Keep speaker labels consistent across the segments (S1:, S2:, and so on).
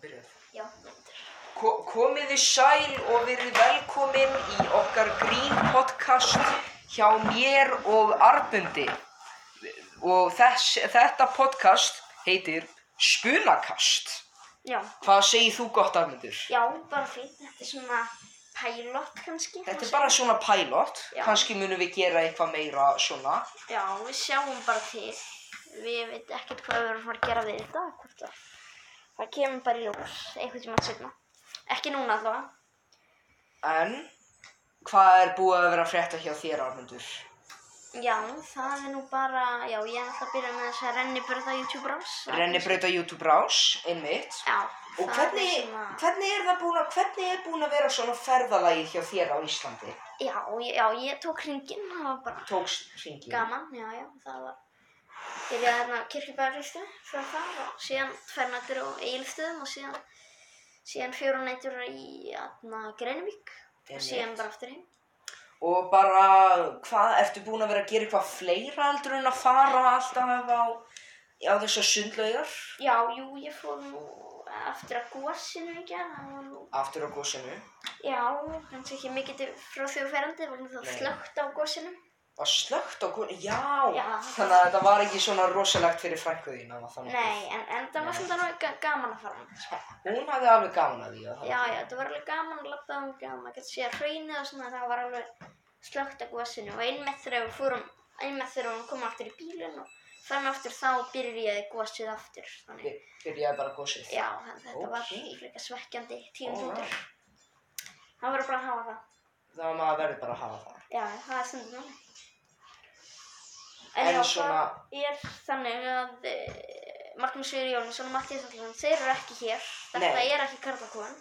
S1: byrjað.
S2: Já.
S1: Ko komið þið sæl og verið velkomin í okkar grín podcast hjá mér og Arbundi. Og þess, þetta podcast heitir Spunakast.
S2: Já.
S1: Hvað segir þú gott, Arbundur?
S2: Já, bara fínt. Þetta er svona pælott kannski. má
S1: Þetta er
S2: segja.
S1: bara svona pilot,
S2: Já.
S1: kannski munum við gera eitthvað meira svona.
S2: Já, við sjáum bara til. Við veit ekkert hvað við erum að fara að gera við þetta. Hvort það. Það kemur bara í ljós. Eitthvað tíma sérna. Ekki núna allavega.
S1: En hvað er búið að vera að frétta hjá þér, Arnundur?
S2: Já, það er nú bara, já, ég ætla að byrja með þess að renniburða YouTube-rás.
S1: Rennibrauta YouTube rás, einmitt.
S2: Já.
S1: Og
S2: það er
S1: hvernig,
S2: svona-
S1: hvernig er það búin að, hvernig er búin að vera svona ferðalagið hjá þér á Íslandi?
S2: Já, ég- já, ég tók hringinn, það var bara
S1: Tókst hringið?
S2: gaman, já, já, það var byrjaði hérna kirkjubæðarlistu frá það og síðan tvær nættur á Egilstöðum og síðan síðan fjóra nættur í hérna Greinivík og
S1: Einmitt.
S2: síðan bara aftur heim
S1: Og bara, hvað, ertu búin að vera að gera eitthvað fleira heldur en að fara alltaf á, á þessar sundlaugar?
S2: Já, jú, ég fór nú aftur að gósinu í gerð það var nú,
S1: Aftur á gósinu?
S2: já, kannski ekki mikið til- frá því ferandi, var nú það
S1: Nei.
S2: slögt á gósinu
S1: Var slögt á gósinu? Já!
S2: Já.
S1: Þannig að þetta var ekki svona rosalegt fyrir frænku þín að það
S2: Nei, en, en það var
S1: Nei.
S2: svona alveg ga- gaman að fara þangað, sko.
S1: Hún hafði alveg gaman að því að
S2: Já, já, þetta var alveg gaman að lappa um gaman, maður gæti séð hraunið og svona, það var alveg slögt að góðsynu og einmitt þegar við fórum, einmitt þegar við komum aftur í bílinn og fann aftur þá byrjaði góðsynu aftur, þannig,
S1: By- Byrjaði bara gósið.
S2: já, þannig þetta var
S1: Ókei.
S2: frekar svekkjandi tíum
S1: Alright.
S2: fótur. Það verður bara að hafa það,
S1: Það var maður verður bara að hafa það.
S2: já, það er stundum þannig.
S1: En
S2: En já,
S1: svona-
S2: það er þannig að eh, Magnús Fyrir Jónsson og Mattias Allarsson, þeir eru ekki hér, þetta
S1: Nei.
S2: er ekki Karlakon,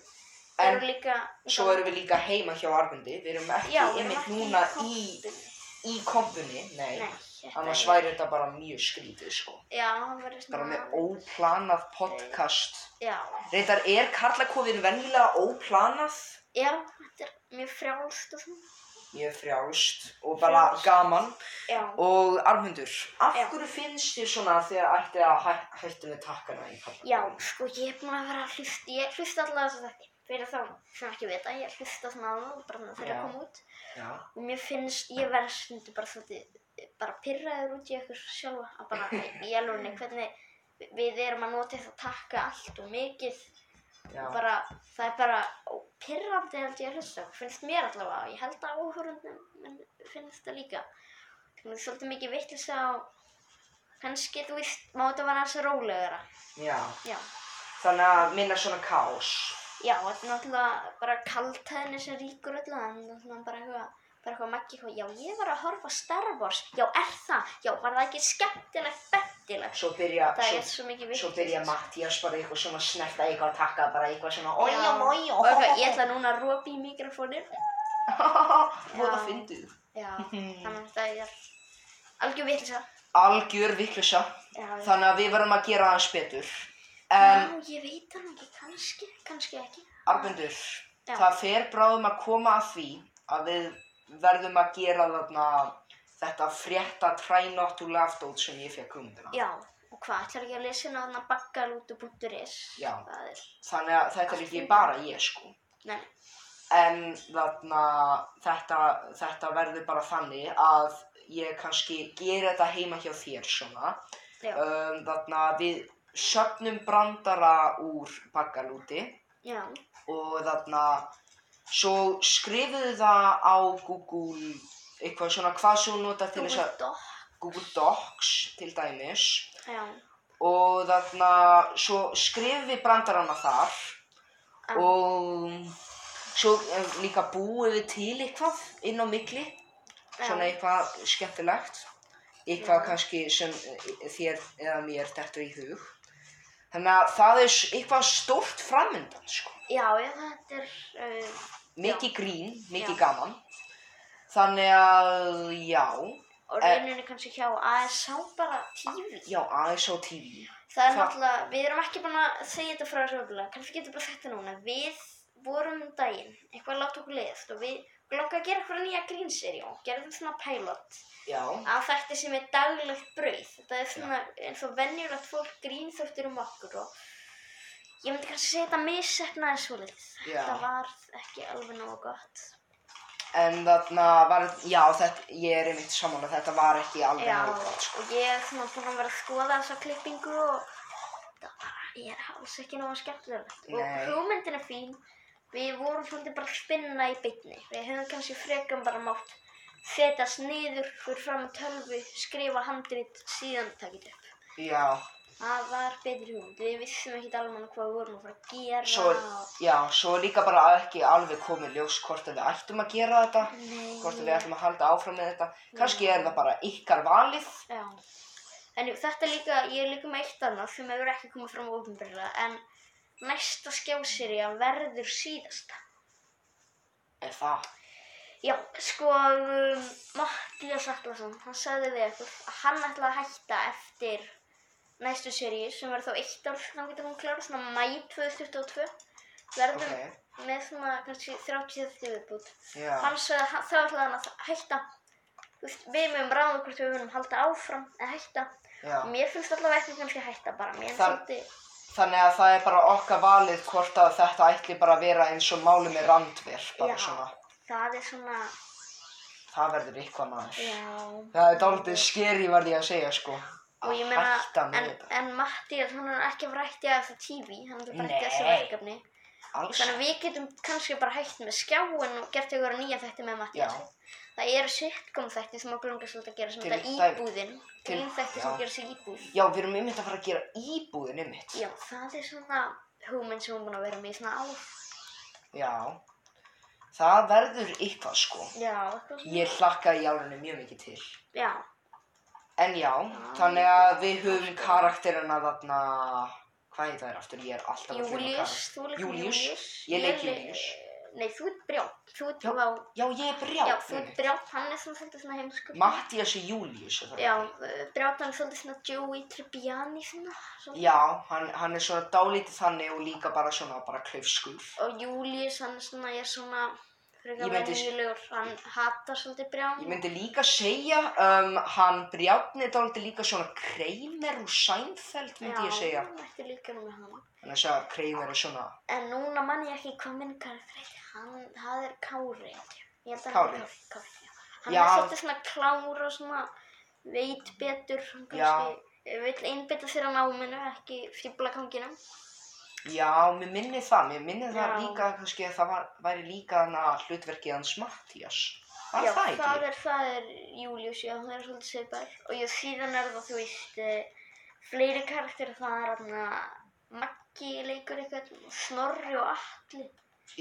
S2: þeir
S1: En
S2: eru líka...
S1: svo erum við líka heima hjá Arbundi. Við erum ekki
S2: Já, við erum
S1: einmitt
S2: ekki
S1: núna í,
S2: kompunni.
S1: í kompunni. Nei.
S2: Nei, þetta
S1: Annars
S2: er-
S1: væri þetta bara mjög skrítið, sko.
S2: Já, það verður svona...
S1: Bara með óplanað podcast.
S2: Já,
S1: Reyndar, er karlakofin venjulega óplanað?
S2: já, þetta er mjög frjálst og svona.
S1: Mjög frjálst og bara
S2: Frjálst.
S1: gaman.
S2: Já.
S1: Og Armundur, af
S2: Já.
S1: hverju finnst þér svona þegar ætti að hæ, hætti með takkana í karlakofin?
S2: Já, sko, ég er búin að vera að hlusta, ég hlusta allavega þess að þetta. Fyrir þá sem ekki vita, ég hlusta svona á það, bara þannig að þeirra
S1: Já.
S2: koma út.
S1: Já.
S2: Og mér finnst, ég verð stundu bara svolítið, bara pyrraður út í ykkur sjálfa. Að bara, í- í alvegni, hvernig vi- við erum að nota þetta takka allt og mikið.
S1: Já.
S2: Bara, það er bara ó, pirrandi held ég að hlusta, finnst mér allavega og ég held að áhörundum finnst það líka. Þannig svolítið mikið vitlis á, kannski þú veist, má þetta vera aðeins rólegra.
S1: Já.
S2: Já,
S1: Þannig að minna svona kaos.
S2: já, þetta er náttúrulega bara kaltæðinni sem ríkur öllu, en náttúrulega bara eitthvað, bara eitthvað maggi eitthvað, já ég var að horfa á Star Wars, já er það, já var það ekki skemmtilegt, bettilegt.
S1: Svo byrja,
S2: Það er
S1: svo,
S2: svo mikið vitlis.
S1: svo byrja Mattias bara eitthvað svona snerta eitthvað að taka bara eitthvað svona ojá, ojá,
S2: Og eitthvað, ég ætla núna að ropa í mikrofónir.
S1: Voða
S2: Já.
S1: fyndið.
S2: Já,
S1: Mhm.
S2: þannig að þetta er algjör vitlisa.
S1: Algjör vittlusa.
S2: Já,
S1: Þannig að við verðum að gera aðeins betur. En,
S2: já, ég veit hann ekki, kannski, kannski ekki.
S1: Arbundur, það fer bráðum að koma að því að við verðum að gera þarna þetta frétta try not to laugh dót sem ég fekk hugmyndina.
S2: Já, og hvað, ætlar ekki að lesa hérna þarna baggalútu.is?
S1: Já.
S2: Það er,
S1: Þannig að þetta er ekki bara ég sko.
S2: nei, nei,
S1: En þarna, þetta, þetta verður bara þannig að ég kannski gera þetta heima hjá þér svona.
S2: já,
S1: Um, þarna við söfnum brandara úr bakkalúti
S2: já,
S1: og þarna svo skrifuðu það á Google eitthvað svona hvað svo nota til þess
S2: Google
S1: að
S2: Doc,
S1: Google Docs til dæmis
S2: já,
S1: og þarna svo skrifum við brandarana þar
S2: Já.
S1: og svo eh, líka búum við til eitthvað inn á mikli
S2: Já.
S1: svona eitthvað skemmtilegt eitthvað
S2: Já.
S1: kannski sem eh, þér eða mér dettur í hug þannig að það er s- eitthvað stórt framöndan sko.
S2: já, já, þetta er, uh,
S1: mikið grín, mikið
S2: Já.
S1: gaman þannig að já
S2: og
S1: Eh.
S2: rauninni kannski hjá ASH bara TV.
S1: já, aðeins á tífi
S2: Það er
S1: Það-
S2: náttúrulega, við erum ekki búin að segja þetta frá þessu öfnilega, kannski getum bara þetta núna. Við vorum um daginn, eitthvað látt okkur leiðast og við glokkaði að gera eitthvað nýja grínserjó, gerðum svona pilot
S1: já,
S2: að þetta sem er daglegt brauð. Þetta er svona eins og venjulegt fólk grínþóttir um okkur og Ég myndi kannski segja þetta missetnaði svolítið.
S1: Já.
S2: Þetta var ekki alveg nógu gott.
S1: En þarna var, já, þetta, ég er einmitt sammála, þetta var ekki alveg
S2: Já,
S1: nóg gott, sko.
S2: og ég er svona búin að vera að skoða þessa klippingu og það var, ég er alls ekki nógu skemmtilegt.
S1: Nei.
S2: Og hugmyndin er fín, við vorum svolítið bara að spinna í bytni. Við höfum kannski frekar bara mátt setjast niður fyrir fram að tölvu, skrifa handrit, síðan taka þetta upp.
S1: Já,
S2: Það var betri hugmynd, við vissum ekki alveg hvað við vorum að fara að gera.
S1: svo, já, svo er líka bara ekki alveg komið ljós hvort að við ættum að gera þetta,
S2: Nei.
S1: hvort að við ættum að halda áfram með þetta. Kannski er það bara ykkar valið.
S2: Já. En þetta er líka, ég er líka með eitt annað sem hefur ekki komið fram ofinbjörlega en næsta skjáserja verður síðasta.
S1: Er það?
S2: Já, sko, um, Mattias Atlasson, hann sagði við okkur að hann ætlaði að hætta eftir næstu serju sem verður þá eitt ár þá getur hún klára, svona mæ 2022 verður
S1: Ok.
S2: með svona kannski 30 þetta viðbútt.
S1: Já,
S2: Hann sagði að hann- þá ætlaði hann að hætta. Þú veist, við mögum ráða hvort við munum halda áfram eða hætta
S1: já.
S2: Mér finnst allavega ekki kannski hætta bara, mér finnst
S1: Þar-
S2: svolítið,
S1: Þannig að það er bara okkar valið hvort að þetta ætli bara að vera eins og máli með randver, bara
S2: Já.
S1: svona.
S2: það er svona,
S1: Það verður eitthvað maður.
S2: já,
S1: Það er dálítið skeri var ég að segja, sko.
S2: og
S1: Að
S2: ég meina,
S1: hætta með
S2: en,
S1: þetta.
S2: en Matti, hann er ekki að rætti að þessu tífi, hann er bara ekki að þessu
S1: Nei.
S2: verkefni,
S1: Alls.
S2: þannig að við getum kannski bara hætt með skjáin og gert ykkur nýja þætti með Matti.
S1: Já.
S2: Það eru sitcom þætti sem okkur langar svolítið að gera sem
S1: Til
S2: þetta
S1: dæmis-
S2: íbúðin,
S1: til-
S2: grín þætti
S1: já.
S2: sem gera sig íbúð.
S1: Já, við erum einmitt að fara að gera íbúðin einmitt.
S2: Já, það er svona hugmynd sem hún búin að vera með í svona ár.
S1: Já. Það verður eitthvað, sko.
S2: Já, eitthvað svona.
S1: Ég hlakkaði í alveg mjög mikið til.
S2: Já,
S1: En já, þannig að við höfum karakterina þarna... Hvað heit það er aftur? Ég er alltaf að gleyma
S2: Július,
S1: karakter-
S2: þú leik
S1: Júlíus.
S2: Július.
S1: Ég leik
S2: le-
S1: Júlíus.
S2: Nei, þú ert brjáln. Þú ert
S1: Já.
S2: já.
S1: Já, ég er
S2: Já,
S1: brjáln.
S2: þú ert
S1: einmitt.
S2: brjáln, hann er svona svolítið svona heimskur.
S1: Mattias og Július, er það
S2: Já,
S1: ekki?
S2: brjáln hann er svolítið svona Joey Tribbiani svona. svona.
S1: Já, hann, hann er svona dálítið þannig og líka bara svona bara klaufskur.
S2: Og Július hann er svona, ég er svona,
S1: Ég
S2: frekar
S1: myndi-
S2: venjulegur, hann hatar svolítið brjáln.
S1: Ég myndi líka segja, um, hann brjálni er dálítið líka svona Kramer úr Seinfeld, myndi ég segja.
S2: Já, hann ætti líka nú með hann.
S1: Þannig að segja að Kramer er svona,
S2: En núna man ég ekki hvað minn karakter heiti. Hann, það er Kári, held ég. Ég held að
S1: Kári.
S2: hann er Kári. Kári. já. Hann
S1: Já.
S2: er svolítið svona klár og svona veit betur. Hann
S1: Já.
S2: kannski vill einbytta sér að náminu, ekki fýbla kanginum.
S1: já, mér minni það, mér minni það
S2: Já.
S1: líka kannski að það var, væri líka hann að hlutverkið hans Mattias. Var
S2: já,
S1: það ekki?
S2: það er, það er Július, já, hann er svolítið svipar. Og já, síðan er það, þú veist, eh, fleiri karakter, það er hann að Maggi leikur eitthvað, Snorri og Atli.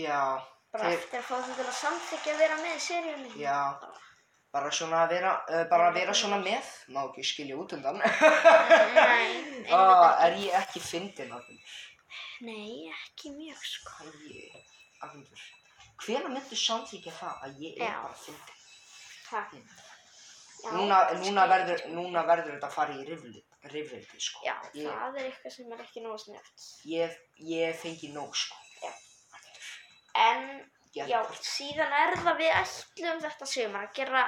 S1: Já,
S2: Bara
S1: Þeir-
S2: eftir að fá þau til að samþykja að vera með í seríunni.
S1: já, bara svona að vera, uh, bara að vera svona með, má ekki skilja út undan.
S2: Nei,
S1: Ah,
S2: einmitt
S1: er ég ekki fyndin af þeim?
S2: Nei, ekki mjög sko.
S1: Æi, afhengur. Hvena myndu samþykja það að ég er
S2: Já.
S1: bara fyndin?
S2: Ha. Já,
S1: Núna,
S2: kannski-
S1: núna, verður, núna verður þetta að fara í rifrildi, rifrildi sko.
S2: Já,
S1: ég,
S2: það er eitthvað sem er ekki nógu snögt.
S1: ég, ég fengi nóg, sko.
S2: En,
S1: Ég,
S2: já, síðan er það við ætlum þetta sumar að gera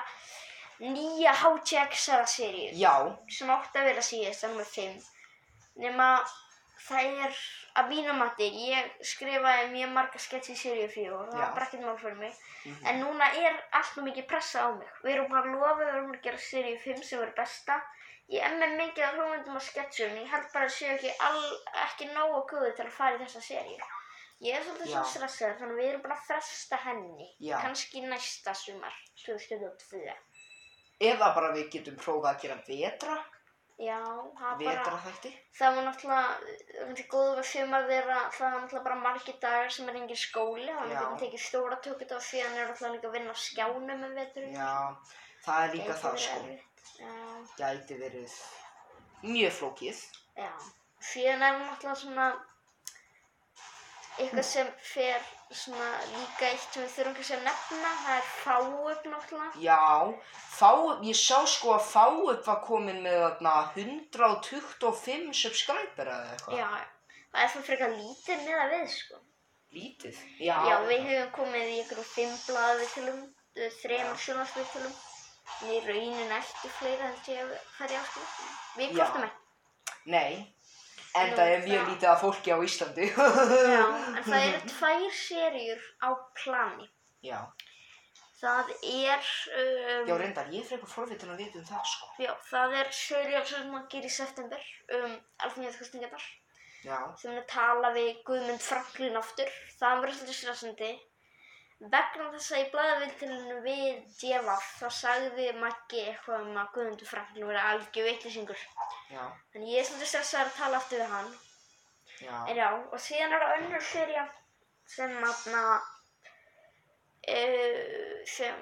S2: nýja HTX-seríu
S1: Já,
S2: sem átti að vera síðast, það er með fimm. Nema það er, að mínum mati, ég skrifaði mjög marga sketch í seríu fjór og það
S1: Já.
S2: var bara ekkert mál fyrir mig.
S1: mhm,
S2: En núna er allt of mikið pressa á mig. Við erum bara að lofa, við erum að gera seríu 5 sem verður besta. Ég er með mikið af hugmyndum og sketsum, en ég held bara að séu ekki, all, ekki nógu góði til að fara í þessa seríu. Ég er svolítið
S1: Já.
S2: svona stressaður, þannig að við erum bara að fresta henni.
S1: Já.
S2: Kannski næsta sumar, 2022.
S1: eða bara við getum prófað að gera vetra,
S2: Já, það er bara,
S1: vetra þætti.
S2: það var náttúrulega, það er góð við sumar þeirra, það var náttúrulega bara margir dagar sem er engin skóli, þannig
S1: Já.
S2: að við tekið stóra tökut á því, hann er náttúrulega líka að vinna á skjánum um veturinn.
S1: Já, það er líka
S2: Gæti
S1: það,
S2: verið
S1: sko.
S2: erfitt. Já,
S1: Gæti verið mjög flókið.
S2: já. Síðan er náttúrulega svona eitthvað sem fer svona líka eitt sem við þurfum kannski að nefna, það er fáup náttúrulega.
S1: Já, fá, ég sá sko að Fáup var komin með þarna 125 subscriber eða eitthvað.
S2: Já, það er svona frekar lítið með að við, sko.
S1: Lítið. Já,
S2: Já, við höfum komið í einhverjum fimm blaðviðtölum,
S1: Já.
S2: þremur sjónvarsviðtölum, en í raunin eftir fleira held ég að fara í áskum. Við
S1: Já.
S2: kvartum ekki.
S1: Nei, En
S2: Nú,
S1: það er mjög
S2: það-
S1: lítið af fólki á Íslandi.
S2: Já, en það eru tvær seríur á plani.
S1: Já,
S2: Það er... Um,
S1: já reyndar, ég er frekar forvitin að vita um það sko.
S2: já, það er seríu sem maður gerir í september um alþjóðkostningarnar
S1: Já,
S2: sem er að tala við Guðmund Franklin aftur. Það verður svolítið stressandi. Vegna þess að í blæðaviltilinu við Djevaf þá sagði Maggi eitthvað um að Guðmundur Franklin verið algjör vitlisingur.
S1: já,
S2: Þannig ég er svolítið stressaður að tala aftur við hann.
S1: já,
S2: En já, og síðan er það önnur serja sem aðna uh, sem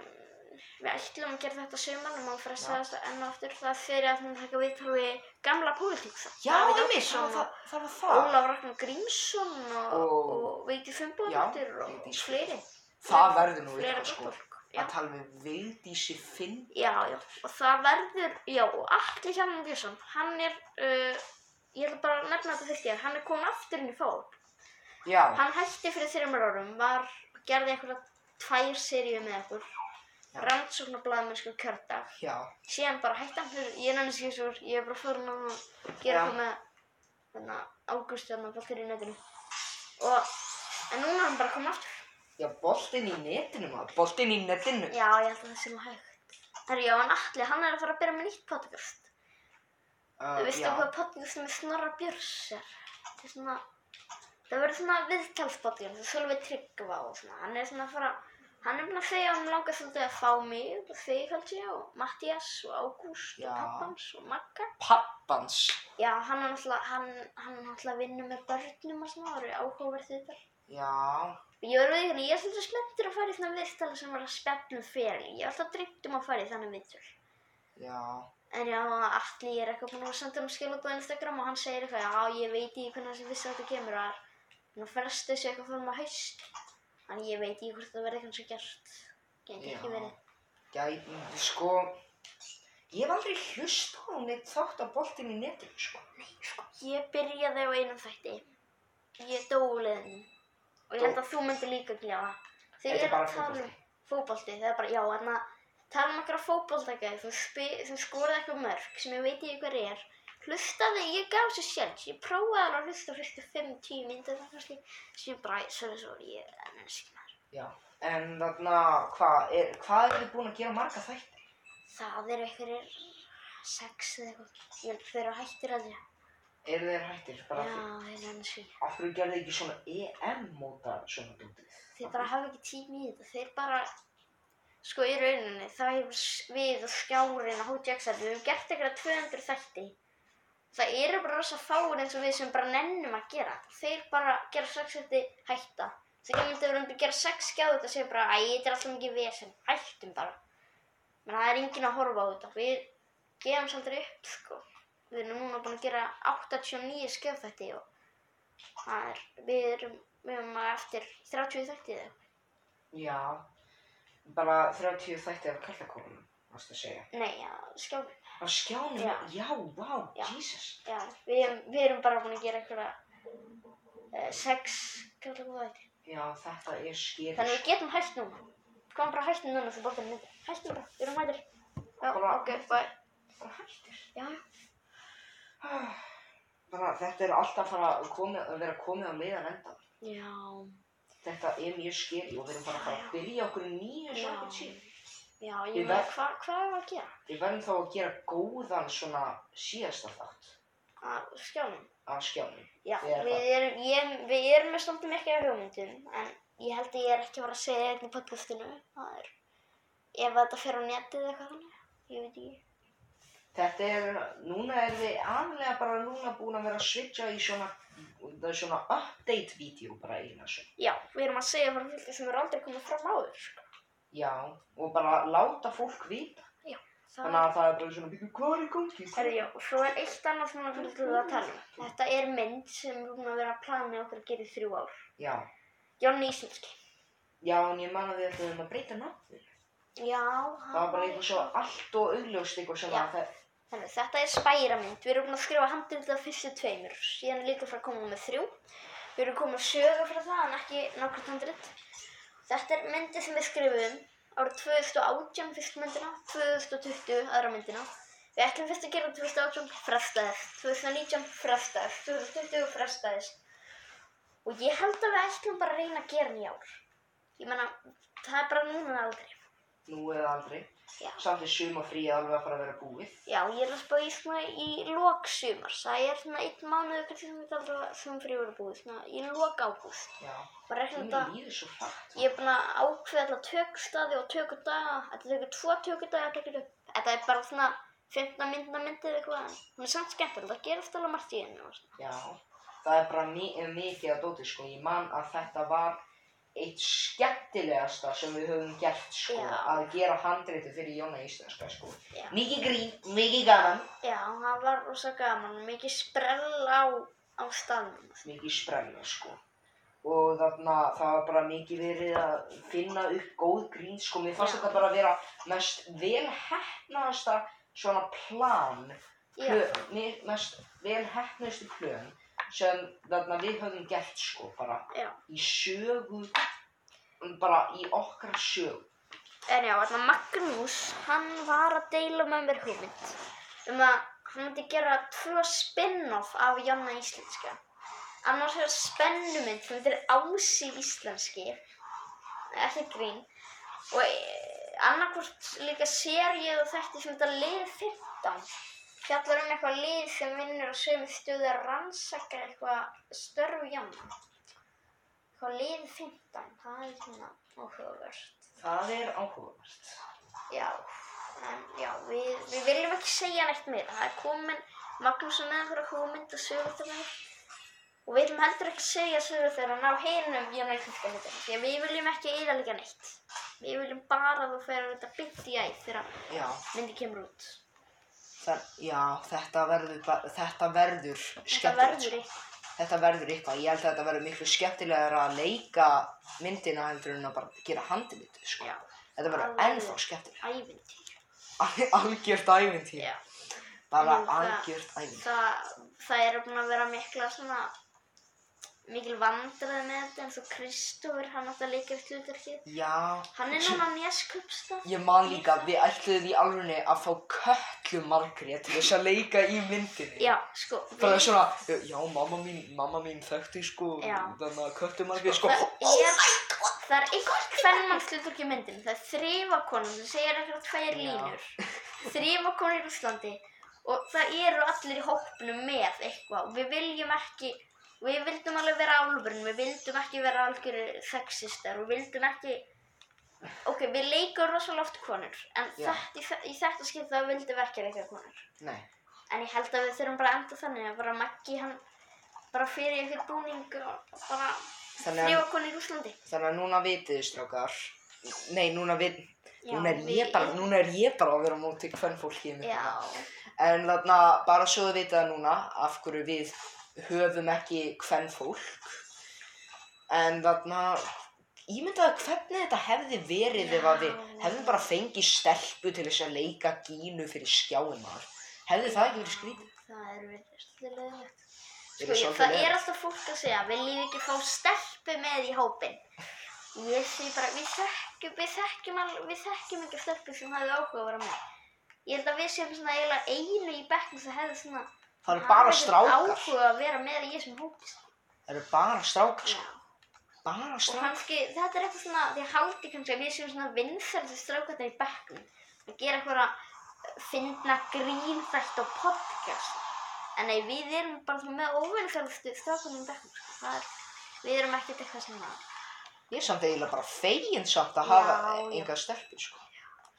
S2: við ætlum að gera þetta suman og maður fyrir að
S1: Já.
S2: segja þetta enn og aftur það fyrir að hún taka við þá við gamla pólitíksa
S1: já, einmitt, það, var það, það var það.
S2: Ólaf Ragnar Grímsson og,
S1: Og-
S2: og, og Veiti
S1: Já,
S2: Fimbóðdóttir og, og
S1: Vigdís.
S2: fleiri
S1: Það verður nú
S2: Fleira
S1: eitthvað sko.
S2: gott fólk, já.
S1: Að tala með Vigdísi Finn.
S2: Já, já, og það verður, já, og Atli Hjalmar Björnsson, hann er, uh, ég ætla bara að nefna þetta fyrir þér, hann er komin aftur inn í fólk.
S1: Já,
S2: Hann hætti fyrir þreymur árum, var, gerði einhverja tvær seríu með okkur,
S1: Já.
S2: rannsóknarblæðmennsku kjördag,
S1: já,
S2: síðan bara hætti hann fyrir, ég nenni sér svo, ég er bara fórin að
S1: Já.
S2: gera eitthvað með þarna ágúst þarna bóttir í netinu. Og, en núna er hann bara komið aftur.
S1: já, boltinn í netinu maður, boltinn í netinu.
S2: Já, ég held að það sé nú hægt. Herri, já, en Atli, hann er að fara að byrja með nýtt podcast.
S1: Uh,
S2: Þú veistu
S1: já.
S2: hvað podcast með Snorra Björns er? Þetta er svona, það verður svona viðtalspodcast, það svolítið tryggva og svona, hann er svona að fara, hann er búin að segja að hann langar svolítið að fá mig og þig kannski og Mattias og Ágúst
S1: Já.
S2: og pappans og Magga.
S1: Pappans.
S2: Já, hann er náttúrulega, hann, hann er náttúrulega að vinna með börnum og svona, það eru áhugaverð því þetta.
S1: Já,
S2: Ég verður því ég er svolítið spenntur að fara í svona viðtal sem var að spjalla um fyrir, ég er alltaf dreymt um að fara í þannig viðtal.
S1: já,
S2: En já, Atli er eitthvað búinn að senda hann skilabóð á Instagram og hann segir eitthvað, já, ég veit ekki hvernig þessi vissi að þetta kemur og hann fresta þessu eitthvað fórum að haust. Þannig ég veit ekki hvort það verði kannski gert.
S1: já.
S2: Gæti ekki verið.
S1: Já, ég- mm, sko, ég hef aldrei hlust á neitt þátt á boltinn í netinu, sko.
S2: Ég byrjaði á einum þætti. Ég dó úr liðinu. Og ég held að þú myndir líka gljáða.
S1: Þetta
S2: Þegar
S1: er
S2: ég er
S1: bara
S2: að tala um fótbolti, það er bara, já, en að tala um einhverja fótboltagæði, þú, spi- þú skoraði eitthvað mörg sem ég veit ekki hver er. Hlustaði, ég gaf sér sjans, ég prófaði alveg að hlusta fyrstu 5-10 myndir það kannski, sem ég bara, sorry, sorry, ég er ennski maður.
S1: Já. En þarna, hvað, er, hvað er þið búin að gera marga þætti?
S2: Það eru einhverjir sex eða eitthvað, ég held þeir eru hættir að því.
S1: Eru þeir hættir?
S2: Já,
S1: Bara því,
S2: ég er ennski.
S1: af hverju gerðu þið ekki svona EM móta svona dótið?
S2: Þeir bara hafa ekki tími í þetta, þeir bara, sko í rauninni, það hefur s- við og skjárin og HTX-ar, við höfum gert eitthvað 200 þætti. Það eru bara rosa fáir eins og við sem bara nennum að gera. Þeir bara gera sex þætti hætta. Þegar myndið verðum að gera sex skjáðu þetta segir bara, æ, þetta er alltaf mikið vesen, hættum bara. Menn það er enginn að horfa á þetta, við gefum svolítið upp, sko. Við erum núna búin að gera 89 skjáðfætti og það er, við erum, við erum að eftir 30 þætti eða. eitthvað.
S1: Já, bara 30 þætti af kallakónum, varstu að segja.
S2: Nei, já, skjáðum.
S1: Á skjánum, já,
S2: Já.
S1: já wow,
S2: Já.
S1: Jesus.
S2: Já, við erum, við erum bara búin að gera einhverja uh, sex skjáðfætti.
S1: Já, þetta er skýrst.
S2: Þannig við getum hægt núna. Komum bara hægt núna því bóttir myndir. Hægt bara, við erum hættir. Já,
S1: Bara-
S2: ok, bye.
S1: Bara hættir.
S2: Já,
S1: Ah, Bara, þetta er alltaf fara að, komi, að vera komið á leiðan enda.
S2: já.
S1: Þetta er mjög skeri og við erum bara að fara að byrja okkur í nýju
S2: Já.
S1: samkvæmt síðan.
S2: Já, ég
S1: Við
S2: meina,
S1: ver-
S2: hva, hvað er að gera?
S1: Við verðum þá að gera góðan svona síðasta þátt
S2: Að skjálum.
S1: af skjánum.
S2: Já,
S1: Við erum
S2: við erum, ég, við erum með stundum ekki að hugmyndum, en ég held að ég er ekki að fara að segja þetta í podcastinu, það er, ef þetta fer á netið eða eitthvað þannig, ég veit ekki.
S1: Þetta er, núna er við aðlega bara núna búin að vera að switcha í svona, það er svona update-vídeó bara eina svona.
S2: Já, við erum að segja frá hluti sem eru aldrei komið fram áður, sko.
S1: Já, og bara láta fólk vita.
S2: Það
S1: Þannig
S2: er,
S1: að það er bara svona, "Bíddu, hvað er í gangi? Hvað er
S2: herri, já, og svo er eitt annað sem við hlutum að tala um. Þetta er mynd sem við erum að vera að plana okkur að gera í þrjú ár.
S1: Já,
S2: Jonni Íslandski.
S1: já, en ég man að við ætlum að breyta nafninu.
S2: Já,
S1: Það var bara eitthvað svo allt og augljóst eitthvað sem
S2: Ah. Já.
S1: að það,
S2: Þannig, þetta er spæramynd. Við erum búin að skrifa handrið af fyrstu tveimur. Síðan er líka frá að koma með þrjú. Við erum komið að sögu frá það en ekki nokkurt handrið. Þetta er myndið sem við skrifum árið 2018 fyrstu myndina, 2020 aðra myndina, Við ætlum fyrst að gera 2018 frestaðist, 2019 frestaðist, 2020 frestaðist. Og ég held að við ætlum bara að reyna að gera hann í ár. Ég meina, það er bara núna eða aldrei.
S1: Nú eða aldrei.
S2: Já.
S1: Samt er sumarfríið alveg að fara að vera búið.
S2: Já, ég er að spá í svona í lok sumars. Það er svona einn mánuð kannski sem þetta aldrei sem fyrir voru búið, svona í lok ágúst.
S1: Já.
S2: Bara ekki þetta,
S1: Tíminn líður svo hratt.
S2: ég er búin að ákveða alla tökstaði og tökudaga. Þetta tekur tvo tökudaga að tekja upp. Þetta er bara svona 15 myndna myndið eða eitthvað. Hún er samt skemmtileg, það gerast alveg margt í henni og svona.
S1: Já. Það er bara mi mikið að dóti sko. Ég man að þetta var eitt skemmtilegasta sem við höfum gert sko.
S2: Já.
S1: Að gera handreitu fyrir Jóna Íslenska sko.
S2: Já.
S1: Mikið grín, mikið gaman,
S2: Já, það var rosa gaman, mikið sprell á, á staðnum.
S1: mikið sprella sko. Og þarna það var bara mikið verið að finna upp góð grín sko. Mér fannst
S2: Já.
S1: þetta bara að vera mest vel hefnaðasta svona plan
S2: Já,
S1: plön, mér mest vel hefnustu plön sem þarna við höfum gert sko bara
S2: já.
S1: í sögu bara í okkar sögu
S2: En já, þarna Magnús, hann var að deila með mér hugmynd um að hann myndi gera tvö spin-off af Jonna Íslenska. Annars er spennumynd sem heitir Ási Íslenski, ekki grín, og e, annarkvort líka seríu og þetta sem heitir Lið 15. Fjallar um eitthvað lið sem vinnur á sömu stöðu að rannsaka eitthvað störf Jonna. Eitthvað Lið 15, það er svona áhugavert.
S1: það er áhugavert
S2: Já, en já, við, við viljum ekki segja neitt meira. Það er komin Magnús með einhverja hugmynd og sögur þeirra. Og við viljum heldur ekki segja sögur þeirra ná hinum Jónar Kjöldkjöldkjöldum. Því að við viljum ekki eðalega neitt. Við viljum bara að þú fyrir þetta byggt í æð þegar
S1: já,
S2: myndi kemur út.
S1: það, já þetta verður ba- þetta verður
S2: Þetta
S1: skemmtilegt
S2: verður eitt.
S1: sko. þetta verður eitthvað, ég held að þetta verður miklu skemmtilegur að leika myndina heldur en að bara gera handilitu sko.
S2: Já,
S1: þetta verður
S2: Það verður-
S1: ennþá skemmtilegur
S2: ævintýr.
S1: Al- algjört ævintýr
S2: Já,
S1: bara
S2: En það-
S1: algjört ævintýr
S2: það, það er búin að vera mikla svona mikil vandræði með þetta eins og Kristófur, hann átti að leika eftir hlutverkið.
S1: já,
S2: Hann er núna á Neskjöpstað.
S1: Ég man líka, við ætluðum í alvörunni að fá köllu Margrét til þess að leika í myndinni.
S2: Já, sko.
S1: Bara svona, já, mamma mín, mamma mín þekkti sko,
S2: Já.
S1: þannig að köllu Margrét sko,
S2: það
S1: oh
S2: er-
S1: my god!
S2: Það er einhvern kvennmannslutur í myndin. Það er þrifakonum sem segir eitthvað tveir
S1: Já.
S2: línur. Þrifakonur í Rússlandi og það eru allir í hópnum með eitthvað og við viljum ekki, við vildum alveg vera álfurinn, við vildum ekki vera algjöru sexistar og við vildum ekki, ok, við leikum rosalega oft konur en
S1: Já.
S2: þetta, í, þe- í þetta skipt þá vildum við ekki leika konur.
S1: Nei,
S2: En ég held að við þurfum bara að enda þannig að bara Maggi hann bara fyrir ykkur búning og bara
S1: Þannig að-
S2: þrjóða konu í Rúslandi.
S1: þannig að núna vitið þið strákar, nei, núna við,
S2: Já,
S1: núna er
S2: við-
S1: ég bara, núna er ég bara að vera á móti hvern fólki í myndinni.
S2: Já,
S1: En þarna, bara svo þið vitið það núna, af hverju við höfum ekki hvern fólk. En þarna, ímyndaðu hvernig þetta hefði verið ef að við
S2: Já.
S1: hefðum bara fengið stelpu til þess að leika gínu fyrir skjáinar. Hefði það ekki verið skrítið?
S2: það er verið svolítið leiðilegt.
S1: Verið
S2: Sko, ég-
S1: svolítið
S2: það
S1: leiðilegt.
S2: er alltaf fólk að segja, viljið ekki fá stelpu með í hópinn. Ég segi bara, við þekkjum, við þekkjum, al- við þekkjum ekki stelpu sem hafði áhuga að vera með. Ég held að við séum svona eiginlega einu í bekknum sem hefði svona
S1: Það eru bara
S2: hafði
S1: strákar.
S2: áhuga að vera með í þessum hópi. sko.
S1: Það eru bara strákar,
S2: Já.
S1: sko. Bara
S2: Og
S1: strákar.
S2: kannski, þetta er eitthvað svona, því að haldi kannski að við séum svona vinsælstu strákarnir í bekknum að gera eitthvað að finna grínþætt og podcast. En nei, við erum bara svona með óvinsælstu strákarnir í bekknum, sko. Það er, við erum ekkert eitthvað sem að...
S1: Ég er samt eiginlega bara fegin samt að
S2: Já,
S1: hafa
S2: já.
S1: enga stelpu, sko.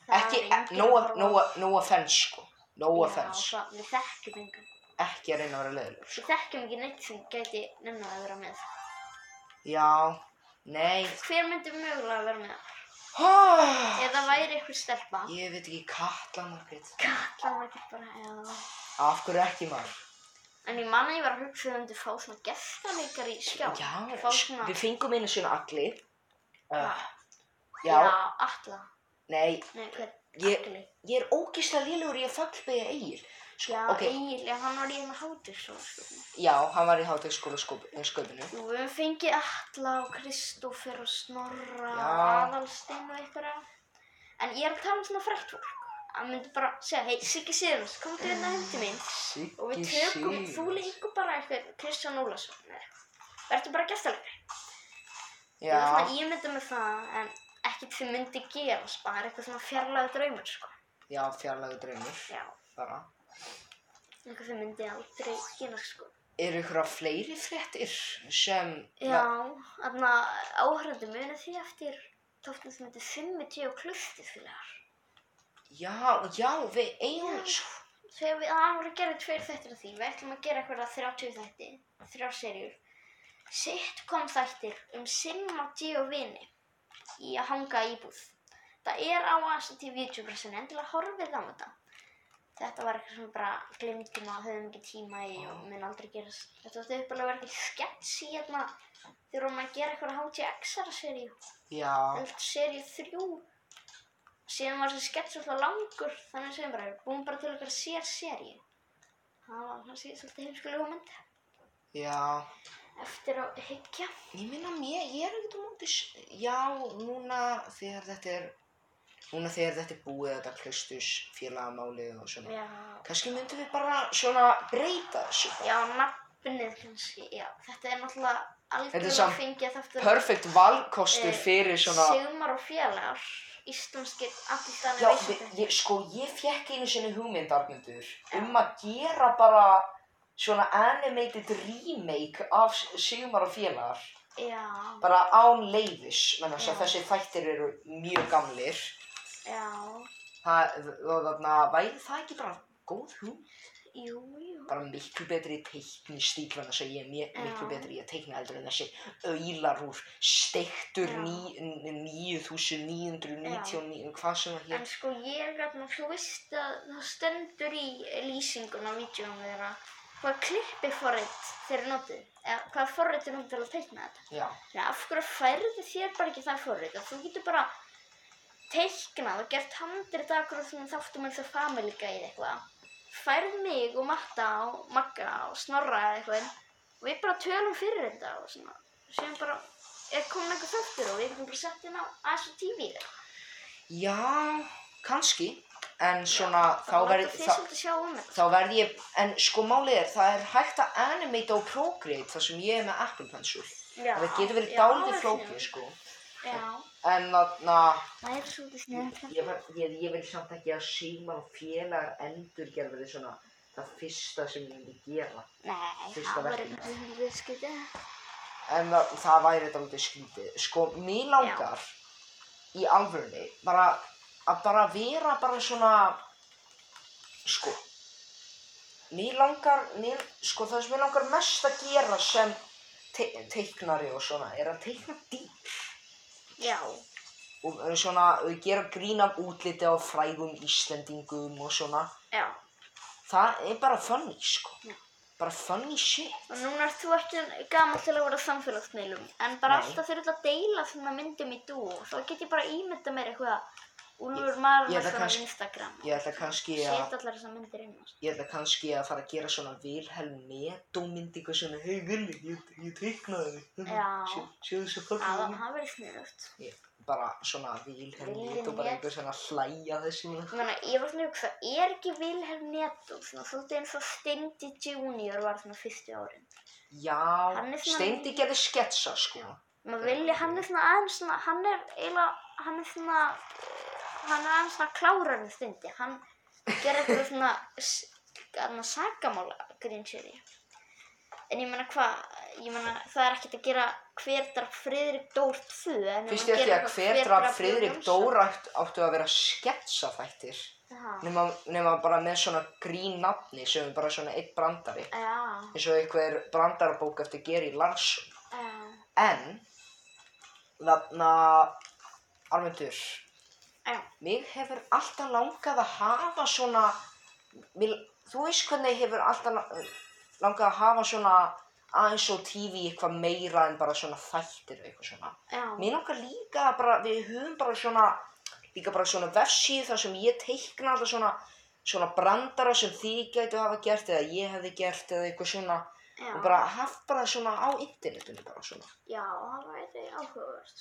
S2: það
S1: Ekki,
S2: er enginn
S1: no,
S2: að horfa á-
S1: no, no offense, sko. No
S2: Já,
S1: offense.
S2: það- Við þekkjum engan.
S1: Ekki að reyna að vera leiðilegur, sko.
S2: Við þekkjum ekki neitt sem gæti nennan að vera með.
S1: Já, nei Ah!
S2: Hver myndi mögulega vera með það? Eða væri eitthvað stelpa?
S1: Ég veit ekki, Katla Margrét
S2: Kallar maður ekki bara, já...
S1: Af hverju ekki maður?
S2: En ég man að ég var að hugsa um að fá svona gestaleikar í skjá.
S1: Já,
S2: fá svona...
S1: við fengum einu svona allir uh, já,
S2: já. alla.
S1: nei
S2: Nei, hver?
S1: Ég-
S2: Agli.
S1: Ég er ógislega lélugur í að faglega eigir
S2: Já,
S1: sko, ok.
S2: Egil, já, hann var í hérna hátur svo. sko.
S1: Já, hann var í hátegskóla sköpinu
S2: Jú, við höfum fengið alla og Kristófer og Snorra
S1: Já.
S2: og Aðalstein og einhverja. En ég er að tala um svona frækt fólk. hann myndi bara segja, hei Siggi Sigurðs, komdu hérna heim til mín
S1: Siggi
S2: og við tökum,
S1: Sig.
S2: þú leikur bara eitthvað Kristján Ólason eða eitthvað. Verður bara gæstalegur. Ég var
S1: Já,
S2: svona ímynda með það, en ekkert sem myndi gerast, bara eitthvað svona fjarlæga draumur, sko.
S1: já, fjarlægu draumur,
S2: Já,
S1: bara.
S2: eitthvað sem myndi aldrei gerast, sko.
S1: Eru ykkur að fleiri fréttir sem...
S2: Já, þarna áhörðandi muni því eftir tóttum sem myndi 50 og klustið félagar.
S1: Já, já, við eigum...
S2: Já. Þegar við, það voru að gera tveir þættir af því, við ætlum að gera eitthvað 30 þætti, þrjá serjur. Sitt kom þættir um Simma, G og vini í að hanga íbúð. Það er á AST YouTube-pressunni, endilega horfið á þetta. Þetta var eitthvað sem bara glimtum að höfum ekki tíma í og mun aldrei gerast. Þetta var uppalega verið eitthvað skets í hérna þegar vorum að gera eitthvað HTX-ara serju.
S1: Já,
S2: held serið þrjú síðan var þessi skets alltaf langur þannig að segjum bara, við búum bara til okkar sér seri það var kannski svolítið heimskulega hugmynd
S1: já.
S2: eftir að hyggja
S1: Ég minna mér, ég er ekkert á móti, s- já, núna þegar þetta er, núna þegar þetta er búið, þetta klaustus, félagamálið og svona.
S2: já,
S1: Kannski myndum við bara svona breyta þessu.
S2: já nafnið kannski, já þetta er náttúrulega
S1: Þetta er
S2: algjörlega
S1: samt
S2: fengið þáttur
S1: Perfekt valkostur
S2: Eh,
S1: fyrir svona,
S2: Sigmar og félagar íslenskir allir
S1: já,
S2: þannig
S1: vi- ég, sko, ég fekk einu sinni hugmyndarmyndur um að gera bara svona animated remake af S- Sigmar og félagar.
S2: já,
S1: Bara án leiðis, menn þess að
S2: Já.
S1: þessi þættir eru mjög gamlir.
S2: já,
S1: Það, og þarna, væri það ekki bara góð hugmynd?
S2: jú, jú
S1: bara miklu betri í teikni stíl en þess að ég er mjö,
S2: Já.
S1: miklu betri í að teikna heldur en þessi auðlar úr steiktur
S2: Já.
S1: ní- n- 9999 hvað sem það
S2: En
S1: hér
S2: sko ég er nú, þú veist að það stendur í lýsingun á vídjónum þeirra hvað klippi forrið þeir notið, eða hvað forrið þeir notið til að teikna þetta.
S1: já,
S2: Þannig að af hverju færðu þér bara ekki það forrið að þú getur bara teiknað og gert handrið akkur og þannig þáttum eins og family guide eitthvað. Færð mig og Matta og Magga og Snorra eða eitthvað og við bara tölum fyrir þetta og svona. Séum bara, er komin einhver þáttur og við getum bara sett hérna á AS og TV þeirra.
S1: já, kannski en svona þá verð
S2: Þið
S1: þá,
S2: svolítið sjá um þetta.
S1: þá verð ég en sko málið er það er hægt að animate og procreate þar sem ég er með Apple Pencil
S2: Já.
S1: það getur verið
S2: já,
S1: dálítið
S2: já,
S1: flókið sko
S2: Já.
S1: en þarna
S2: Það er svolítið snöðt.
S1: Ég, var, ég, ég vil samt ekki að síma og félag endurgerði svona það fyrsta sem ég myndi gera.
S2: Nei,
S1: Fyrsta
S2: það var
S1: verkið.
S2: ekki viðskiptið.
S1: En það, það væri þetta alveg skrítið. Sko, mér langar í alvörni bara að bara vera bara svona, sko, mér langar, mér, sko það sem mér langar mest að gera sem te teiknari og svona er að teikna dýr.
S2: Já.
S1: Og eh, svona gera grín af útliti á frægum Íslendingum og svona.
S2: Já.
S1: Það er bara funny, sko.
S2: Já.
S1: Bara funny shit.
S2: Og núna ert þú ekki gaman til að vera á samfélagsmiðlum. En bara
S1: Nei.
S2: alltaf þurfum að deila svona myndum í dú. Þá get ég bara ímynda mér eitthvað. Úlfur Marma
S1: ég ætla
S2: svona
S1: kannski-
S2: á Instagram.
S1: Ég ætla kannski
S2: Set
S1: að,
S2: allar þessar myndir inn. og svona.
S1: ég ætla kannski að fara að gera svona Vilhelm Netó-myndingu sem er, hei Vili, ég, ég teiknaði þig.
S2: Já.
S1: Sjö- Sjöðu þessu
S2: Það
S1: fagna.
S2: það verið snöðt.
S1: Bara svona Vilhelm
S2: Vilhelm
S1: Netó, bara
S2: Netó.
S1: einhver svona hlæja þessu.
S2: Ég meina, ég var svona að hugsa, er ekki Vilhelm Netto svona svolítið eins og Steindi Junior var svona fyrstu árin?
S1: Já,
S2: Hann er svona-
S1: Steindi gerði sketsa, sko.
S2: maður vilja, hann er svona aðeins svona, hann er eiginlega, hann er svona, hann er aðeins svona klárar um stundi, hann gerir eitthvað svona, s- þarna sakamála grínsjöði. En ég meina hvað, ég meina það er ekkert að gera hver draf Friðrik Dór 2, en ef
S1: Fyrst
S2: hann
S1: ég ekki
S2: gerir
S1: að
S2: eitthvað
S1: hver draf
S2: Björn
S1: Friðrik
S2: Jónsson-
S1: Dóra átt- áttu að vera sketsa þættir.
S2: Já,
S1: Nema, nema bara með svona grín nafni sem er bara svona eitt brandari.
S2: já,
S1: eins og einhver brandarabók eftir Geri Larsson.
S2: já.
S1: En, þarna, Armendur,
S2: Já.
S1: mig hefur alltaf langað að hafa svona, mig, þú veist hvernig hefur alltaf la- langað að hafa svona aðeins og tífi eitthvað meira en bara svona þættir og eitthvað svona.
S2: Já,
S1: Mér langar líka að bara, við höfum bara svona, líka bara svona vefsíð þar sem ég teikna alltaf svona, svona brandara sem þið gætu hafa gert eða ég hefði gert eða eitthvað svona og
S2: já,
S1: bara haft bara svona á internetinu bara svona.
S2: já, það væri áhugavert.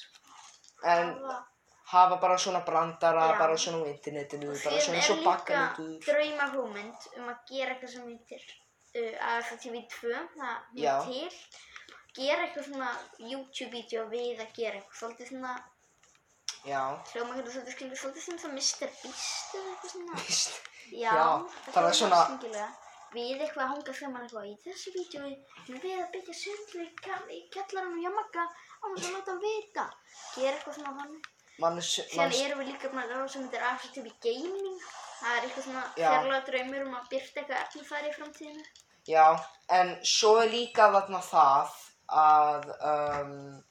S1: En
S2: Það-
S1: hafa bara svona brandara,
S2: Já.
S1: bara svona á internetinu,
S2: Og
S1: bara
S2: síðan
S1: svona
S2: er
S1: eins og
S2: líka
S1: bakkalútur.
S2: drauma hugmynd um að gera eitthvað sem heitir uh, AFTV2, það
S1: Já.
S2: er til. Gera eitthvað svona YouTube-vídeó við að gera eitthvað svolítið svona,
S1: Já,
S2: hljóma hérna svolítið skilur, svolítið sem það Mr. Beast eða eitthvað svona.
S1: víst.
S2: Já,
S1: Já,
S2: það
S1: bara
S2: hljómar
S1: svona-
S2: skringilega. Við eitthvað að hanga saman eitthvað í þessu vídjói, en við að byggja sundlu í kall- í kjallaranum hjá Magga á þess að láta hann vita. Gera eitthvað svona þannig.
S1: Manns,
S2: Síðan
S1: manns,
S2: erum við líka búin að ráða sem þetta er aftur í gaming. Það er eitthvað svona
S1: Já.
S2: fjarlaga draumur um að byrta eitthvað efni þar í framtíðinu.
S1: já, en svo er líka þarna það að, um,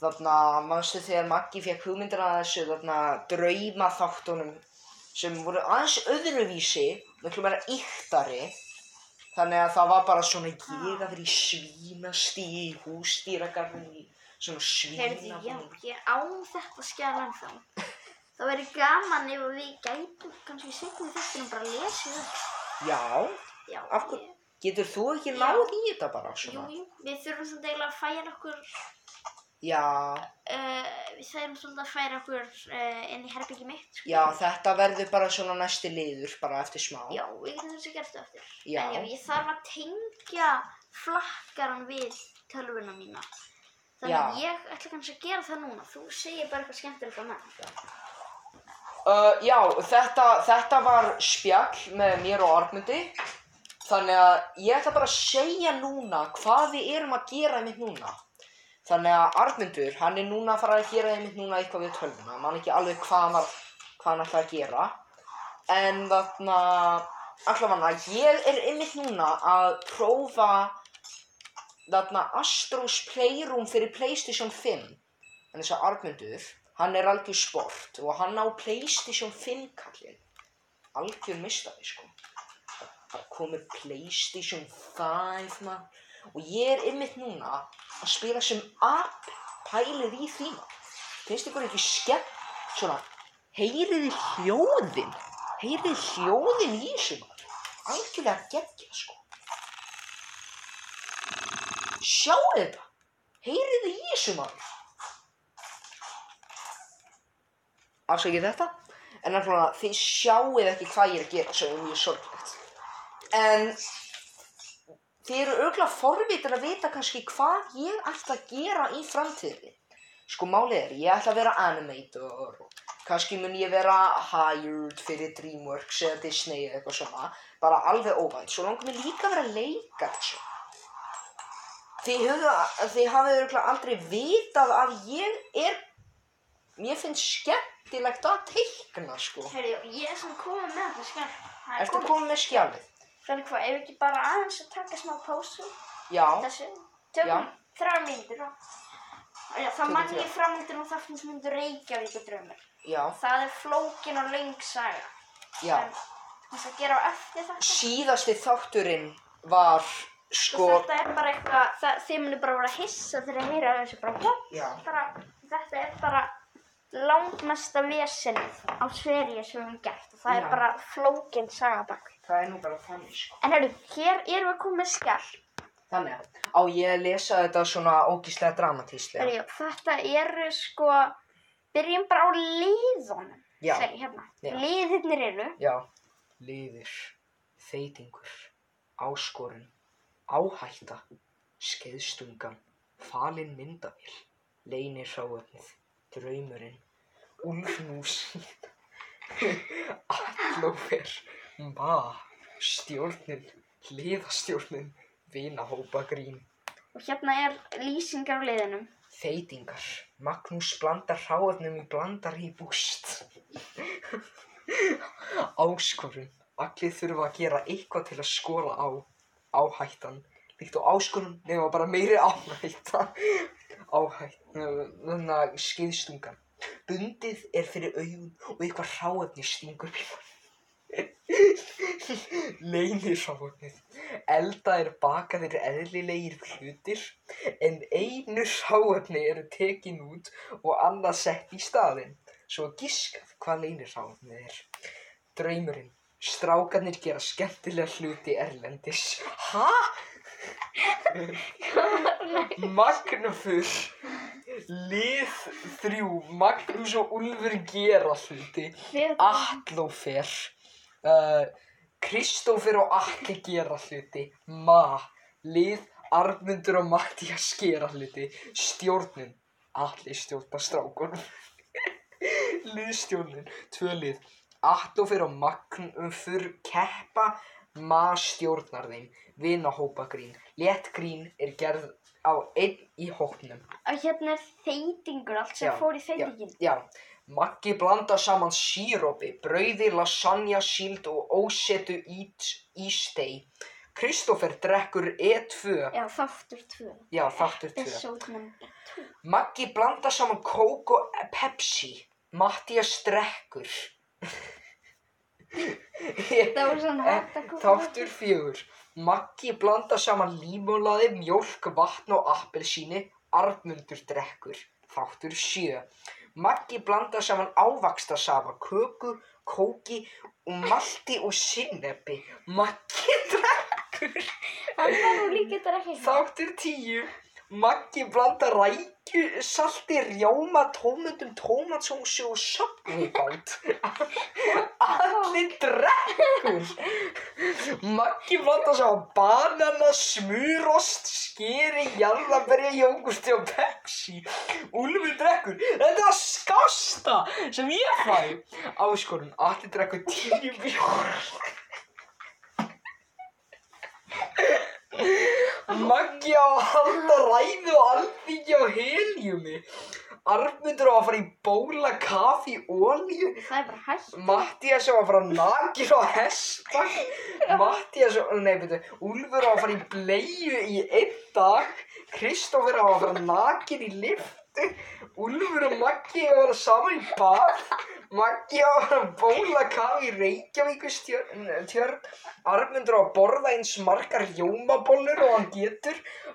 S1: þarna, mannstu þegar Maggi fekk hugmyndir að þessu, þarna, drauma þáttunum sem voru aðeins öðruvísi, miklu meira yktari, þannig að það var bara svona ég að vera í svínastí, í hústýragarðin, í svona
S2: Heyrðu,
S1: svína.
S2: já, ég á þetta skjala ennþá. Það væri gaman ef að við gætum kannski setjum þetta og bara lesið það.
S1: Já,
S2: Já,
S1: Af hverju-
S2: ég-
S1: getur þú ekki
S2: Já.
S1: náð í þetta bara
S2: Jú,
S1: svona?
S2: jú, við þurfum svona eiginlega að færa okkur,
S1: Já,
S2: uh, við þurfum svolítið að færa okkur uh, inn í herbyggi mitt. sko.
S1: já, þetta verður bara svona næsti liður, bara eftir smá.
S2: Já, við getum þess að gera þetta aftur.
S1: Já.
S2: En já, ég þarf að tengja flakkaran við tölvuna mína. Þannig að
S1: Já.
S2: ég ætla kannski að gera það núna. Þú segir bara eitthvað skemmtilegt á meðan.
S1: Uh, já, þetta, þetta var spjall með mér og Armundi. Þannig að ég ætla bara að segja núna hvað við erum að gera einmitt núna. Þannig að Armundur, hann er núna að fara að gera einmitt núna eitthvað við tölvuna. Man ekki alveg hvað hann, var- hvað hann ætla að gera. En þarna, allavega, ég er einmitt núna að prófa þarna Astros Playroom fyrir Playstation 5. En þess að Armundur, hann er algjör sport og hann á Playstation 5 kallinn. Algjör mistari, sko. Það komið Playstation 5, mann. Og ég er einmitt núna að spila sem app pælið í því, mann. Finnst ykkur ekki skemmt? Svona, heyriði hljóðin. Heyriði hljóðin í þessu, mann. Algjörlega geggja, sko. Sjáu þetta. Heyriði í þessu, mann. afsakið þetta en allavega þið sjáið ekki hvað ég er að gera sem er mjög sorglegt en þið eru auðvitað forvitin að vita kannski hvað ég ætla að gera í framtíðinni sko málið er, ég ætla að vera animator og kannski mun ég vera hired fyrir Dreamworks eða Disney eða eitthvað svona bara alveg óvænt, svo langar mér líka að vera að leika þessu Þið, höfðu, þið hafið auðvitað aldrei vitað að ég er Mér finnst skemmtilegt að teikna, sko.
S2: Herri, ég er svona komin með þetta skemmt. Það er
S1: Ertu
S2: komið.
S1: komin með skjálið?
S2: Þannig hvað, ef ekki bara aðeins að taka smá pásu
S1: Já,
S2: þessu. Tökum
S1: Já.
S2: þrjá mínútur og... Já, það
S1: Tökum
S2: mann
S1: þrjár.
S2: ég framöndur og það finnst myndur Reykjavík og draumur.
S1: já,
S2: Það er flókin og löng saga.
S1: já.
S2: En þú veist að gera á eftir þetta.
S1: Síðasti þátturinn var,
S2: Sko,
S1: sko,
S2: þetta er bara eitthvað, það, þið munir bara vera hissa þegar þið heyra þessu bara, "What?"
S1: já,
S2: bara þetta er bara langmesta vesenið á sverið sem við höfum gert og það
S1: Já.
S2: er bara flókin saga bak. við.
S1: það er nú bara þannig, sko.
S2: En herru, hér erum við komið skjall.
S1: Þannig að, á ég að lesa þetta svona ógíslega dramatíslega?
S2: Herru, þetta eru sko, byrjum bara á liðunum.
S1: Já.
S2: Segi, hérna.
S1: Já.
S2: Liðirnir eru,
S1: Já. Liðir, þeitingur, áskorun, áhætta, skeiðstungan, falin myndavél, leinir hráöfnið, draumurinn, úlfnúsin, allófer, ma, stjórnin, hliðastjórnin, vinahópa grín.
S2: og hérna er lýsingar á liðunum.
S1: Þeitingar. Magnús blandar hráefnum í blandar í búst. Áskorun. Allir þurfa að gera eitthvað til að skora á áhættan. Líkt á áskorun nema bara meiri áhætta. Áhættan. Skiðstungan. Bundið er fyrir augun og eitthvað hráefni stingur upp í mann. Leinir hráefnið. Elda er bakaðir eðlilegir hlutir en einu hráefni eru tekin út og annað sett í staðinn. Svo gískað hvað leynir hráefnið er. Draumurinn. Strákarnir gera skemmtilega hluti erlendis. Hæ? Magnufur. Lið þrjú, Magnús og Úlfur gera hluti.
S2: Ah.
S1: Atlófer, uh, Kristófer og Atli gera hluti. Ma, lið Arnundur og Mattías gera hluti. Stjórnun, Atli stjórna strákunum. Liðstjórnun, tvö lið. Atlófer og Magnúfur keppa, ma stjórnar þeim. Vinahópa grín. Létt grín er gerð á einn í hóknum.
S2: Og hérna er þeitingur, allt sem
S1: Já,
S2: fór í þeitingin.
S1: Já, Maggi blandar saman sírópi, brauði, lasagna, síld og ósetu ít, ístei. Kristófer drekkur E2,
S2: Já, þáttur tvö.
S1: já þáttur 2.
S2: Episode number two.
S1: Maggi blandar saman kók og Pepsi. Mattias drekkur.
S2: Það var svona hægt að koma.
S1: Eh, Þáttur fjögur. Maggi blandar saman límólaði, mjólk, vatn og appelsíni. Arnmundur drekkur. Þáttur sjö. Maggi blandar saman ávaxtasafa, köku, kóki og malti og sinnepi. Maggi drekkur.
S2: Hann var nú líka þetta ekki.
S1: Þáttur tíu. Maggi blandar rækju, salti, rjóma, tómundum, tómatsósu og söpnibátt. Allir drekkur. Maggi blandar saman banana, smurost, skeri, jarðaberja, jógurti og pepsi. Úlfur drekkur. Þetta var skásta sem ég fæ. Áskorun, allir drekkur tíu bjór. Maggi á að halda ræðu og alþingi á heljumi. Armundur á að fara í bóla, kafi, olju.
S2: Það er bara hægt.
S1: Mattias á að fara nakir á hestbakk Mattias, á- nei betur Úlfur á að fara í bleiu í einn dag Kristófur á að fara nakir í liftu Úlfur og Maggi á að vera saman í bað Maggi á að fara bóla kaf í Reykjavíkustjörn Armundur á að borða eins margar jómabollur og hann getur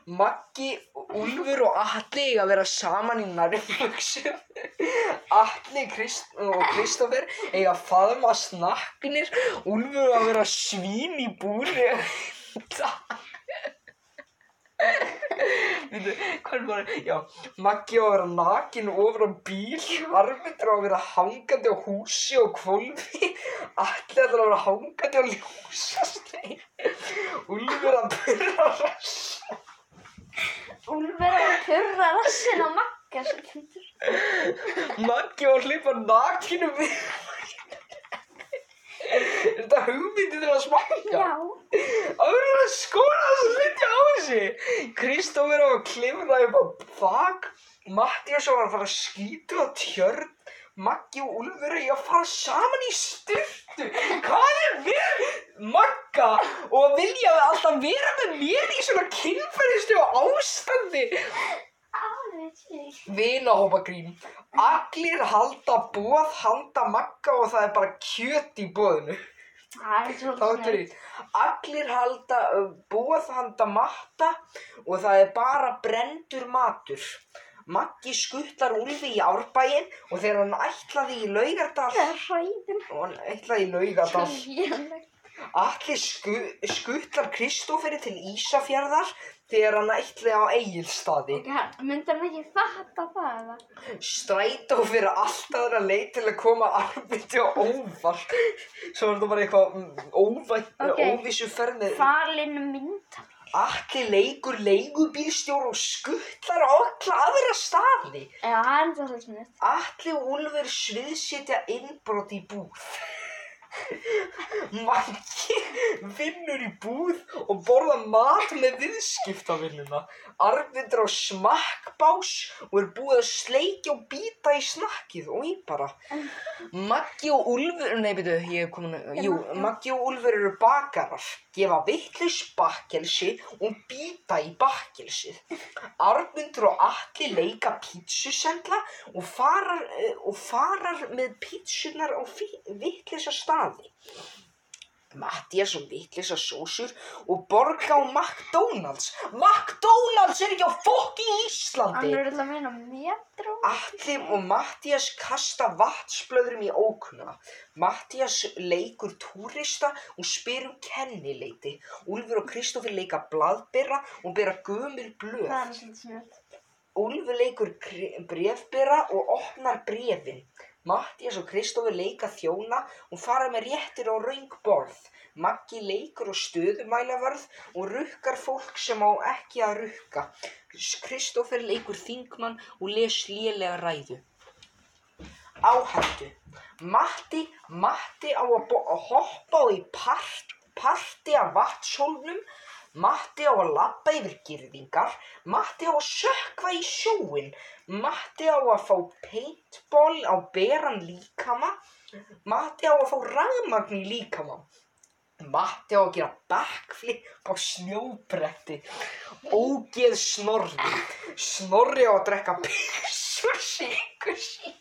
S1: Maggi, Úlfur og Atli eiga að vera saman í nærfjöksum Atli Krist og Kristoffer eiga að faðma snakknir Úlfur að vera svín í búri Veitu, hvað er bara, já, Maggi á að vera nakin ofur á bíl, Arvitur á að vera hangandi á húsi og kvolfi, Atli að vera hangandi á ljósastein, Úlfur að byrja rass.
S2: Úlfur er að purra rassin á makka sem hundur.
S1: Maggi var að hleypa nakinu við Er þetta hugmyndið til að smaka?
S2: Já.
S1: Það verður að skora þess að hluti á þessi Kristófer á að klifra upp á bak Mattias á að fara að skýta á tjörn Maggi og Úlfur er að fara saman í styrtu Hvað er við Magga og vilja alltaf vera með mér í svona kynferðistu ástandi
S2: Alveg til.
S1: vinahópagrín allir halda bóð handa makka og það er bara kjöt í bóðinu
S2: Það er svolítið
S1: þáttur í allir halda uh, bóð handa matta og það er bara brendur matur Maggi skuttlar Úlfi í árbæin og þegar hann ætlaði í laugardal
S2: Það er hræðin.
S1: og hann ætlaði í laugardal
S2: Lélegt.
S1: allir sku, skuttlar Kristóferi til Ísafjarðar þegar hann ætlaði á Egilstaði
S2: Já, myndi hann ekki fatta það eða?
S1: strætó fyrir allt aðra leið til að koma arbiti og óvart svo er þetta bara eitthvað mm, óvænt,
S2: Ok.
S1: okay. óvissu ferð með
S2: Falinn mynd.
S1: allir leikur leigubílstjór og skuttlar á alla aðra staði
S2: Já, það er svolítið mynd.
S1: Alli og Úlfur sviðsetja innbrot í búð. Maggi vinnur í búð og borða mat með viðskiptavinnuna. Arvindur á smakkbás og er búið að sleikja og býta í snakkið og í bara. Maggi og Úlfur, nei byrju, ég er komin að, jú, Maggi og Úlfur eru bakarar, gefa vittlis bakkelsi og býta í bakkelsið. Arnundur og Atli leika pítsusendla og farar, eh, og farar með pítsunar á vittlisa staði. Mattias og vittlisa sósur og borga á McDonalds. McDonalds er ekki á fokki Íslandi.
S2: Hann er alltaf að meina metro.
S1: Atli og Mattias kasta vatsblöðrum í ókuna. Mattias leikur túrista og spyr um kennileiti. Úlfur og Kristófur leika blaðbera og bera gömur blöð.
S2: Það er svolítið mynd.
S1: Úlfur leikur brefbyrra og opnar brefin. Mattias og Kristofur leika þjóna og fara með réttir og raung borð. Maggi leikur og stöðumælavarð og rukkar fólk sem á ekki að rukka. Kristofur leikur þingmann og les lélega ræðu. Áhættu. Matti, Matti á að, bo- að hoppa á í part, parti af vatnshólnum. Matti á að labba yfir girðingar. Matti á að sökva í sjóin. Matti á að fá paintball á beran líkama. Matti á að fá rafmagn í líkama. Matti á að gera backflip á snjóbretti. Ógeð snorri. Snorri á að drekka pissu síkur síkur.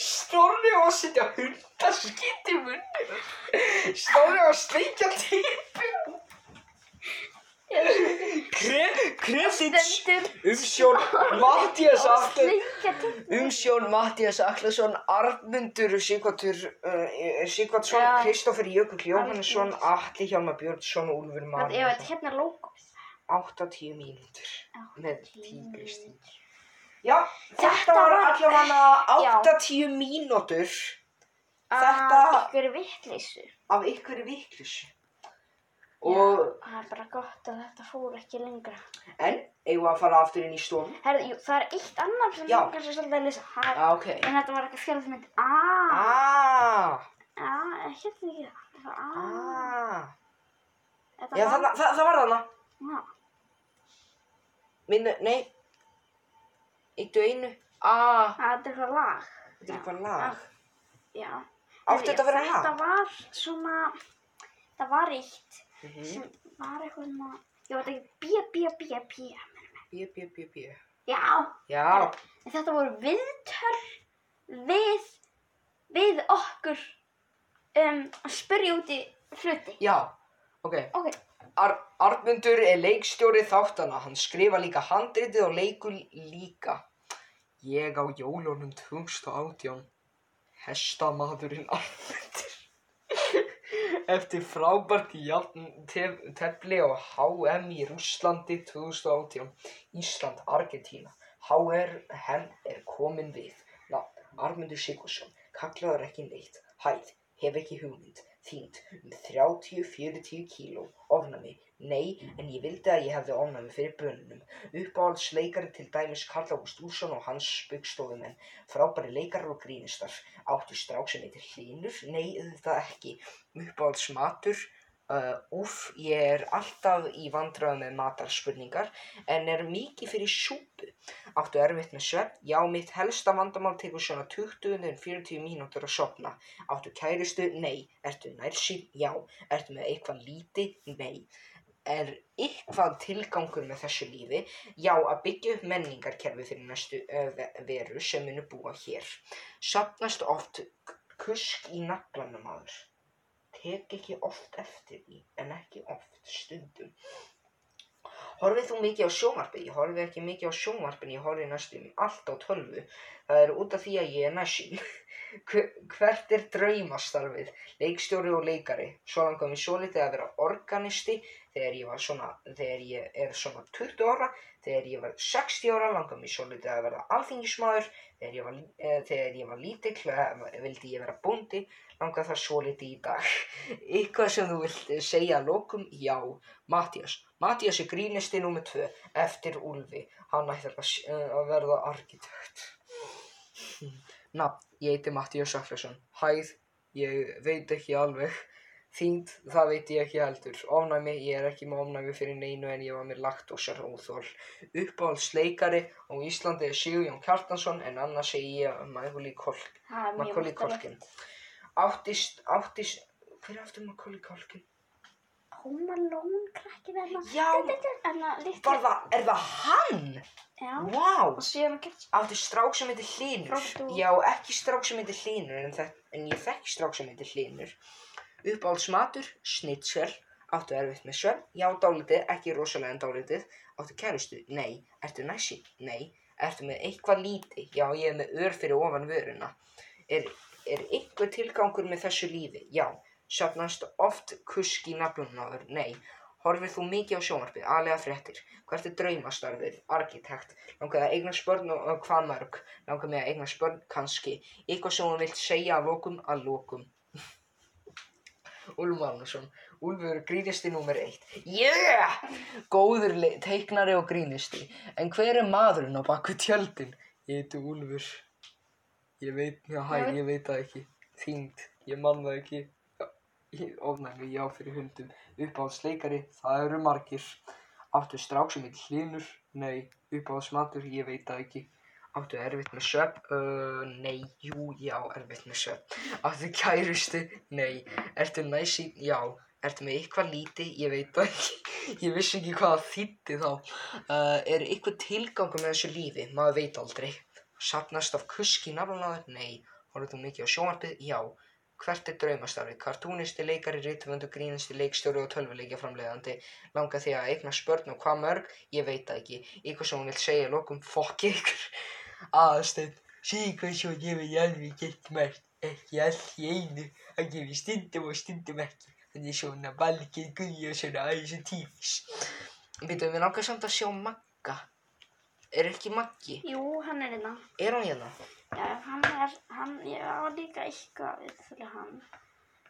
S1: Snorri á að setja hundaskitt í munnum. Snorri á að sleikja típu. Kresitt
S2: Stendur
S1: umsjón Mattias aftur.
S2: Sleikja til
S1: Umsjón Mattias Aklason, Arnundur Sigvartur, uh, Sigvartsson,
S2: Já.
S1: Kristoffer Jökull Jóhannesson, Atli Hjálmar Björnsson, Úlfur
S2: Ef þetta
S1: Marjansson.
S2: hérna er logo
S1: 80 mínútur með tígristinn.
S2: Tígrisdýr.
S1: Já, þetta,
S2: Þetta
S1: var
S2: var- Já.
S1: allavega 80 mínútur
S2: Þetta
S1: Þetta-
S2: Ykkur vittleysu
S1: af ykkur viklus. Og
S2: Það er bara gott að þetta fór ekki lengra
S1: en, eigum við að fara aftur inn í stofu?
S2: Herðu, jú, það er eitt annar sem
S1: Já.
S2: ég kannski svolítið að lýsa Það er
S1: Já, ok.
S2: En þetta var eitthvað fjölsmynd. Ah,
S1: Ah,
S2: ah, ég hérna ekki það. Þetta var ah.
S1: ah.
S2: Þetta
S1: Já, þarna, það, það var þarna.
S2: Já,
S1: Minnu, nei. Eittu einu. Ah,
S2: þetta er eitthvað lag.
S1: þetta er eitthvað lag.
S2: Já.
S1: Átti þetta að vera
S2: Þetta
S1: lag?
S2: var svona, það var eitt
S1: Mhm.
S2: sem var eitthvað svona, ég veit ekki, bía, bía, bía, bía.
S1: Bjö, bjö, bjö, bjö.
S2: Já,
S1: Já,
S2: en þetta voru viðtöl við, við okkur um, að spyrja út í hluti.
S1: já, ok.
S2: Ok,
S1: Ar Arnmundur er leikstjóri þáttana, hann skrifa líka handritið og leikur líka. Ég á jólunum 2018, hestamadurinn Arnmundur. Eftir frábært jafn- tef- tefli á HM í Rússlandi 2018, Ísland, Argentína. HR henn er komin við. Ná, Armundur Sigursson, kallaður ekki neitt, hæð, hef ekki hugmynd, þýnd, um 30-40 kíló, ofnami, nei, en ég vildi að ég hefði ofnami fyrir bönunum. Uppáhaldsleikari til dæmis Karla Ústússon og hans byggstofumenn, frábæri leikarar og grínistar, áttu strák sem heitir Hlynur, nei, auðvitað ekki, uppáhaldsmatur, Uh, úf, ég er alltaf í vandræðum með matarspurningar en er mikið fyrir súpu. Áttu erfitt með svefn? Já, mitt helsta vandamál tekur svona 20-40 mínútur að sopna. Áttu kærustu? Nei. Ertu nærsýn? Já. Ertu með eitthvað líti? Nei. Er eitthvað tilgangur með þessu lífi? Já, að byggja upp menningarkerfi fyrir næstu ö, ve- veru sem munu búa hér. Sapnast oft k- kusk í naglanum aður. Tek ekki oft eftir því, en ekki oft, stundum. Horfið þú mikið á sjónvarpið? Ég horfið ekki mikið á sjónvarpin, ég horfið næstum allt á tölvu. Það er út af því að ég er næsinn. Hvert er draumastarfið? Leikstjóri og leikari. Svo langar mér svo litið að vera organisti þegar ég var svona, þegar ég er svona 20 ára. Þegar ég var 60 ára langar mér svo litið að vera alþingismadur. Þegar ég var, lí- eh, þegar ég var lítill eh, vildi ég vera bóndi. Langar það svo litið í dag. Eitthvað sem þú vilt eh, segja að lokum? Já. Mattias. Mattias er grínisti nummer 2 eftir Úlfi. Hann ætlar að, s- eh, að verða arkitekt. Nafn, ég heiti Mattias Saklason. Hæð, ég veit ekki alveg. Þyngd, það veit ég ekki heldur. Ofnæmi, ég er ekki með ofnæmi fyrir neinu en ég var með laktósar óþól. Uppáhaldsleikari á Íslandi er Sigjón Kjartansson en annars segi ég Macaulay Culkin.
S2: það er mjög
S1: Macaulay
S2: vantarlegt.
S1: Culkin. Áttist, áttist, hver er aftur Macaulay Culkin?
S2: Home Alone krakki þarna.
S1: Já.
S2: Þarna litli.
S1: Var það, er það hann?
S2: Já.
S1: Vá!
S2: Og síðan gert
S1: Áttu strák sem heitir Hlynur.
S2: Frodo.
S1: Já, ekki strák sem heitir Hlynur, en, þek- en ég þekki strák sem heitir Hlynur. Uppáhaldsmatur, snitsel. Áttu erfitt með svefn. Já, dálítið, ekki rosalega en dálítið. Áttu kærustu, nei. Ertu næsi, nei. Ertu með eitthvað líti, já, ég er með ör fyrir ofan vöruna. Er, er einhver tilgangur með þessu lífi? Já. Safnast oft kusk í nafnunáður? Nei. Horfir þú mikið á sjónvarpið, aðlega fréttir? Hvert er draumastarfið? Arkitekt? Langar það eignast börn og og hvað mörg? Langar mig að eignast börn, kannski? Eitthvað sem hún vilt segja að lokum, að lokum. Úlf Magnússon, Úlfur grínisti númer eitt. Yeah! Góður le- teiknari og grínisti. En hver er maðurinn á baku tjöldin? Ég heiti Úlfur. Ég veit, já, hæ,
S2: Já.
S1: ég veit það ekki. Þyngd, ég man það ekki. Já, ég- Ofnæmi, já, fyrir hundum. Uppáhaldsleikari, það eru margir. Áttu strák sem heit hlinur? Nei. Uppáhaldsmatur, ég veit það ekki. Áttu erfitt með söp? Uh, nei, jú, já, erfitt með söp. Áttu kærustu? Nei. Ertu næsí? Já. Ertu með eitthvað líti? Ég veit það ekki. Ég vissi ekki hvað það þýtti þá. Uh, er eitthvað tilgangur með þessu lífi? Maður veit aldrei. Sapnast af kuski nafnlaður? Nei. Horfðu þú mikið á sjónvarpið? Já. Hvert er draumastarfið? Kartúnisti, leikari, rítumundu, grínisti, leikstjóri og tölvuleikja framleiðandi. Langa því að eigna spörn og hvað mörg? Ég veit það ekki. Eitthvað sem hún vil segja í lokum fokk ykkur. Aðastönd, segja hvað svo ég vil alveg gett mert. Ekki allt í einu. Það gefur stundum og stundum ekki. Þannig svona valgið guði og svona aðeins og tífis. Býtum við langar samt að sjá Magga. Er ekki Maggi?
S2: Jú, hann er innan.
S1: Er hann hérna?
S2: Já, hann er, hann, ég á líka eitthvað við fyrir hann.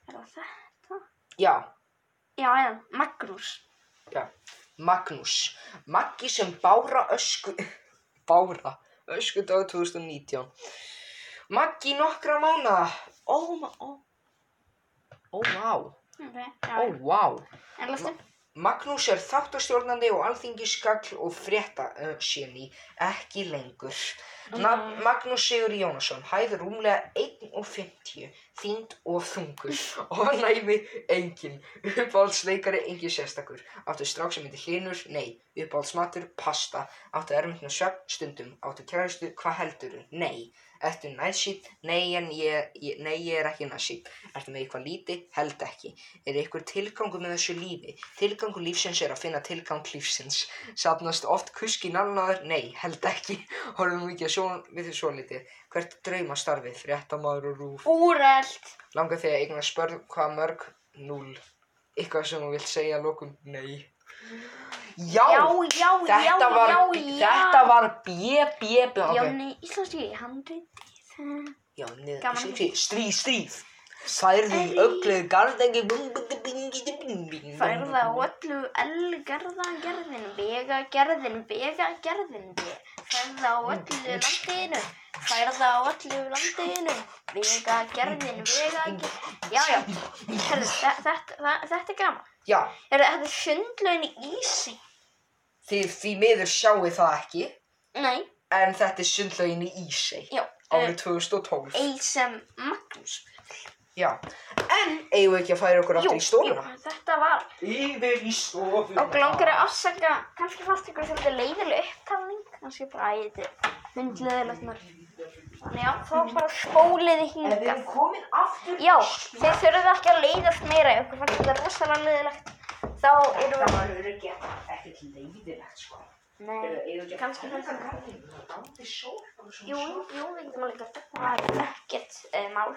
S2: Er það þetta?
S1: Já,
S2: Já, já, Magnús.
S1: já. Magnús. Maggi sem bára ösku... Bára. Ösku 2019. Maggi nokkra mánuða. Ó, ma... Ó, ó, vá.
S2: Ok, já,
S1: Ó, vá.
S2: en lastu.
S1: Magnús er þáttastjórnandi og alþingiskall og frétta uh, séni, ekki lengur. Na,
S2: Mhm.
S1: Magnús Sigur Jónasson, hæð rúmlega 1,50, þyngd og þungur, og næmi engin, uppáhaldsleikari engin sérstakur, áttu strák sem heitir hlinur, nei, uppáhaldsmatur, pasta, áttu erfitt með svefn, stundum, áttu kærastu, hvað heldurðu, nei, ertu næsít, nei en ég, ég, nei ég er ekki næsít, ertu með eitthvað lítið, held ekki, er einhver tilgangur með þessu lífi, tilgangur lífsins er að finna tilgang lífsins, sapnast oft kuski nalnaður, nei, held ekki, horfum mikið að sjón við því svo litið, hvert er draumastarfið, fréttamaður og rúf,
S2: Úrelt.
S1: langar þig að eigna spörn hvað mörg, núl, eitthvað sem þú vilt segja að lokum, nei. Já,
S2: Já, já, já, já,
S1: þetta var,
S2: já.
S1: þetta var bjö, bjö, bjö, ok,
S2: Jóni Íslandski, hann reyndi.
S1: já, niður,
S2: Gaman.
S1: sí, sí, stríð, stríð, særði í
S2: Æ.
S1: öllu gardengi, bungundi, bingidi, bingidi,
S2: Færða á öllu elgarða gerðin, vega gerðin, vega gerðin, færða á öllu landinu, færða á öllu landinu, vega gerðin, vega gerðin, já, já, Herðu, þe- þetta, þa- þetta er gaman.
S1: Já,
S2: Er þetta er sundlaun í ísi?
S1: þið því miður sjáu það ekki,
S2: Nei,
S1: en þetta er sundlaugin í Ísei
S2: já, eh,
S1: árið 2012.
S2: Eilsem Magnús.
S1: Já, en eigum við ekki að færa okkur aftur í stóluna?
S2: þetta var,
S1: Yfir í stofuna.
S2: og langar að afsaka, kannski fannst ykkur svolítið leiðileg upptalning, kannski bara að ég þetta hundleðilegt mörg. Þannig já, þá bara spólið í
S1: En við
S2: hingað.
S1: erum komin aftur.
S2: Já, þeir þurfum ekki að leiðast meira ef ykkur fannst þetta rosalega leiðilegt þá erum
S1: Það
S2: við
S1: var öryggi ekkert leiðilegt, sko.
S2: Nei, kannski fannst þetta Jú,
S1: Jú,
S2: jú, við getum alveg gert þetta það er ekkert e, mál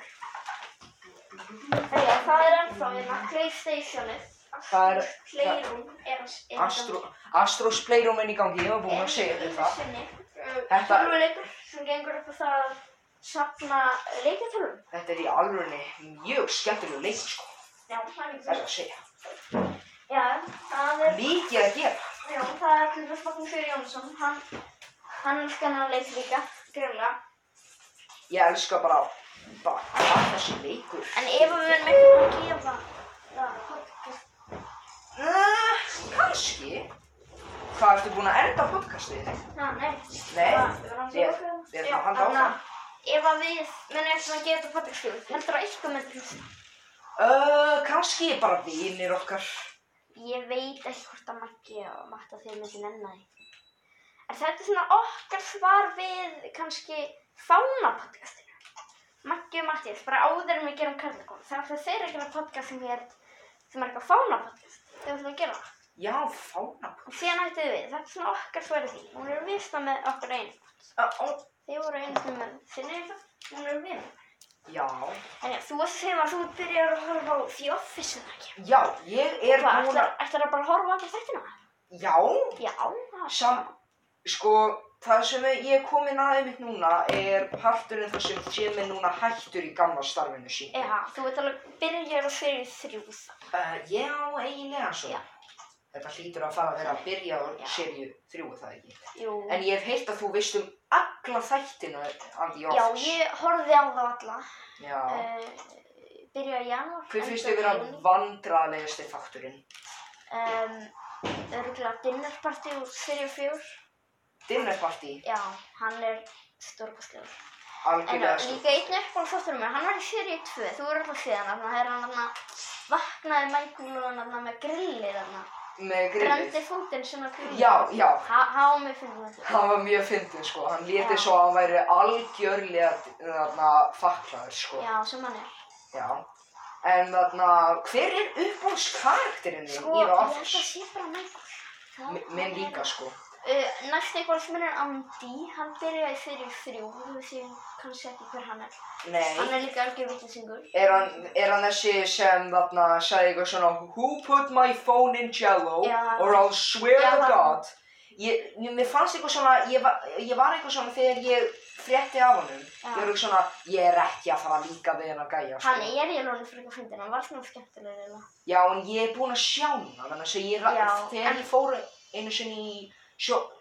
S2: Þegar það er ennþá hérna Playstationið
S1: Það er-
S2: Playroom er er-
S1: Astro, Astros Playroom er í gangi, ég var búin að segja þér það.
S2: Þetta
S1: Þetta-
S2: eh, Tölvuleikur sem gengur upp á það að safna leikjartölvum
S1: Þetta er í alvörunni mjög skemmtileg leik, sko.
S2: Já, það er
S1: Það er
S2: ekki
S1: að segja.
S2: Já, það er
S1: Mikið að gera.
S2: Já, það er til dæmis Magnús Fyrir Jónsson, hann, hann er skannanleik líka, greinlega.
S1: Ég elska bara, bara, bara þessi leikur.
S2: En ef við erum eitthvað að gefa, já, podcast.
S1: Uh, kannski. Hvað ertu búin að enda podcastið?
S2: Já, nei.
S1: Nei,
S2: Það- það var hans að
S1: ég-
S2: loka.
S1: ég ætla að
S2: Já,
S1: halda
S2: þannig
S1: áfram.
S2: að Ef að við munum eitthvað að gefa þetta podcast, jú, heldur það eitthvað með þetta?
S1: Uh, kannski bara vinir okkar.
S2: Ég veit ekki hvort að Maggi og Matta þeir myndi nenni því. En þetta er svona okkar svar við kannski fánapodcastinu. Maggi og Matti, bara áður en við gerum karlakon. Það er alltaf þeir að gera podcast sem er, sem er eitthvað fánapodcast. Þeir ætlum að gera það.
S1: Já, fána.
S2: Og síðan ættu við, þetta er svona okkar svarið því. Hún er vissna með okkur einu.
S1: Uh, ó,
S2: Þeir voru einu sinni með sinni eitthvað, hún er við.
S1: Já,
S2: En já, þú varst að segja maður, þú byrjar að horfa á The Office en ekki.
S1: já, ég er
S2: Hvað,
S1: búin að,
S2: ætlar, ætlar að bara horfa á alla þættina?
S1: já,
S2: Já, það er
S1: sam, sko, það sem ég er komin aðeins mitt núna er parturinn þar sem Jim er núna hættur í gamla starfinu sín.
S2: Já, þú veit alveg, byrjar á þeirri þrjú þá.
S1: Uh, já, eiginlega svo.
S2: Já.
S1: Þetta hlýtur að fara að vera að byrja á
S2: Já.
S1: serju þrjú, er það ekki.
S2: Jú.
S1: En ég hef heyrt að þú veist um alla þættina af The
S2: já,
S1: Office.
S2: ég horfði á það alla.
S1: Já.
S2: Uh, byrja í janúar.
S1: Hver finnst
S2: enda
S1: þið vera
S2: í júní.
S1: vandræðalegasti þátturinn?
S2: Um, örgulega dinnerparti úr serið fjór.
S1: Dinner Party,
S2: Já, hann er stórkostlegur. En
S1: algjörlega sko, stór.
S2: líka einn uppból þáttur um mig, hann var í serið 2, þú er alltaf séð hann, það er hann þarna, vaknaði Michael og hann þarna með grillið þarna.
S1: Með grillið.
S2: Brendi fótinn sem að grillið.
S1: Já, já.
S2: Há mig fyrir þetta.
S1: Hann var mjög fyndin sko, hann
S2: Já.
S1: letið svo að hann væri algjörlega eh, þarna faklaður sko.
S2: Já, sem hann er.
S1: Já. En þarna, hver er uppbólskarakterinn þinn
S2: Sko,
S1: í
S2: ég
S1: The
S2: held að
S1: Office?
S2: sé bara Michael. Það-
S1: Mi- Minn
S2: hann er-
S1: líka sko.
S2: Uh, næst uppból sem er Andy, hann byrjaði fyrir þrjú, þú séum kannski ekki hver hann er. Hann
S1: Nei.
S2: er líka algjör vitlisingur.
S1: Er hann, er hann þessi sem þarna sagði eitthvað svona Who put my phone in jello
S2: Já.
S1: or I'll swear
S2: Já,
S1: to
S2: hann.
S1: God ég, Mér fannst eitthvað svona, ég var, ég var eitthvað svona þegar ég frétti af honum
S2: Já.
S1: Ég var eitthvað svona, ég er ekki að fara að líka við hennar gæja sko.
S2: Hann er ég lónið fyrir eitthvað fyndin, hann var svona skemmtilega eða.
S1: Já, en ég er búin að sjá hann Þannig að ég, ra-
S2: Já,
S1: þegar
S2: en-
S1: ég fór einu sinni í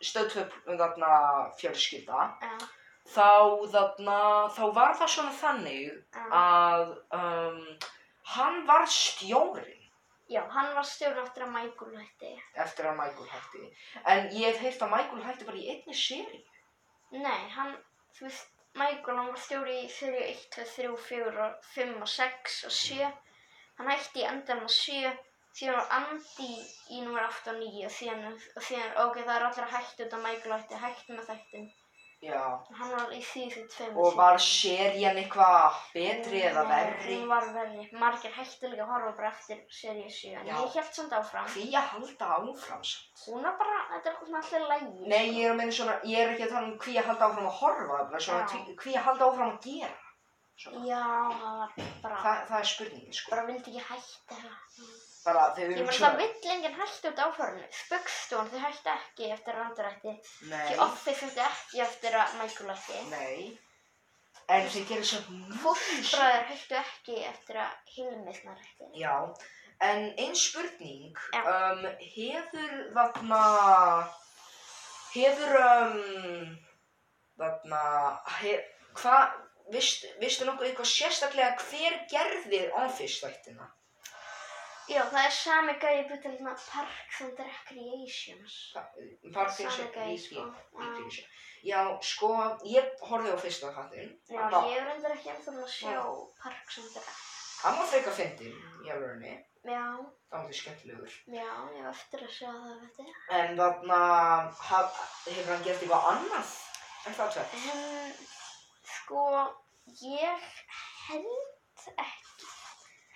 S1: stöðtöp um þarna fjölskylda
S2: Já,
S1: þá þarna, þá var það svona þannig
S2: já.
S1: að um, hann var stjórinn
S2: Já, hann var stjórn eftir að Michael hætti.
S1: eftir að Michael hætti. En ég hef heyrt að Michael hætti bara í einni séri.
S2: Nei, hann, þú veist, Michael, hann var stjóri í fyrir 1, 2, 3, 4, 5 og 6 og 7. Hann hætti í endan á 7, síðan var Andy í nummer 8 og 9 og síðan, og síðan, ok, það er allir að hætti út að Michael hætti, hætti með þættin.
S1: Já.
S2: Hann var í síðu 2
S1: Og var serían eitthvað betri eða verri?
S2: Hún var verri. Margir hætti líka að horfa bara eftir seríu 7, en
S1: Já.
S2: ég held samt áfram.
S1: Því að halda áfram samt.
S2: Hún var bara, þetta er svona allir lægi.
S1: Nei, ég er að meina svona, ég er ekki að tala um hví að halda áfram að horfa, bara svona
S2: Já.
S1: hví- hví að halda áfram að gera. Svona.
S2: Já, það var bara...
S1: Þa, það er spurningin, sko.
S2: bara vildi ekki hætta
S1: Bara þau
S2: ég
S1: eru
S2: meina það vill enginn hætta út áfærinu spöggstón þau hætta ekki eftir að Randar hætti
S1: Nei,
S2: því Office hætti ekki eftir að Michael hætti
S1: nei. En þau gerir svo mjög...
S2: fóstbræður hættu ekki eftir að Hilmisnar hætti
S1: Já. En einn spurning,
S2: Já.
S1: um, hefur þarna, hefur, um, þarna, hef, hvað, vist, vistu nokkuð eitthvað sérstaklega hver gerði Office þættina?
S2: já það er sami gæði búið til hérna Parks and Recreations
S1: Parkinson,
S2: Sama gæi, sko.
S1: Parkinson. Já, sko, ég horfði á fyrsta þáttinn.
S2: já
S1: Hann var-
S2: ég er endur ekki ennþá búin að sjá
S1: Já.
S2: Parks and Rec
S1: Hann var frekar fyndinn, ég alveg henni.
S2: já
S1: Það var því skemmtilegur.
S2: já ég hef eftir að sjá það veit ég
S1: En þarna, haf, hefur hann gert eitthvað annað en það tveit?
S2: en sko ég held ekki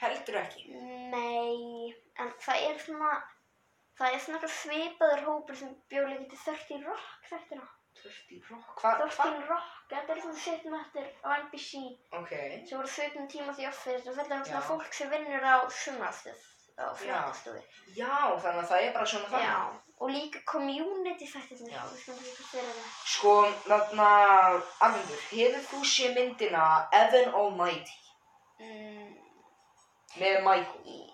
S1: Heldur ekki.
S2: Nei, en það er svona, það er svona eitthvað svipaður hópur sem bjóð líka til 30 Rock þættina.
S1: Þurfti rock. Hvað, hvað?
S2: 30 Rock, þetta er svona 17 eftir á NBC
S1: Ok,
S2: sem voru 17 tíma því office og þetta er svona
S1: Já.
S2: fólk sem vinnur á sumarstöð á fréttastofu.
S1: já, þannig að það er bara svona þannig.
S2: Já, og líka community þættirnir,
S1: Já.
S2: við skulum líka fyrir það.
S1: Sko, þarna, Arvindur, hefur þú séð myndina Evan Almighty
S2: Mm,
S1: með Michael?
S2: í-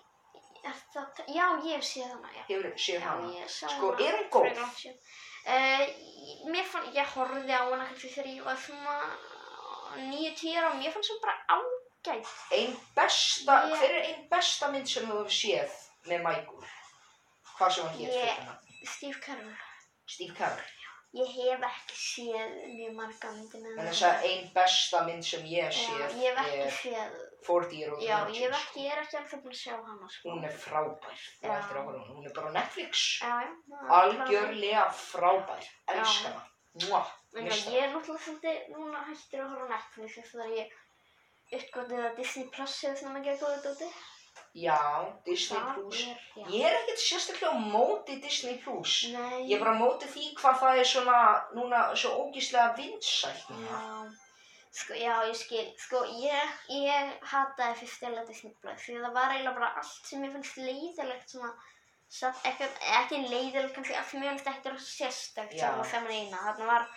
S2: er það, já, ég hef séð hana, já.
S1: Hefur séð
S2: Já,
S1: hana?
S2: ég sá
S1: Sko,
S2: hana
S1: er hún góð?
S2: fyrir langt síðan. Eh, ég- mér fann, ég horfði á hana kannski þegar ég var svona nýju tíra og mér fannst hún bara ágætt.
S1: Einn besta,
S2: Ég-
S1: hver er einn besta mynd sem þú hefur séð með Michael? Hvað sem hann hér
S2: Ég-
S1: fyrir hennar?
S2: Steve Carell.
S1: Steve Carell.
S2: Ég hef ekki séð mjög marga myndi með
S1: En þess að einn besta mynd sem ég hef
S2: Já,
S1: séð
S2: ég hef ekki
S1: er
S2: séð,
S1: 40 Year Old
S2: já,
S1: Virgin,
S2: ég hef
S1: sko.
S2: ekki, ég er ekki alltaf búin að sjá hana, sko.
S1: Hún er frábær, þú
S2: Já.
S1: ættir að horfa á hana, hún er bara á Netflix.
S2: Já, já. það er bara-
S1: Algjörlega frábær,
S2: Já.
S1: elska hana. Mua,
S2: Meina,
S1: mista.
S2: Ég er náttúrulega svolítið núna hættur að horfa á Netflix þess að ég uppgötið að Disney Plus hefur svona mikið að góða dóti.
S1: Já, Disney
S2: Það
S1: Plus.
S2: er- já.
S1: Ég er ekkert sérstaklega á móti Disney Plus.
S2: Nei.
S1: Ég er bara á móti því hvað það er svona, núna, svo ógíslega vinsælt núna.
S2: Já, Sko, já, ég skil. Sko, ég, ég hataði fyrst eða þetta snubblað því það var eiginlega bara allt sem ég finnst leiðilegt svona samt, ekki, ekki leiðilegt kannski allt sem ég finnst ekki rosa sérstakt
S1: Já.
S2: saman sem hann eina. Þarna var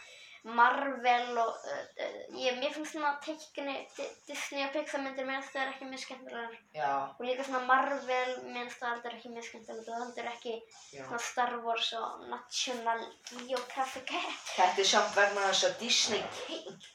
S2: Marvel og uh, uh, ég, mér finnst svona teikni, Di- Disney og Pixar myndir mér það er ekki mjög skemmtilegar
S1: já,
S2: og líka svona Marvel mér finnst það aldrei ekki mjög skemmtilegt og það er ekki
S1: já.
S2: svona Star Wars og National Geographic.
S1: Þetta er samt vegna þess að Disney keik,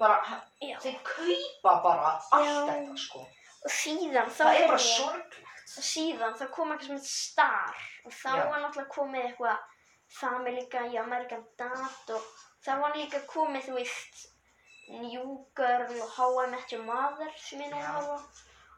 S1: bara,
S2: Já.
S1: þeir kaupa bara allt
S2: Já.
S1: þetta, sko.
S2: Og síðan þá
S1: Það er bara
S2: heyrði ég-
S1: sorglegt.
S2: síðan þá kom eitthvað sem heit Star og þá
S1: Já.
S2: var náttúrulega komið eitthvað Family Guy, American Dad og þá var líka komið þú veist New Girl og How I Met Your Mother sem ég nú
S1: Já.
S2: hafa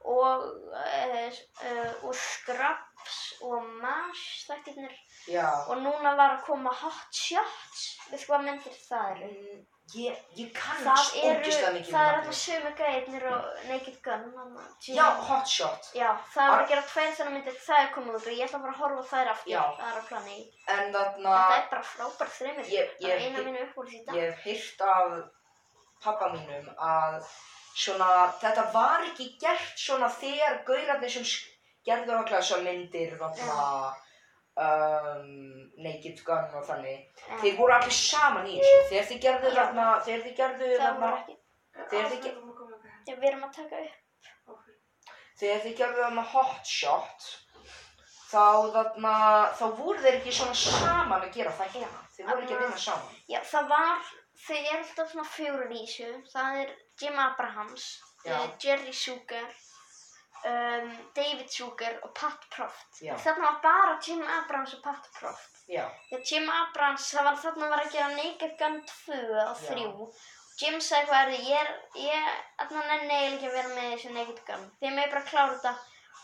S2: og, uh, uh, og Scrubs og MASH þættirnir
S1: Já.
S2: og núna var að koma Hot Shots við hvað myndir það eru
S1: Mm, Ég, ég kannast
S2: það eru,
S1: ógislega mikið um
S2: það
S1: nafnið.
S2: eru alltaf sömu gæðirnir og Naked Gun þarna,
S1: Já, Hot Shot.
S2: Já, það var að gera tveir þegar myndir það er komið út og ég ætla bara að horfa á þær aftur
S1: Já.
S2: það er að plana í.
S1: En þarna,
S2: Þetta er bara frábær þreymir.
S1: Ég-
S2: Það er
S1: ég-
S2: eina mínu uppúr í dag.
S1: ég hef heyrt af pappa mínum að svona, þetta var ekki gert svona þegar gaurarnir sem sk- gerðu okkur þessar myndir, þarna, um, Naked Gun og þannig.
S2: En
S1: Þeir voru allir saman í þessu, þegar þið gerðu
S2: Já.
S1: þarna, þegar þið gerðu
S2: Það
S1: þarna,
S2: voru ekki.
S1: þegar þið, ge-
S2: Já, við erum að taka upp.
S1: þegar þið gerðu þarna hot shot, þá þarna, þá voru þeir ekki svona saman að gera þættina, þeir voru ekki að
S2: Ah.
S1: vinna saman.
S2: Já, það var, þau eru alltaf svona fjórir í þessu. Það er Jim Abrahams,
S1: Já.
S2: eh, Jerry Sugar, um, David Sugar og Pat Proft.
S1: Já.
S2: Þarna var bara Jim Abrahams og Pat Proft.
S1: Já,
S2: Þegar Jim Abrams, það var þarna að vera að gera Naked Gun 2 og
S1: Já.
S2: 3 Jim sagði hvað er þið, ég er, ég, þarna nenni eiginlega ekki að vera með í þessu Naked Gun Þið með bara klára þetta,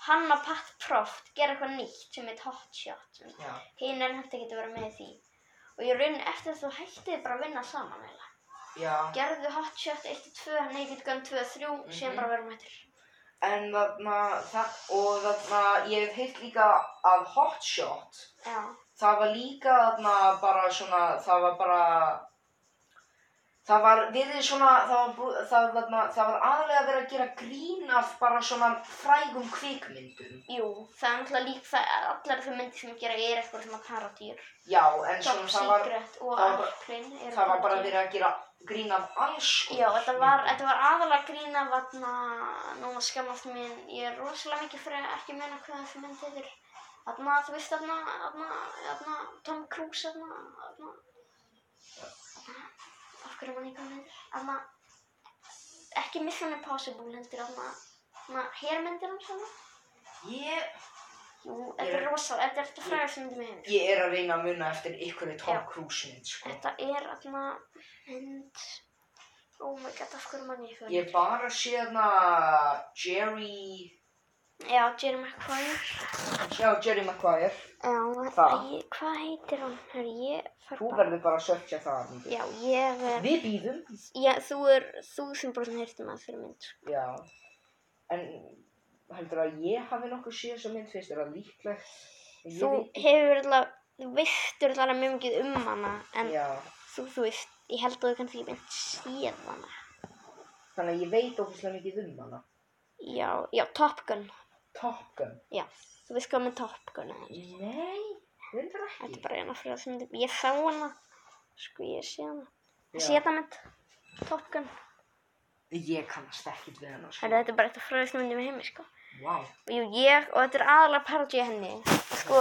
S2: hann og Pat Proft gera eitthvað nýtt sem heit Hot Shot
S1: já,
S2: Hinn er hægt ekki að vera með í því Og ég raunin eftir að þú hættið bara að vinna saman eiginlega
S1: já.
S2: Gerðu Hot Shot 1-2, Naked Gun 2-3, mm -hmm. síðan
S1: Mhm.
S2: bara verum hættir
S1: En þarna, það, og þarna, ég hef heyrt líka að hot shot,
S2: Já,
S1: það var líka þarna bara svona, það var bara, það var verið svona, það var, bú- það, þarna, það var aðlega verið að gera grín af bara svona frægum kvikmyndum.
S2: jú, það er náttúrulega lík það, allar þau myndir sem ég gera er eitthvað svona parodýr
S1: Já, en
S2: Top
S1: svona það var,
S2: Secret og
S1: það var bara-
S2: Airplane eru
S1: það var bara
S2: til.
S1: verið að gera grín af alls
S2: Já, þetta var, þetta var aðalega grín af aðna, núna skammast mín, ég er rosalega mikið fyrir að ekki meina hvað þessi mynd heitir. Þarna, þú veist, þarna, þarna, þarna, Tom Cruise, þarna, þarna, af hverju mann eitthvað heitir, þarna, ekki Mission Impossible heldur, þarna, þarna, hermyndir hans, þarna.
S1: Ég,
S2: Jú, þetta
S1: Ég-
S2: er rosalega, þetta er þetta frægast myndi með henni.
S1: ég er að reyna að muna eftir ykkur í Tom
S2: Já.
S1: Cruise mynd, sko.
S2: Þetta er, þarna, mynd, oh my god, af hverju mann ég eitthvað.
S1: Ég bara sé þarna Jerry,
S2: Já, Jerry McQuire.
S1: já Jerry Maguire,
S2: Já,
S1: Það.
S2: ég, hvað heitir hann? Hör, ég far
S1: þú
S2: bara...
S1: verður bara að searcha það myndi.
S2: Já, ég er...
S1: Við býðum.
S2: Já, þú er þú sem bara hirti maður fyrir mynd. sko.
S1: Já, en heldur að ég hafi nokkuð séð þessa mynd fyrst, er það líklegt? Ég
S2: Þú
S1: veit-
S2: hefur alltaf, þú veistur alltaf mjög mikið um hana, en
S1: Já,
S2: þú, þú veist, ég held að þú kannski ekki mynd séð hana.
S1: þannig að ég veit ófislega mikið um hana.
S2: Já, já, Top Gun.
S1: Top Gun.
S2: Já, þú veist hvað með Top Gun er.
S1: Nei, reyndar
S2: Þetta er
S1: ekki.
S2: bara eina fyrir þessum myndum. Ég sá hana, sko, ég sé hana. Ég
S1: Já.
S2: sé þetta mynd, Top Gun.
S1: Ég kannast ekkit við hana, sko.
S2: Herra, þetta er bara eitt af fræðistum myndum í heimi, sko.
S1: Vá.
S2: Jú, ég, og þetta er aðalega parodía henni. Sko,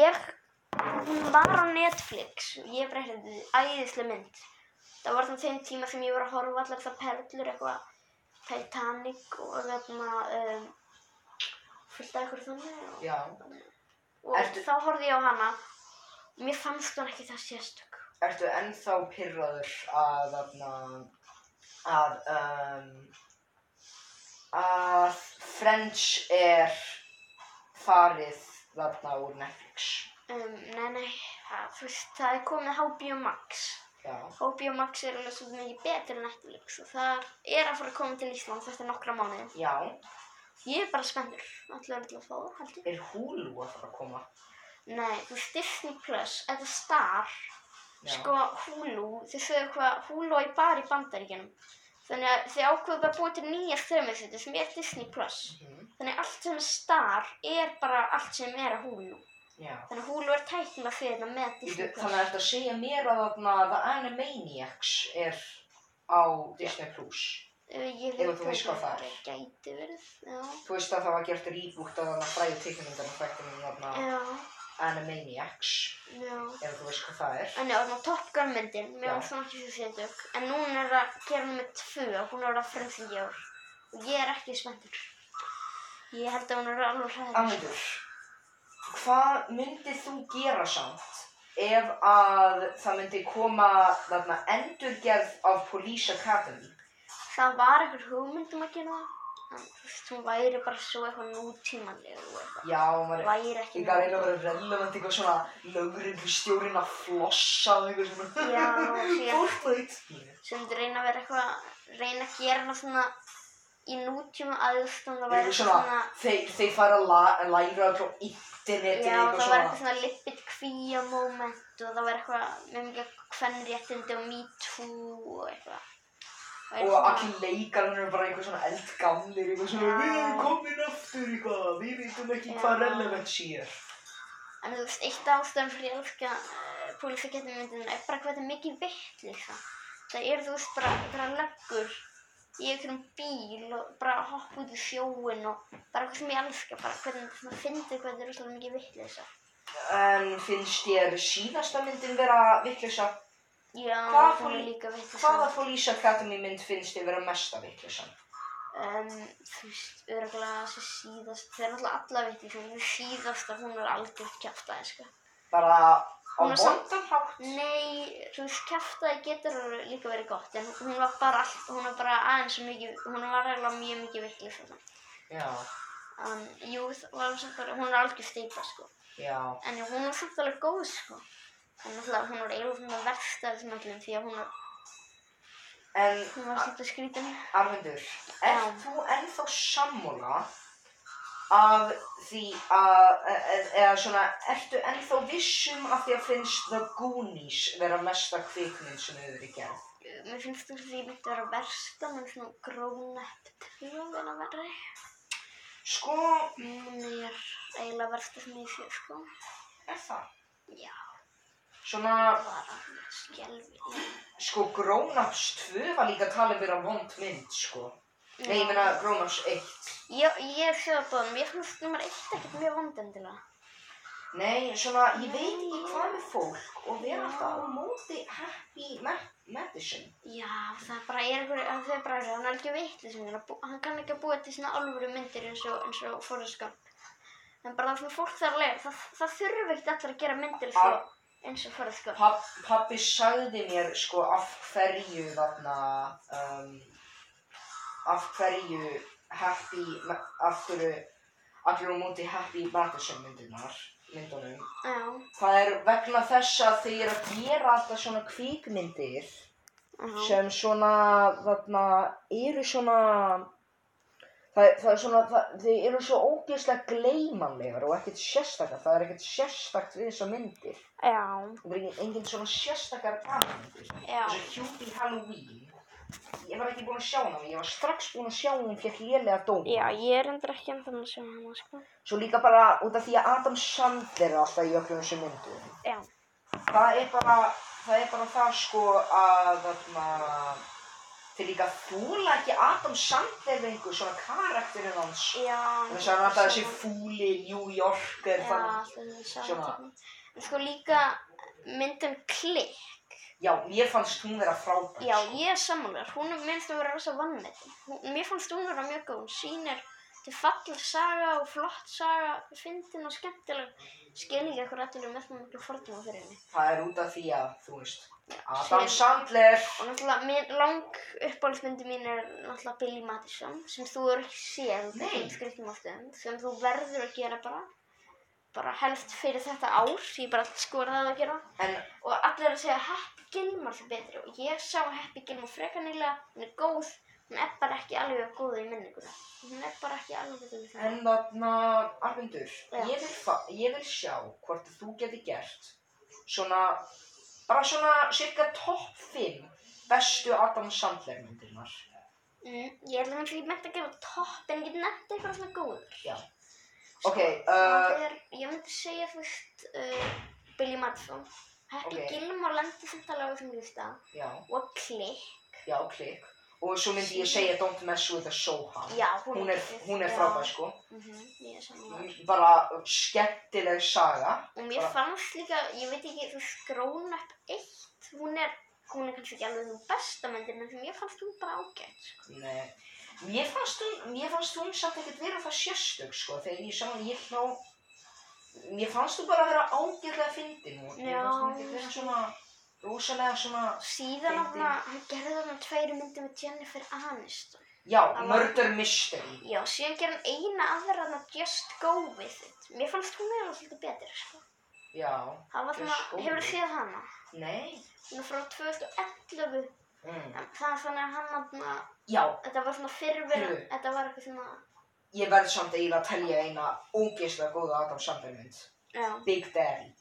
S2: ég, hún var á Netflix, og ég bara hefði æðislega mynd. Það var þannig þeim tíma sem ég var að horfa allar það perlur, eitthvað Titanic og þarna, um, fullt af eitthvað þannig. Og,
S1: Já.
S2: og
S1: Ertu-
S2: þá horfði ég á hana, mér fannst hún ekki það sérstök.
S1: Ertu ennþá pyrraður að, þarna, að, um, að French er farið þarna úr Netflix?
S2: Um, nei, nei, það, þú veist, það er komið HBO Max.
S1: Já.
S2: HBO Max er alveg svolítið mikið betur en Netflix og það er að fara að koma til Ísland þetta nokkra mánuði.
S1: Já.
S2: Ég er bara spennur, allir til að fá það, held ég.
S1: Er Hulu að fara að koma?
S2: Nei, þú veist Disney Plus, þetta Star,
S1: Já.
S2: sko Hulu, þið sögðu hvað Hulu er bara í bandaríkjunum. Þannig að þau ákveðu bara að búa til nýja strömmiðsveitur sem er Disney+. Plus.
S1: Mhm.
S2: Þannig að allt sem er star er bara allt sem er að Hulu.
S1: Já.
S2: Þannig að Hulu er tæknilega fyrir þetta með Disney+.
S1: Þannig að þetta segja mér að þarna The Animaniacs er á Disney Plus.
S2: Ég veit
S1: Ef þú veist hvað það er.
S2: Gæti verið, já.
S1: Þú veist að það var gert rýbúkt að þarna fræðu teiknumindana fræktinu þarna
S2: Já,
S1: Animaniacs,
S2: já.
S1: ef þú veist hvað það er.
S2: En já, þannig að Top Gun myndin, mér
S1: Já.
S2: var svona ekki svo sendug. En núna er að gera nummið tvö, hún er að frumþingja ár. Og ég er ekki spenntur. Ég held að hún er alveg hræður.
S1: Amundur, hvað myndið þú gera samt ef að það myndi koma þarna endurgerð af Police Academy?
S2: Það var einhver hugmynd um að gera það. En þú veist, hún væri bara svo eitthvað nútímanleg og eitthvað.
S1: Já, maður er...
S2: Væri ekki
S1: Ég gæti eiginlega verið relevant eitthvað svona lögreglustjórinn að flossa og eitthvað svona
S2: Já, síðan-
S1: Fortnite
S2: Sem myndi reyna að vera eitthvað, reyna að gera hana svona í nútíma aðstæðan. Það væri
S1: Eitthvað
S2: eitthvað
S1: svona,
S2: svona,
S1: þeir, þeir fara að la- að læra allra á internetinu
S2: já,
S1: eitthvað
S2: það væri
S1: svona
S2: eitthvað svona lipid kvíja moment og það væri eitthvað með mikið kvennréttindi og me too og eitthvað. Það væri
S1: Og
S2: svona-
S1: allir leikarinn eru bara eitthvað svona eldgamlir eitthvað svona
S2: Já.
S1: Við erum komin aftur eitthvað, við veitum ekki
S2: Já.
S1: hvað relevant sé
S2: En þú veist, eitt ástæðan fyrir ég elska uh, pólífikettinu myndinu er bara hvað þetta er mikið vitt líka. Það eru þú veist bara einhverja löggur í einhverjum bíl og bara að hoppa út í sjóin og bara eitthvað sem ég elska bara hvernig þetta svona fyndi hvað þetta er rosalega mikið vitt líka.
S1: En finnst þér síðasta myndin vera vittlisa?
S2: Já,
S1: Hvaða
S2: hún er
S1: poli-
S2: líka vitt
S1: Hvaða Police Academy mynd finnst þér vera mesta vittlisa?
S2: Um, þú veist, örgulega þessi síðast, það er náttúrulega alla vitt líka, en síðasta hún er algjört kjaftaði, sko.
S1: Bara á
S2: Hún er samt-
S1: vondan hátt?
S2: Nei, þú veist, kæftæði getur líka verið gott, en hún var bara, all, hún var bara aðeins svo mikið, hún var eiginlega mjög mikið veiklið þarna.
S1: Já,
S2: En jú, það var samt bara, hún er algjör steypa, sko.
S1: já,
S2: En jú, hún var samt alveg góð, sko. En náttúrulega, hún var eiginlega svona verst af þessum öllum, því að hún var,
S1: en
S2: hún var svolítið skrítin.
S1: Arvindur,
S2: Já.
S1: ert þú ennþá sammála af því að, e- e- eða svona, ertu ennþá vissum af því að finnst The Goonies vera mesta kvikmynd sem hefur verið gerð?
S2: Mér finnst þú því myndi vera versta, menn svona grónept, því að vera verri.
S1: Sko,
S2: Hún er eiginlega versta sem ég sé, sko.
S1: er það?
S2: Já,
S1: Svona,
S2: það var alveg skelvilega.
S1: sko, Grown Ups 2 var líka talin vera vond mynd, sko. Nei, ég meina Grown Ups 1.
S2: Ég, ég hef séð að báðum, ég finnst nummer eitt ekkert mjög vandendilega.
S1: Nei, svona, ég veit ekki hvað með fólk og vera alltaf á móti happy me- medicine.
S2: Já, það bara er einhver, það er bara, hann er ekki vitli sem hann, hann kann ekki að búa til svona alvöru myndir eins og, eins og fórhaskamp. En bara það sem fólk þarf að lega, það, það þurfi ekkert allir að gera myndir eins og, eins og fórhaskamp.
S1: Papp, pappi sagði mér sko af hverju þarna, um, af hverju happy, me- af hverju allir á móti happy medicine myndunar, myndunum.
S2: Já,
S1: Það er vegna þess að þau eru að gera alltaf svona kvíkmyndir
S2: já,
S1: sem svona, þarna, eru svona, það, það er svona, það, þau eru svo ógeðslega gleymanlegar og ekkert sérstakar, það er ekkert sérstakt við þessar myndir.
S2: já,
S1: Það voru engin, engin svona sérstakar bannmyndir.
S2: Já.
S1: Þessu Hjúpi Halloween. Ég var ekki búin að sjá hana, ég var strax búin að sjá hana hún fekk lélega dóm.
S2: já, ég er endur ekki ennþá að sjá hana, sko.
S1: Svo líka bara út af því að Adam Sandler er alltaf í öllum þessum myndum.
S2: Já,
S1: Það er bara, það er bara það sko að þarna... Þeir líka fúla ekki Adam Sandler við einhver svona karakterinn hans.
S2: já.
S1: Þess að hann alltaf þessi fúli New Yorker
S2: Já,
S1: þannig.
S2: alltaf þessi
S1: Svona.
S2: saman. En sko líka um myndin klikk.
S1: Já, mér fannst hún vera frábær.
S2: Já,
S1: sko.
S2: ég er samanlegar. Hún er- mér finnst hún vera rosa vannmetin. Hún- Mér fannst hún vera mjög góð. Hún sýnir til falleg saga og flott saga, fyndin og skemmtileg. Skil ekki hvað allir eru með svona miklu fordum fyrir henni.
S1: Það er út af því að, þú veist, Adam
S2: Sem-
S1: Sandler.
S2: Og náttúrulega, mér, lang uppáhaldsmyndi mín er náttúrulega Billy Madison, sem þú eru ekki séð út af
S1: Nei.
S2: þessum skrýttum ástöðum, um, sem þú verður að gera bara, bara helst fyrir þetta ár, ég bara skora það að gera.
S1: En
S2: og allir eru að segja Happy Gilmore er betri og ég sá Happy Gilmore frekar nýlega, hún er góð, hún er bara ekki alveg góð í minninguna. Hún er bara ekki alveg góð í minninguna.
S1: En þarna, Arvindur,
S2: Já.
S1: ég vil, fa- ég vil sjá hvort þú geti gert svona, bara svona cirka topp 5 bestu Adam Sandler myndirnar.
S2: Mm, ég er líka fyrir mætt að gera topp en ég nefndi eitthvað svona góður. Sko,
S1: Já. Ok, uh,
S2: Það er, ég myndi segja þú veist, uh, Billy Madson. Hekla
S1: Ok.
S2: okay. Gilmore lendi samt alveg á þessum lista.
S1: já,
S2: Og Klikk.
S1: já, klikk. Og svo myndi ég segja Don't mess with a Sohan.
S2: Já,
S1: Hún er,
S2: geggjuð,
S1: hún er
S2: já.
S1: frábær, sko.
S2: Mhm, ég er saman.
S1: Bara skemmtileg saga.
S2: Og mér
S1: Bara-
S2: fannst líka, ég veit ekki, þú veist, Grown Up 1, hún er, hún er kannski ekki alveg þú besta myndir, en mér fannst hún bara ágætt, sko.
S1: Nei. Mér fannst hún, mér fannst hún samt ekkert vera það sérstök, sko, þegar ég sá hann, ég hló, mér fannst hún bara vera ágjörlega fyndin og mér
S2: Já.
S1: fannst hún ekkert vera svona, rosalega svona,
S2: Síðan
S1: Fyndin.
S2: áfna, hann gerði þarna tveiri myndir með Jennifer Aniston.
S1: já,
S2: var-
S1: murder mystery.
S2: Já, síðan gerði hann eina aðra hann Just Go With It. Mér fannst hún eða svolítið betur, sko.
S1: Já,
S2: Það var svona,
S1: Just Go
S2: hefur
S1: With
S2: þið
S1: It.
S2: séð hana?
S1: nei,
S2: Hún er frá 2011.
S1: mm.
S2: En Það er svona hann aðna,
S1: já,
S2: þetta var svona fyrrverð,
S1: Fyrrverandi.
S2: þetta var eitthvað svona,
S1: ég verð samt eiginlega að telja eina ógeðslega góða Adam Sandler mynd,
S2: já.
S1: Big Daddy,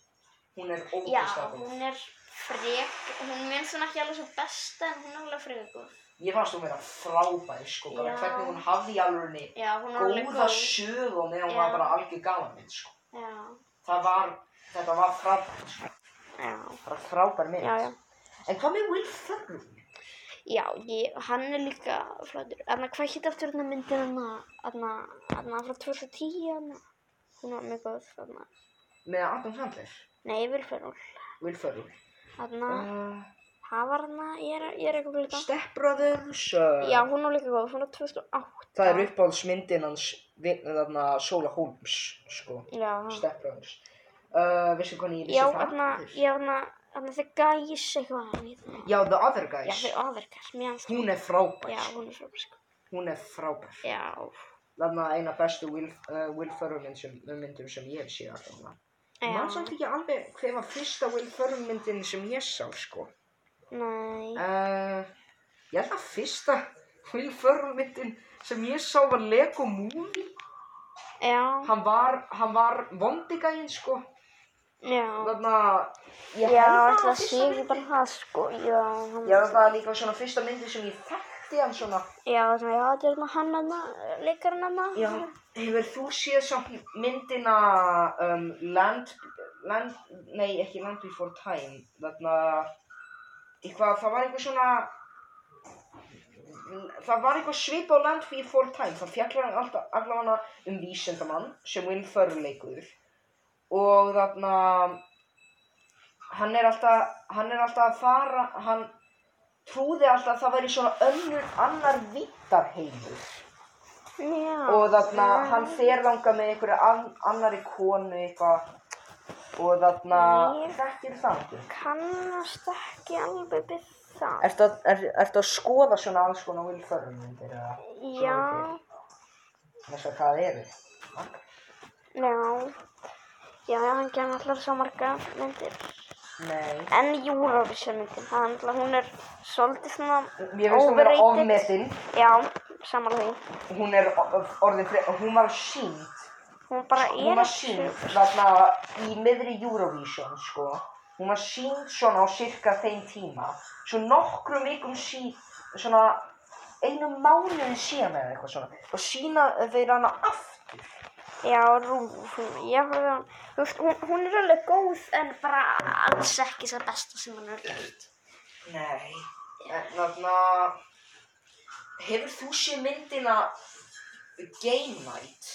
S1: hún er
S2: Já,
S1: ógeðslega góð.
S2: hún er frek, hún mér svona ekki alveg svo besta en hún er alveg frekur.
S1: Ég fannst hún vera frábær, sko, bara
S2: Já.
S1: hvernig hún hafði í alvörunni
S2: Já, hún er alveg
S1: góða
S2: góð.
S1: sög og meðan hún
S2: Já.
S1: var bara algjör gáðan mynd, sko.
S2: Já,
S1: það var, þetta var frábær, sko.
S2: já,
S1: bara frábær mynd.
S2: já, já.
S1: En hvað með Will Ferrell?
S2: Já, ég, hann er líka flottur. Þannig hvað hétt aftur hérna myndin hann að, hann að frá 2010 hann hún var mjög góð, hann
S1: Með Adam Sandler,
S2: nei, Vilferról,
S1: Will Ferrell.
S2: hann að,
S1: Uh,
S2: hann var hann að, ég er, ég er eitthvað líka.
S1: Step Brothers, uh,
S2: Já, hún var líka góð, hún var 2008.
S1: það er uppáhaldsmyndin hans, vin- þarna Sola Holmes, sko,
S2: Já, hann.
S1: Step Brothers. Uh, veistu hvernig ég
S2: Ah. Já,
S1: vissi það?
S2: hann að, já, hann að, hann að þið gæs eitthvað hann í það.
S1: Já, The Other
S2: Já,
S1: Guys,
S2: þið aðverkar, mér hans.
S1: hún er frábær,
S2: Já,
S1: sko.
S2: hún er svo, sko.
S1: hún er frábær.
S2: Já,
S1: Þarna eina bestu Will, uh, Will Ferrell mynd sem, myndum sem ég sé alltaf.
S2: já,
S1: Man samt ekki alveg hver var fyrsta Will Ferrell myndin sem ég sá, sko.
S2: nei,
S1: Uh, ég held að fyrsta Will Ferrell myndin sem ég sá var Lego Movie.
S2: já,
S1: Hann var, hann var vondigæinn sko.
S2: já,
S1: Þarna, ég
S2: já,
S1: held að
S2: ætla
S1: það
S2: að sé ekki bara það, sko, já,
S1: Ég
S2: hann,
S1: held að það er líka svona fyrsta myndi sem ég þekkti hann svona.
S2: já, svona, já, þetta er maður hann aðna, leikarinn aðna,
S1: Já, hefur þú séð samt myndina um, Land, Land, nei ekki Land Before Time, þarna, eitthvað, það var eitthvað svona, það var eitthvað svip á Land Before Time, það fjallar hann alltaf, allavega um vísindamann sem Will Ferrell leikur og þarna, hann er alltaf, hann er alltaf að fara, hann trúði alltaf að það væri svona önnur annar vittarheimur
S2: já,
S1: og þarna hann fer langa með einhverju an annari konu eitthvað og þarna
S2: Nei.
S1: þekkir það ekki
S2: kannast ekki alveg við það,
S1: Ertu að, er, ertu að skoða svona alls konar Will Ferrell myndir eða
S2: já,
S1: þess að hvað það eru?
S2: já, já, já, hann gerði allar svo marga myndir,
S1: Nei,
S2: en Eurovision myndin, það er alltaf, hún er svolítið svona
S1: mér finnst hún vera
S2: overrated.
S1: ofmetin
S2: já, samanlega því,
S1: hún er o- orðin fyrir, hún var sínd
S2: hún bara
S1: hún
S2: er
S1: var
S2: ekki-
S1: sínd þarna í miðri Eurovision sko hún var sínd svona á cirka þeim tíma svo nokkrum vikum sí svona einum mánuði síðan eða eitthvað svona og sína þeir hana aftur
S2: Já, Rúf, hún, ég horfði á hann, þú veist, hún, hún er alveg góð en bara alls ekki það besta sem hún er gert.
S1: nei en þarna hefur þú séð myndina Game Night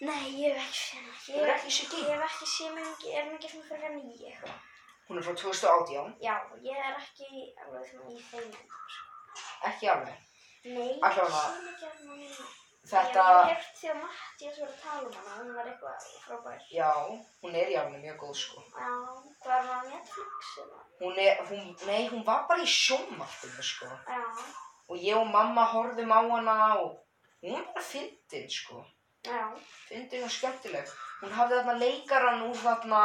S2: Nei, ég hef ekki séð hana.
S1: Hefurðu ekki séð Gilmore?
S2: Ég hef ekki séð mig, er hann ekki svona fyrir hann í eitthvað?
S1: hún er frá 2018
S2: Já, ég er ekki alveg svona í þeim. sko.
S1: ekki alveg
S2: Nei, ég
S1: Alla
S2: hef
S1: vega.
S2: séð ekki hann í þeim.
S1: þetta
S2: Ég hef hert því að Mattias var að tala um hana, hún var eitthvað frábær.
S1: já hún er í alveg mjög góð sko
S2: Já, var hann á Netflix eða?
S1: hún er hún, nei hún var bara í sjónvarpinu sko
S2: Já,
S1: og ég og mamma horfðum á hana og hún var bara fyndin sko
S2: já,
S1: fyndin og skemmtileg hún hafði þarna leikaran úr þarna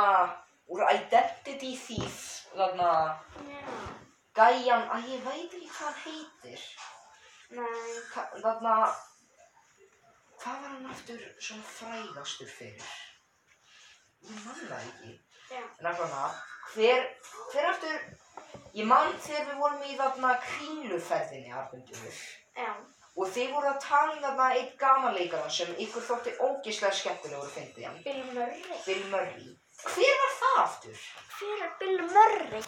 S1: úr Identity Thief þarna
S2: já,
S1: gæjan að ég veit ekki hvað hann heitir
S2: nei,
S1: Ka- þarna hvað var hann aftur svona frægastur fyrir ég man það ekki
S2: já.
S1: en allavega hver hver aftur Ég man þegar við vorum í þarna kringluferðinni, Arnundur.
S2: Já,
S1: Og þið voru að tala um þarna eitt gamanleikara sem ykkur þótti ógeðslega skemmtilegur að fyndi hann.
S2: Bill Murray.
S1: Bill Murray. Hver var það aftur?
S2: Hver er Bill Murray?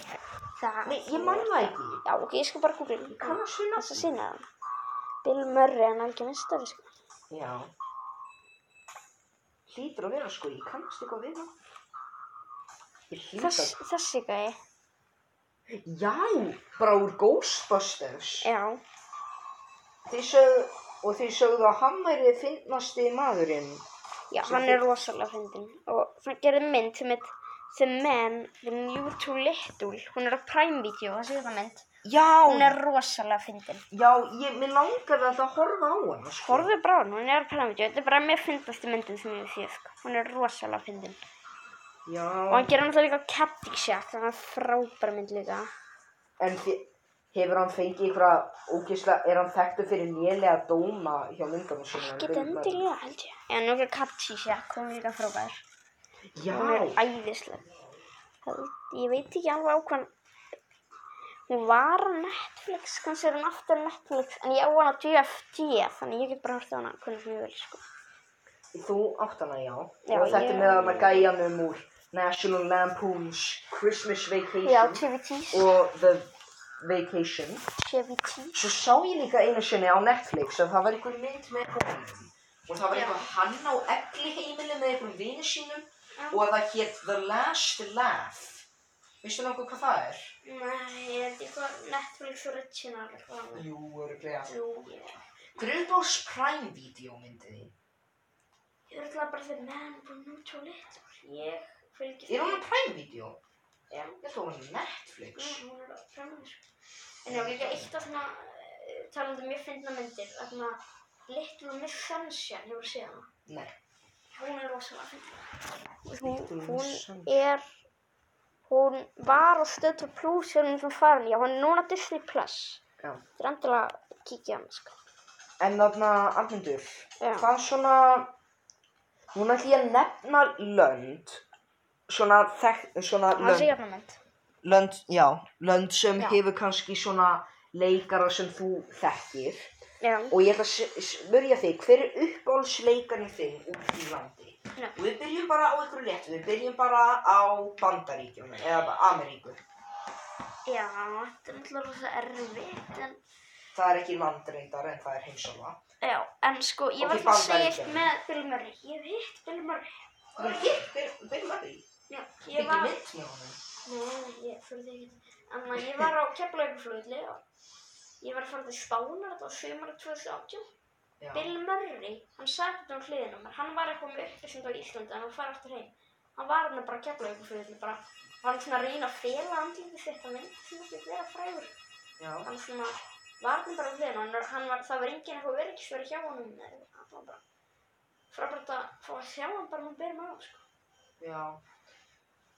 S2: Það.
S1: Nei, ég man það ekki.
S2: Já, ok, ég skal bara googla hann.
S1: Kann að suna
S2: Þess að sína hann. Bill Murray, hann er ekki minnstari, sko.
S1: Já. Hlýtur að vera sko, ég kannast eitthvað við það. Ég hlýtur að...
S2: Þess, þessi gæi.
S1: Já, bara úr Ghostbusters.
S2: Já.
S1: Þið sögðu, og þið sögðu að hann væri finnasti maðurinn.
S2: Já, hann er rosalega fyndin. Og hann gerði mynd sem heit The Man, The New Too Little. Hún er á Prime Video, það séu það mynd.
S1: Já,
S2: Hún er rosalega fyndin.
S1: já, ég, mér langar alltaf að horfa á hann, sko.
S2: Horfðu bara á hann, hún er á Prime Video. Þetta er bara mér fyndasti myndin sem ég sé, sko. Hún er rosalega fyndin. Og
S1: Já,
S2: hann gerði náttúrulega líka Caddyshack, þannig að frábæra mynd líka.
S1: en þið, hefur hann fengið eitthvað ógisla, er hann þekktu fyrir lélega dóma hjá myndanum sinna?
S2: Geti endilega held ég. Já, nú er Caddyshack, hún er líka frábær. Hún er
S1: Já,
S2: æðisleg. Held, ég veit ekki alveg á hvað hann- hún var á Netflix, kannski er hún aftur á Netflix, en ég á hana á DFG, þannig ég get bara hort á hana hvernig sem ég vil, sko.
S1: þú átt hana, já.
S2: Já,
S1: og þetta
S2: ég-
S1: með hann að gæjanum um úr National Lampoon's Christmas Vacation
S2: Já, TVTs.
S1: og The Vacation.
S2: TVT.
S1: Svo sá ég líka einu sinni á Netflix að það var einhver mynd með honum og það var
S2: Já.
S1: eitthvað hann á egli heimili með einhverjum vini sínum
S2: Já.
S1: og það hétt The Last Laugh. Veistu nokkuð hvað það er?
S2: Nei, ég veit ekki hvað Netflix original er hvað.
S1: Jú, örglega.
S2: Jú, ég
S1: Hver er uppáðs Prime Video myndið þín?
S2: Ég er alltaf bara þegar menn búin nú tjó lit. Ég fylgist.
S1: Er hún á Prime Video?
S2: Já. Mhm.
S1: Ég ætla hún á Netflix.
S2: Nei, hún er á framhæð, sko. En já, líka eitt af svona, eh, talandi um mjög fyndna myndir, þarna Little Miss Sunshine, hefur þú séð hana?
S1: Nei.
S2: Hún er rosalega fyndin.
S1: Little
S2: Hún,
S1: Miss
S2: hún
S1: Sunshine.
S2: er, hún var á stöðtur plus sem hún farin, já, hún er núna Disney Plus.
S1: Já.
S2: Þetta er endilega að kíkja á hana, sko.
S1: En þarna, Arnundur,
S2: Já.
S1: hvað svona, núna ætlum ég að nefna lönd, svona, þek, svona
S2: Hann
S1: lönd,
S2: sé hérna mynd.
S1: lönd, já, lönd sem
S2: Já.
S1: hefur kannski svona leikara sem þú þekkir
S2: Já.
S1: og ég ætla að s- smyrja þig, hver er uppáhaldsleikarinn þinn úr því landi?
S2: Já.
S1: Og við byrjum bara á einhverju létt, við byrjum bara á Bandaríkjum eða Ameríku.
S2: Já, þetta er náttúrulega rosa erfitt, en
S1: Það er ekki landreindar en það er heimsálfa.
S2: Já, en sko, ég
S1: Ok,
S2: var alltaf að segja
S1: Bandaríkjunum.
S2: eitt með Bill Murray. Ég hef hitt Bill Murray.
S1: Það er hitt, byrjum byrjum að því.
S2: Já,
S1: Ég
S2: ég var...
S1: mynd með honum.
S2: Nei, ég fyrir ekki. En ég var á Keflavíkflöðli og ég var að fara til Spánar þetta á sumar 2018.
S1: Já.
S2: Bill Murray, hann sagði þetta á hliðinu á mér. Hann var eitthvað með upplýsund á Íslandi en hann fær aftur heim. Hann var hann bara á Keflavíkflöðli, bara var hann svona að reyna að fela andlítið sitt. Hann myndi sem ekki vera frægur.
S1: Já.
S2: Hann svona var hann bara á hliðinu. Hann, var- hann var, það var enginn eitthvað verkisveri hjá honum. eða eitthvað. Hann var bara frábært að fá að sjá hann bara með byrjum á, sko.
S1: Já.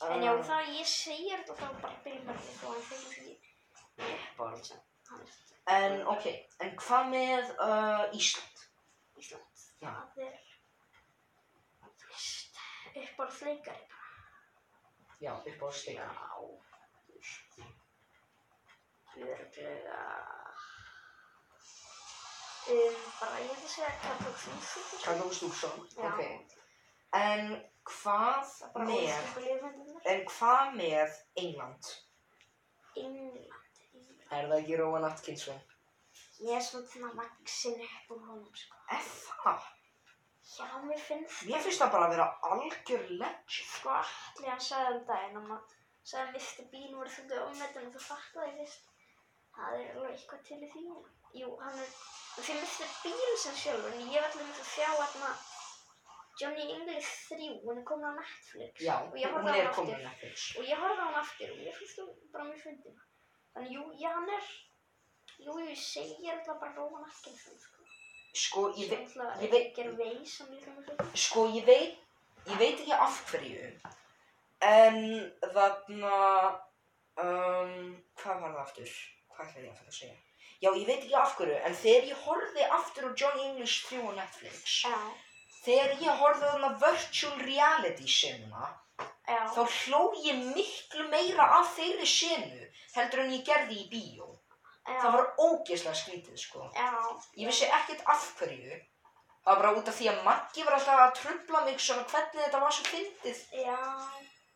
S2: En já,
S1: Uh,
S2: það ég segir þetta þá bara Bill Murray þó hann fyrir því uppáhalds hann er
S1: En ok, en hvað með uh, Ísland?
S2: Ísland.
S1: Já.
S2: Það er, þú veist, uppáhaldsleikari bara.
S1: Já, uppáhaldsleikar.
S2: Já, þú veist. Örglega, um, bara ég ætla að segja Karl og Fínsson.
S1: Karl Stúksson,
S2: Já.
S1: ok. En hvað
S2: Bara
S1: með,
S2: ósköpu liðmyndirnar.
S1: en hvað með England?
S2: England, England.
S1: Er það ekki Róan Atkinson?
S2: Ég er svona vaksin upp úr honum, sko.
S1: Er það?
S2: Já, mér finnst
S1: Mér finnst það bara að vera algjör legend.
S2: Sko, allir hann sagði um daginn um að sagði að Mr. Bean voru svolítið ofmetin og þú fattaði fyrst. Það er alveg eitthvað til í því. Jú, hann er, því Mr. Bean sem sjálfur, en ég ætla mér að sjá hérna Johnny English 3, hún er komin á Netflix.
S1: Já,
S2: og ég
S1: hún
S2: horfði á
S1: er
S2: hann
S1: komin
S2: aftur.
S1: að fyrst.
S2: Og ég horfði á hann aftur og ég finnst þú bara mjög fundin. Þannig, jú, já, hann er, jú, ég segir alltaf bara Róman Atkinson, sko.
S1: Sko, ég
S2: Ég
S1: veit,
S2: veit, ég
S1: ég
S2: veit.
S1: veit-
S2: Gervais, hann líka mjög fundin.
S1: sko, ég veit, ég veit ekki af hverju. En þarna, um, hvað var það aftur? Hvað ætlaði ég að fara að segja? Já, ég veit ekki af hverju, en þegar ég horfði aftur á John English 3 á Netflix,
S2: Já.
S1: Þegar ég horfði á þarna virtual reality sinna,
S2: já,
S1: þá hló ég miklu meira af þeirri senu heldur en ég gerði í bíó.
S2: já,
S1: Það var ógeðslega skrítið, sko.
S2: já,
S1: Ég vissi ekkert af hverju. Það var bara út af því að Maggi var alltaf að trubla mig svona hvernig þetta var svo fyndið.
S2: já.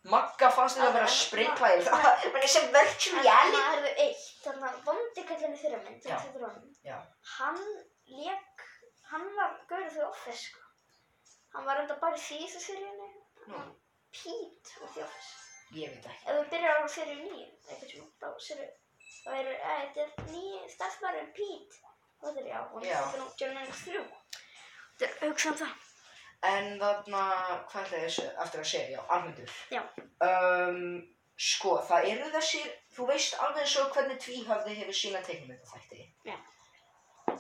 S1: Magga fannst þetta að vera að sprinkla í það. Það er sem virtual
S2: En
S1: reality.
S2: það hefur eitt, þannig að vondi kallinu þeirra mynd,
S1: Já.
S2: þetta er honum.
S1: Já,
S2: Hann lék, hann var gaurið því office, sko. Hann var enda bara í síðustu seríunni,
S1: nú,
S2: Pete og því office.
S1: ég veit ekki.
S2: Ef þú byrjar á seríu nýju, eitthvað sem, þá seríu, þá eru, eh, þetta er nýju starfsmæður en Pete. Og þetta er, já, og
S1: Já.
S2: þetta er nú John Lennox 3. Þetta er hugsa um það.
S1: En þarna, hvað ætlaði þessu aftur að segja? Já, almyndur.
S2: Já.
S1: Um, sko, það eru þessir, þú veist alveg svo hvernig tvíhöfði hefur sína teiknumynda þætti.
S2: Já.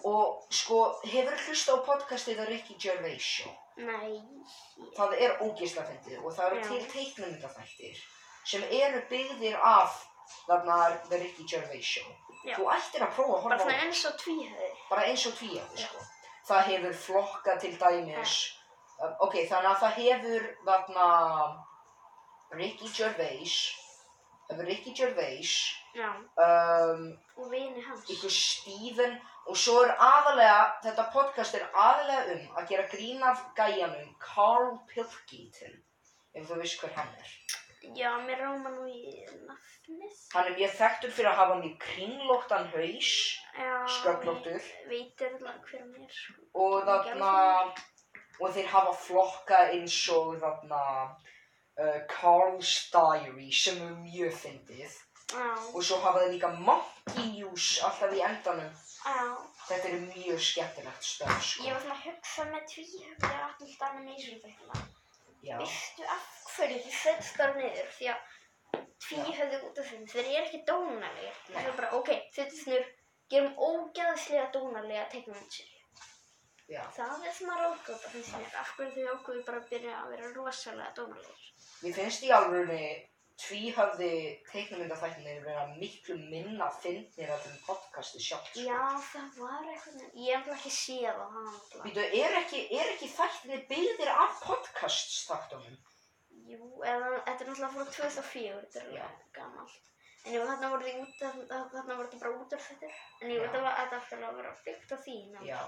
S1: Og sko, hefur hlusta á podcastið að Ricky Gervais show.
S2: Nei,
S1: Það er ógisla fyndið og það eru
S2: Já.
S1: til teiknumynda þættir sem eru byggðir af þarna The Ricky Gervais show.
S2: Já.
S1: Þú ættir að prófa að horfa
S2: bara
S1: á
S2: svona eins og tvíhöði.
S1: bara eins og tvíhöfði sko. Það hefur flokka til dæmis, um, ok, þannig að það hefur þarna Ricky Gervais, hefur Ricky Gervais,
S2: Já,
S1: um,
S2: og vini hans.
S1: ykkur Steven og svo er aðalega, þetta podcast er aðalega um að gera grín af gæjanum Carl Pilkington, ef þú veist hver hann er.
S2: Já, mér ráma nú í nafnið.
S1: Hann er mjög þekktur fyrir að hafa mjög kringlóttan haus
S2: Já,
S1: Sköllóttur.
S2: ég Veit eða hver hann er. sko.
S1: og
S2: Ekki
S1: þarna og þeir hafa flokka eins og þarna uh, Carl's Diary sem er mjög fyndið
S2: Já,
S1: og svo hafa þeir líka Monkey News alltaf í endanum
S2: já.
S1: þetta er mjög skemmtilegt stöð
S2: Ég
S1: sko.
S2: var svona að hugsa með tvíhugja alltaf animation þættina.
S1: Já.
S2: Veistu af hverju þið setst þar niður? Því að tvíhugði út af þeim. Þeir eru ekki dónalegir.
S1: Nei.
S2: Það er bara, ok, setjast niður, gerum ógæðslega dónalega teknumöndsir.
S1: Já.
S2: Það er svona ráðgóta finnst mér. Af hverju þau ákveðu bara að byrja að vera rosalega dónalegir.
S1: Mér finnst í alvörunni tvíhöfði teiknumyndaþættinir vera miklu minna fyndnir að þeim podcasti sjálft sko.
S2: Já, það var eitthvað, ég hef náttúrulega ekki séð á hann. náttúrulega.
S1: Býtu, er ekki, er ekki þættinni byggðir af podcasts þáttunum?
S2: Jú, eða þetta er náttúrulega frá 2004, þetta er
S1: Já.
S2: alveg gammalt. En jú, þarna voru þið út, þarna þarna voru þið bara út af þetta. En jú,
S1: Já.
S2: þetta var þetta aftur að vera byggt á því, ná.
S1: Já.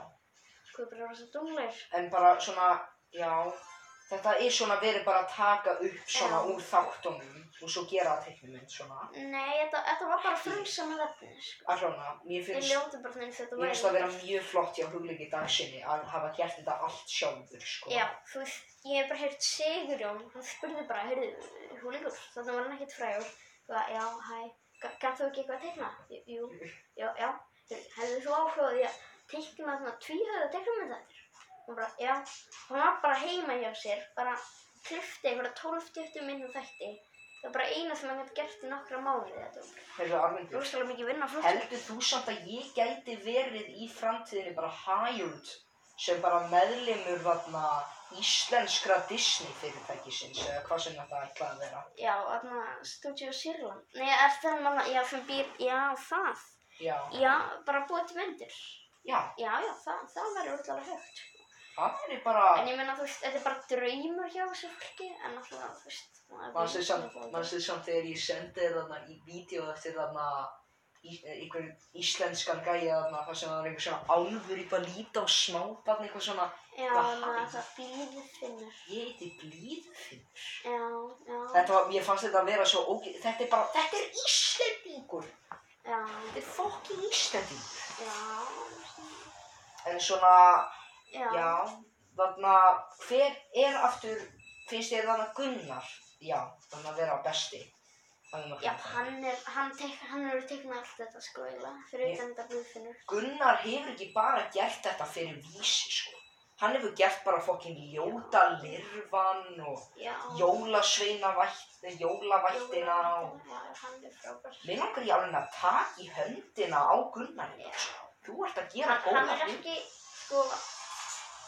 S2: Sko, það bara var svo dungleir.
S1: en bara svona, já, þetta er svona verið bara að taka upp svona
S2: Já.
S1: úr þáttunum og svo gera það teiknumynd svona.
S2: Nei, þetta, þetta var bara frumsa með efni, sko.
S1: Allána, mér
S2: Ég
S1: finnst,
S2: ljóti bara eins og þetta
S1: mér finnst það vera
S2: útvarp.
S1: mjög flott hjá hugleiki dagsinni að hafa gert þetta allt sjálfur, sko.
S2: Já, þú veist, ég hef bara heyrt Sigurjón, hann spurði bara, heyrðu, húlingur, þarna var hann ekkert frægur. Þú var, já, hæ, gæt þú ekki eitthvað að teikna? Jú, Jú, já, já, hefðu þú áhugaði að teikna þarna tvíhöða teiknumyndættir? Hún bara, já, hún var bara heima hjá sér, bara klifti einhverja 12-20 minnum þætti. Það var bara eina sem hann hefði gert í nokkra mánuði, þetta var bara
S1: Heyrðu, Arvindur,
S2: rosalega mikið vinna frá
S1: heldur þú samt að ég gæti verið í framtíðinni bara hired sem bara meðlimur þarna íslenskra Disney fyrirtækisins eða hvað sem þetta ætlaði að vera?
S2: Já, þarna Studio Sýrland. Nei, er það manna, já, sem býr, já, það.
S1: Já,
S2: Já, bara búið til myndir.
S1: já,
S2: Já, já, það, það verður alltaf högt, sko.
S1: það er bara...
S2: En ég meina, þú veist, þetta er bara draumur hjá þessu fólki, en alltaf, þú veist,
S1: Manstu samt,
S2: maður
S1: manstu samt þegar ég sendi þér þarna í vídeo eftir þarna í- einhver íslenskan gæja þarna þar sem það var einhver svona álfur í bara líta á smábarn eitthvað svona
S2: Já,
S1: Hvað?
S2: maður það býður finnur.
S1: ég heiti Blíðfinnur
S2: Já, já,
S1: Þetta var, mér fannst þetta að vera svo óg... Þetta er bara, þetta er Íslendingur!
S2: já,
S1: Þetta er fokkin Íslendingur!
S2: já,
S1: En svona,
S2: já,
S1: já, þarna, hver er aftur, finnst þér þarna Gunnar? Já, þarna að vera besti. Þannig að-
S2: já, hann er, hann tek, hann er teiknað allt þetta, sko, eiginlega, fyrir
S1: Ég-
S2: utan þetta blíðfinnur.
S1: Gunnar hefur ekki bara gert þetta fyrir vísi, sko. Hann hefur gert bara fokkin ljóta lirfan og
S2: Já.
S1: jólasveinavætt, jólavættina og...
S2: Já, hann er frábær.
S1: Mér langar ég alveg að taka í höndina á Gunnari,
S2: Já.
S1: sko. Þú ert að gera
S2: hann, hann
S1: góða
S2: er
S1: hlut.
S2: ekki, sko,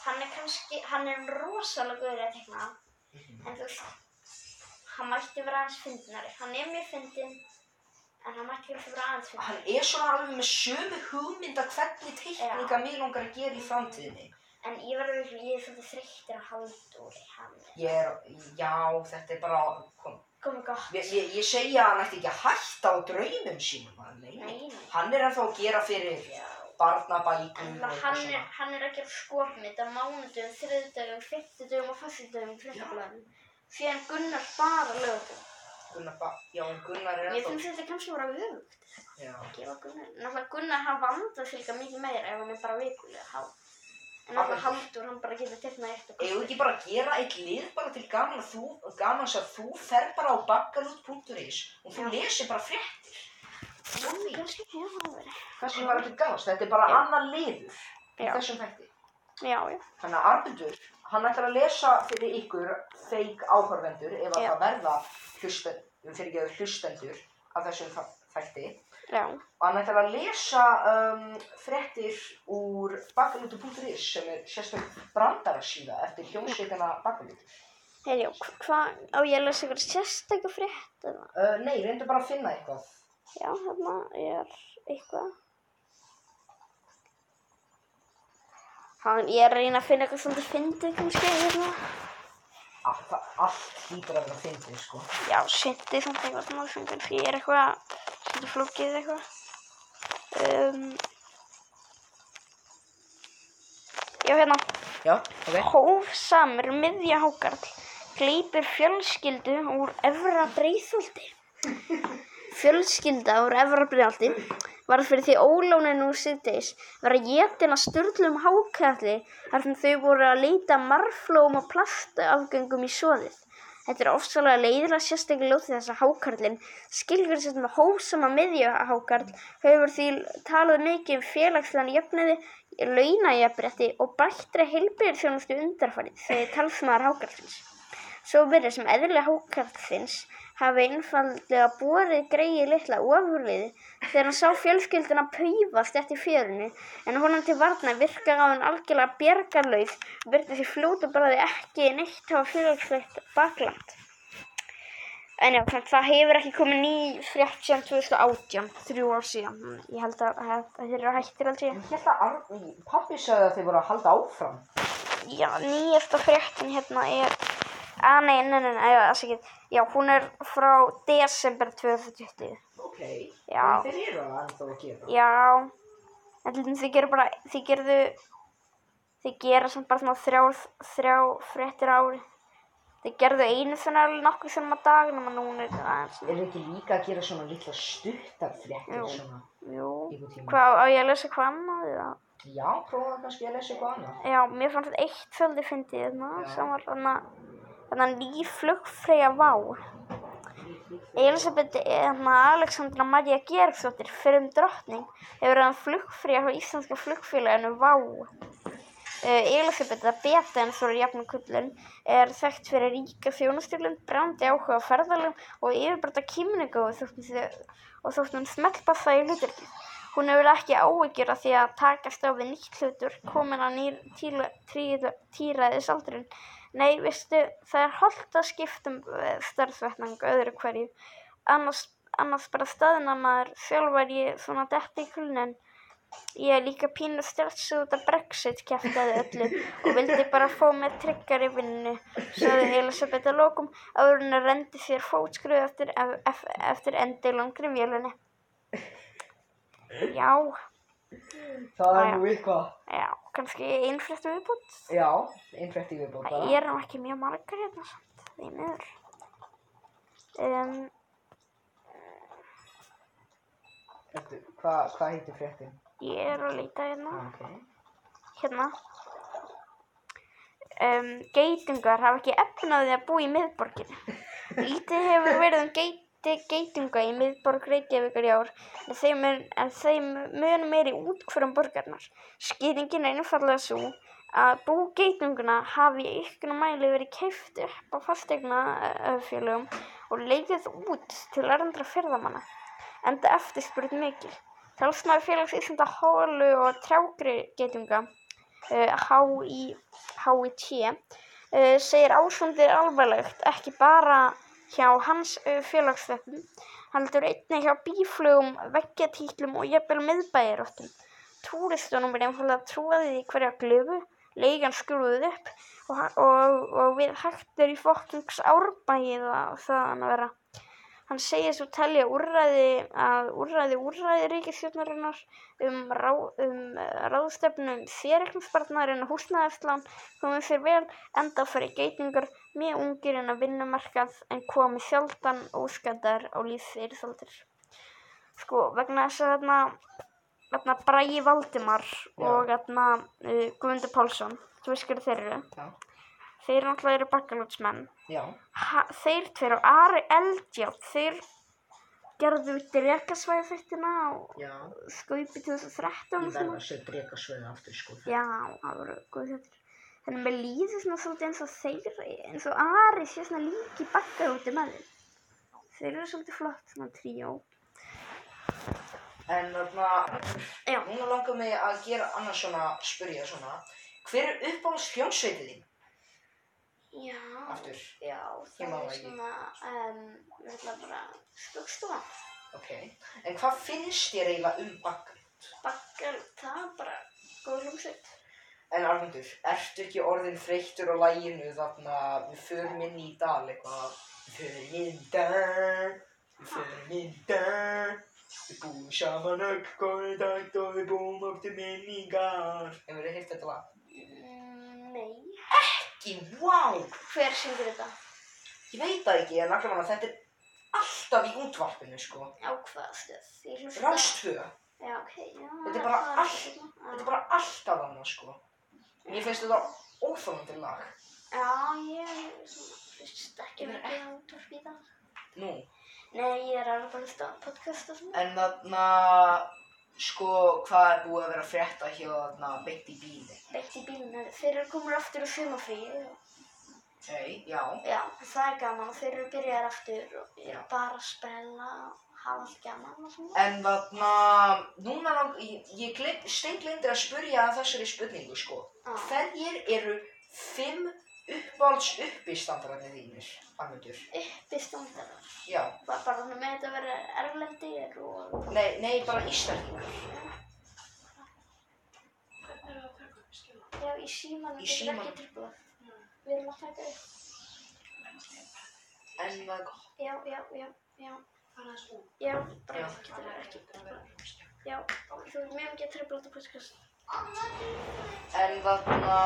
S2: hann er kannski, hann er rosalega góður að tekna, en þú veist, hann mætti vera aðeins fyndnari. Hann er mjög fyndin, en hann mætti kannski vera aðeins fyndin.
S1: Hann er svona alveg með sömu hugmynda hvernig teikninga mig langar að gera í framtíðinni.
S2: En ég verður, ég er svolítið þreyttir að halda úr hann.
S1: Ég er, já, þetta er bara, kom,
S2: Komið gott.
S1: ég, ég, ég segja að hann ætti ekki að hætta á draumum sínum, hann
S2: Nei,
S1: leini.
S2: nei.
S1: Hann er ennþá að gera fyrir
S2: Já.
S1: barnabækur
S2: En
S1: og
S2: það-
S1: eitthvað
S2: hann er,
S1: svona.
S2: hann er að gera skopmynd af mánudögum, þriðdögum, fymtudögum og fyrstudögum, fyrstudögum. Síðan Gunnar bara lögum.
S1: Gunnar, ba- já, en Gunnar er
S2: Ég
S1: ennþá,
S2: finnst þetta kannski bara vögt.
S1: já,
S2: Gefa Gunnar. Náttúrulega Gunnar hann vandar sig líka mikið meira ef hann er bara vikulega há. En
S1: Alveg.
S2: náttúrulega Haldur hann bara getur tegnað eitt og
S1: eigum við ekki bara að gera eitt lið bara til gaman að þú, gaman að þú fer bara á baggalút.is og þú
S2: Já.
S1: lesir bara fréttir.
S2: Kannski, kannski, já, það verið.
S1: Kannski var ekki gafast, þetta er bara
S2: Já.
S1: annar liður í
S2: Já.
S1: þessum þætti.
S2: Já, já.
S1: Þannig að Arbendur, hann ætlar að lesa fyrir ykkur feik áhörvendur ef að
S2: Já.
S1: það verða hlustendur, fyrir ekki að hlustendur af þessum þa- þætti.
S2: Já.
S1: Og hann ætlar að lesa um, fréttir úr bakalútu.is sem er sérstök brandarasíða eftir hljómsveitina bakalútu.
S2: Heiði, hvað, á ég að lesa ykkur sérstakku frétt eða?
S1: Uh, nei, reyndu bara að finna eitthvað.
S2: Já, hérna er eitthvað. Hann, ég er að reyna að finna eitthvað svona fyndið kannski, hérna.
S1: Allt, það- allt hlýtur að vera fyndið, sko.
S2: Já, syndið samt eitthvað svona sem kannski er eitthvað, svona flókið eitthvað. Um, já, hérna.
S1: Já, ok.
S2: Hófsamur miðjahákarl gleipir fjölskyldu úr Efra Breiðholti. Fjölskylda úr Efra Breiðholti var fyrir því ólónin úr síðdeis vera getin að sturlum hákarli þar sem þau voru að leita marflóm og plastafgöngum í soðið. Þetta er ofsalega leiðilega sérstaklega ljóð því þess að hákarlinn skilgur sér með hófsama miðjuhákarl hefur því talað mikið um félagslegan jöfniði, launajafnrétti og bættri heilbrigðsjónustu undarfarið þegar talsmaður hákarlins. Svo verið sem eðlilega hákarlsins hafi einfaldlega borið greið litla ofurliði þegar hann sá fjölskylduna paufast eftir fjörinu en honum til varna virkaði á hann algjörlega bjargarlaug og virti því fljótu bræði ekki neitt hafa fjölskyldt bakland. En já, þannig, það hefur ekki komið ný frétt síðan 2018, þrjú ár síðan. Ég held að, að, að þeir eru hættir aldrei.
S1: Ég held að Ar pappi sagði að þeir voru að halda áfram.
S2: Já, nýjasta fréttin hérna er að nei, nei, nei, nei, afsakið. já, hún er frá desember 2020
S1: Ok.
S2: Já.
S1: En þeir eru að ennþá að gera.
S2: Já, en til dæmis þið gerðu bara, þið gerðu þið gera samt bara svona þrjár, þrjá fréttir á ári þið gerðu einu svona nokkuð svona á dag nema núna er þetta aðeins
S1: Eru ekki líka að gera svona litla stuttar fréttir
S2: Jú.
S1: svona?
S2: Jú,
S1: Einhvern tímann.
S2: hvað á ég að lesa hvað annað eða?
S1: Já, prófaðu kannski að lesa eitthvað annað.
S2: Já, mér fannst þetta eitt fjöldi fyndið þarna,
S1: Já.
S2: sem var þarna, þarna ný flugfreyja vá. Elisabeth, þarna hérna, Alexandra Maria Gergsdóttir, fyrir um drottning, hefur verið hann flugfreyja frá íslenska flugfélaginu vá. Uh, Elisabeth, það beta en þóra jafnkullun, er þekkt fyrir ríka þjónustjölun, brándi áhuga á ferðalum og yfirbræta kýmningu og þóttum þau og þóttum smelpa það í hluturkið. Hún hefur ekki áhyggjur af því að takast á við nýtt hlutur, komin að nýr tíla- tríla- tíræðisaldurinn. Nei, veistu, það er holdt að skiptum starfsvetnang öðru hverju. Annars, annars bara staðnamaður, sjálf var ég svona detti í kulnun. Ég er líka pínu stressuð út af Brexit kæftaði öllu og vildi bara fá mér tryggar í vinnu, sagði Elisabeth að lokum áður en að rendi sér fótskruð eftir, ef- eftir endi langri vélunni. Já,
S1: Það
S2: Já.
S1: er nú eitthvað.
S2: já, kannski einfrétt viðbútt.
S1: Já, einn frétti við bóta.
S2: Það eru ekki mjög margar hérna samt, því miður. Um,
S1: Hvað hva heitir fréttin?
S2: ég er að leita hérna.
S1: Ah, ok.
S2: hérna um, geitungar hafa ekki efnaði að búa í miðborginni lítið hefur verið um geiti, geitunga í miðborg Reykjavíkur í ár en þeim, er, en þeim mun meiri útkvörum borgarnar skýringin er einfallega svo að bú geitunguna hafi í ykkur mæli verið keift upp á fastegna öfjölugum og leikið út til erndra ferðamanna enda eftirspurt mikil talsmaður félags Íslanda hólu og trjágri geitunga Eh, HIT eh, segir ásvöndið alvarlegt ekki bara hjá hans félagsveppum heldur einnig hjá bíflugum, veggjatítlum og jafnvel miðbæjaróttum. Túristunum er einfallega trúið í hverja glöfu
S3: leigan skrúðuð upp og, hann- og, og við hættur í fóttings árbæið og þaðan að vera. Hann segir svo telja úrræði að úrræði úrræði ríkistjórnarinnar um, rá, um eh, ráðstefnu um fyrirknusbarnar en húsnæðafslán komið fyrir vel enda fyrir geitingar mjög ungir en að vinnumarkað en komið sjaldan óskadar á lífsfyrirsaldir. Sko, vegna þess að þarna, þarna Bragi Valdimar og þarna uh, Guðmundur Pálsson, þú veist hverju þeir eru,
S1: Já,
S3: þeir náttúrulega eru bakkalútsmenn.
S1: já,
S3: Ha, þeir tveir og Ari Eldjátt, þeir gerðu drekasvæðfættina á
S1: já.
S3: skaupi 2013 og
S1: Ég
S3: svona.
S1: verð að segja drekasveið aftur sko.
S3: Já, það voru góð þetta. Þannig að mér líður svona svolítið eins og þeir, eins og Ari sé svona líki bakkað úti með þeim. Þeir eru svolítið flott svona tríó.
S1: En þarna,
S3: Já,
S1: núna langar mig að gera annars svona, spyrja svona. Hver er uppáhalds hljómsveitið þín?
S2: Já,
S1: Aftur.
S2: já,
S1: Ég
S2: það
S1: má
S2: er
S1: það ekki.
S2: svona, um, við ætlum bara, skuggstofa,
S1: Ok. En hvað finnst þér eiginlega um bakkan?
S2: bakkar, það er bara góð hljómsveit.
S1: En Arnundur, ertu ekki orðin þreyttur á læginu þarna við förum inn í dal eitthvað? Við förum inn í dal, við förum inn í dal, við búum saman öll góði dætt og við búum okkur minningar. Hefur þið heyrt þetta lag?
S2: Mm, nei.
S1: Ekki, wow!
S2: Hver syngur þetta?
S1: Ég veit það ekki, en allavega þetta er alltaf í útvarpinu, sko.
S2: Á hvað stöð? Ég hlusta-
S1: Rástvö,
S2: Já, ok, já.
S1: Þetta er bara
S2: það
S1: allt-
S2: ekki svona.
S1: þetta er bara alltaf annað, sko. Mér finnst þetta óþálandi lag.
S2: Já, ég svona, hlusta ekki
S1: Ég er
S2: mikið á útvarp í dag.
S1: Nú,
S2: Nei, ég er alveg bara að hlusta á podcast og svona.
S1: en þarna, sko, hvað er búið að vera að frétta hjá þarna beint í bíli?
S2: Beitt í bílunar, þeir eru komin aftur á sumafríi og
S1: Nei, já,
S2: já, það er gaman og þeir eru byrjar aftur og
S1: Já.
S2: eru bara að spela og hafa allt gaman og svona.
S1: en þarna, núna, lang- ég, ég glind, steinglindi að spurja að þessari spurningu, sko.
S2: Já.
S1: Hverjir eru fimm uppáhalds uppistandararnir þínir, Arnundur?
S2: Uppi standarar,
S1: Já,
S2: bara bara þannig með þetta að vera erlendir og...
S1: nei, nei, bara Íslandingar.
S2: Já, í símanum
S1: Í
S2: getur
S1: símanum.
S2: ekki tröflað. Við erum að taka upp.
S1: En það,
S2: Já, já, já, já. Já, bara það getur ekki tröflað. Já, þú er mjög mikið að tröfla þetta podcast.
S1: En þarna,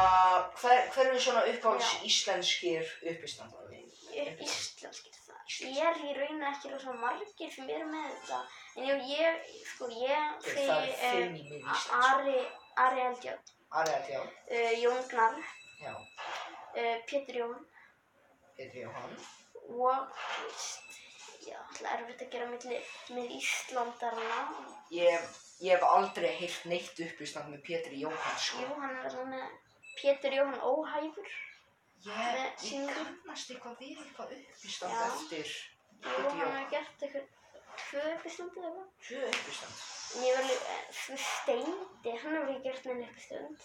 S1: hver, hver eru svona uppáhalds íslenskir uppistandar?
S2: Ég- Íslenskir það. Ég er í rauninni ekki rosa margir sem eru með þetta. En jú, ég, sko, ég,
S1: Það er
S2: eh,
S1: fimm í mið
S2: A-
S1: íslensku.
S2: Ari, Ari Eldjátt,
S1: Ariðat, já.
S2: uh, Jón Gnar,
S1: Já,
S2: uh, Pétur Jón
S1: Petri Jóhann.
S2: og, þú veist, já, alltaf erfitt að gera milli með Íslandarna.
S1: Ég, ég hef aldrei heyrt neitt uppistand með Petri Jóhann,
S2: Jú,
S1: sko.
S2: hann er alltaf með Pétur Jóhann óhæfur.
S1: Ég,
S2: með
S1: ég
S2: sínum.
S1: kannast eitthvað við eitthvað uppistand
S2: Já.
S1: eftir
S2: Jú,
S1: Pétur
S2: hann hefur
S1: Jóhann.
S2: gert eitthvað tvö uppistöndu eða eitthvað.
S1: Tvö uppistand.
S2: En ég verði, þú steindi, hann hefur ekki gert neina uppistund.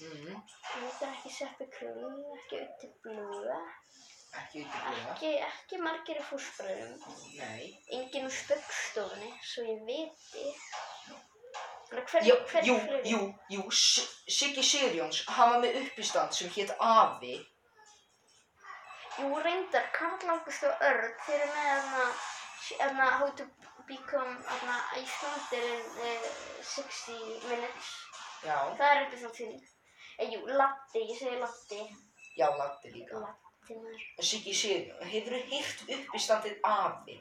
S1: Mm,
S2: Hann hefur ekki seppi krull, ekki utti blúða,
S1: ekki ytterlega.
S2: ekki, ekki margir í fúsbröðum.
S1: Nei.
S2: Enginn úr spöggstofunni, svo ég viti. Þannig hver,
S1: Jú,
S2: hver
S1: jú,
S2: fleiri?
S1: jú, jú, S- Siggi Sigurjóns, hann var með uppistand sem hétt Afi.
S2: Jú, reyndar, Karl Ágúst og Örn, þeir eru með þarna, þarna, how to become, þarna, Icelandir in uh, 60 minutes.
S1: Já,
S2: Það er uppið svona tíni. Eh, jú, Latti, ég segi Latti.
S1: já, Latti líka.
S2: Latti, maður.
S1: Siggi Sigurjóns, hefur þú heyrt uppistandið afi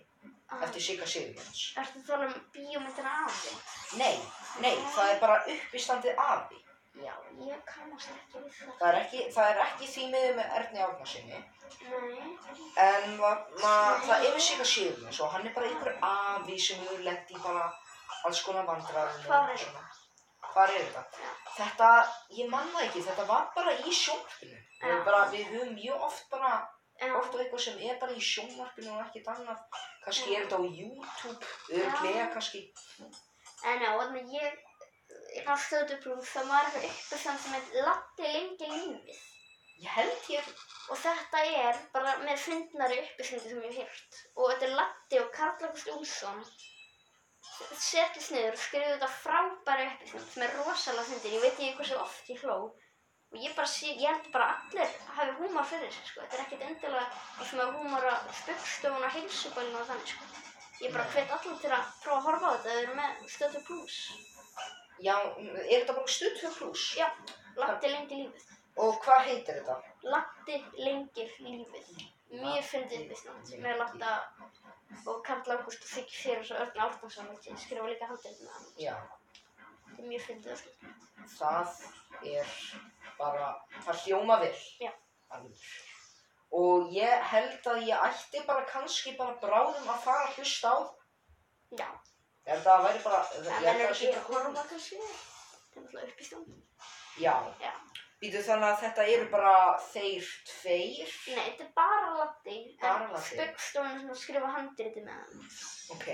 S2: Ah,
S1: eftir Sigga Sigurjóns?
S2: Ertu að tala um bíómyndina afi?
S1: Nei, nei, það er bara uppistandið afi.
S2: Já, ég kannast ekki við það.
S1: Það er ekki, það er ekki því miður með Erni Árnarsinni,
S2: Nei.
S1: en það, það er við Sigga Sigurjóns og hann er bara einhver afi sem hefur lent í bara alls konar vandræðum. og
S2: Hvar er
S1: svona. Hvar er þetta? Þetta, ég man það ekki, þetta var bara í sjónvarpinu. Við,
S2: Já.
S1: bara, við höfum mjög oft bara
S2: En,
S1: oft á eitthvað sem er bara í sjónvarpinu og ekkert annað. Kannski er þetta á YouTube, örglega kannski.
S2: en já, þannig ég, ég var stöðu brúð, það var eitthvað uppið svona sem heit Latti lengi lífið.
S1: Ég held ég
S2: Og þetta er bara með fundnari upplýsingar sem ég hef hýrt. Og þetta er Latti og Karl August Úlfsson setjast niður og skrifu þetta frábæra upplýsingar sem er rosalega fundir. Ég veit ekki hversu oft ég hló. og ég bara sé, ég held bara að allir hafi húmor fyrir þessu sko, þetta er ekkert endilega eins og með húmor á spöggstofun og heilsubælinu og þannig sko. Ég bara hvet allir til að prófa að horfa á þetta, þau eru með stöðu plus.
S1: Já, er þetta bara stutt fyrir pluss?
S2: Já, landi lengi lífið.
S1: Og hvað heitir þetta?
S2: Landi lengi lífið. Mjög fyndið viðstand með Latta og Karl Ágúst og Siggi Fyrir og Örn Árnason sem skrifa líka handriðna.
S1: Já,
S2: Þetta er mjög fyndið og skemmt.
S1: það er bara, það hljóma vel.
S2: Já.
S1: Alveg. Og ég held að ég ætti bara kannski bara bráðum að fara að hlusta á.
S2: Já,
S1: Er það væri bara, ég
S2: en
S1: held að
S2: menn eru
S1: það sé
S2: ekki
S1: bara
S2: að horfa kannski. Það er náttúrulega upp í stund.
S1: Já,
S2: Já.
S1: býtu þannig að þetta eru bara þeir tveir.
S2: Nei, þetta er bara Latti.
S1: Bara Laddi.
S2: Spöggstofun er svona að skrifa handriði með hann.
S1: Ok,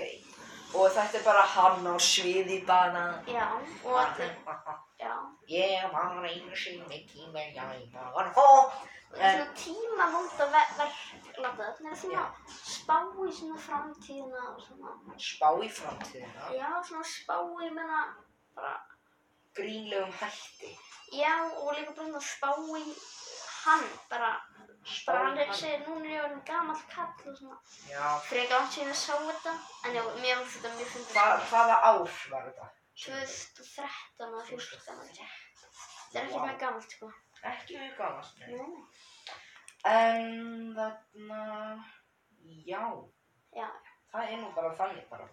S1: og þetta er bara hann á sviði bara.
S2: Já, og þetta er, já.
S1: Ég var einu sinni tíma, ég var hó.
S2: Og þetta er svona tímamóta verk, Latta. Þetta er svona
S1: Já.
S2: spá í svona framtíðina og svona.
S1: Spá í framtíðina,
S2: Já, svona spá í, menna, bara
S1: grínlegum hætti.
S2: Já, og líka bara svona spá í hann, bara,
S1: Spá
S2: bara hann
S1: í
S2: er að segja, núna er ég orðin gamall kall og svona.
S1: Já,
S2: Frekar langt síðan að sá þetta, en já, mér finnst þetta mjög fyndið.
S1: Hva, hvaða ár var þetta?
S2: 2013 eða 14 eða eitthvað. Þetta er ekki
S1: Vá.
S2: mjög gamalt, sko.
S1: Ekki mjög gaman.
S2: Nei, nei.
S1: En þarna, já,
S2: Já,
S1: það er nú bara þannig bara.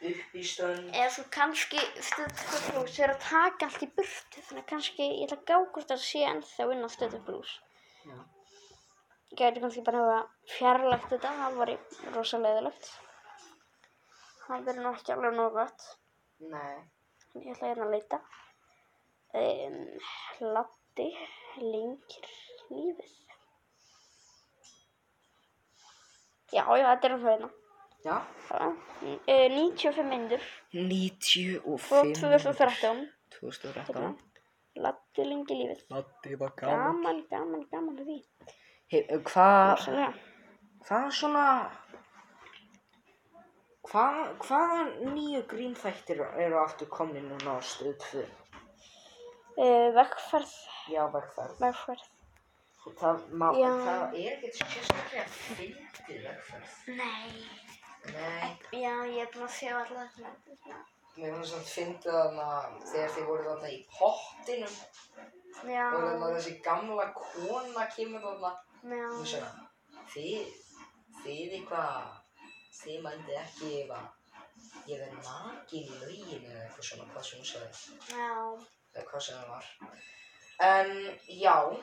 S1: Upp í stönd.
S2: eða svo kannski sko, stöðtöflús er að taka allt í burtu, þannig að kannski ég ætla að gá hvort það sé ennþá inn á stöðtöflús.
S1: Já.
S3: Ég gæti kannski bara hafa fjarlægt þetta, það var rosalegðilegt. Það verður nú ekki alveg nóg gott.
S1: Nei.
S3: En Ég ætla hérna að leita. Um, Latti lengir lífið. Já, já, þetta er um það hérna.
S1: Já.
S3: Það var, eh, 95 myndur
S1: 95.
S3: frá 2013.
S1: 2013.
S3: Latti lengi lífið.
S1: Latti var
S3: Gaman, gaman, gaman að því.
S1: Hey, hvað,
S3: Rosalega.
S1: hvað er svona, hvað, hvaða nýju grínþættir eru aftur komni núna á stöð 2?
S3: Uh, vegferð,
S1: Já, vegferð.
S3: vegferð.
S1: Það, má,
S3: Já.
S1: það er ekkert sérstaklega fyndið vegferð.
S2: Nei.
S1: Nei.
S2: Já, ég er búin að sjá alltaf þetta.
S1: Mér finnst samt fyndið þarna þegar þið voru þarna í pottinum
S2: Já,
S1: og þarna þessi gamla kona kemur þarna
S2: Ah.
S1: og
S2: já.
S1: svona, þið, þið eitthvað, þið mændið ekki ef að ég verð nakin í lauginu eða eitthvað svona, hvað sem hún sagði,
S2: Já,
S1: eða hvað sem það var. En já,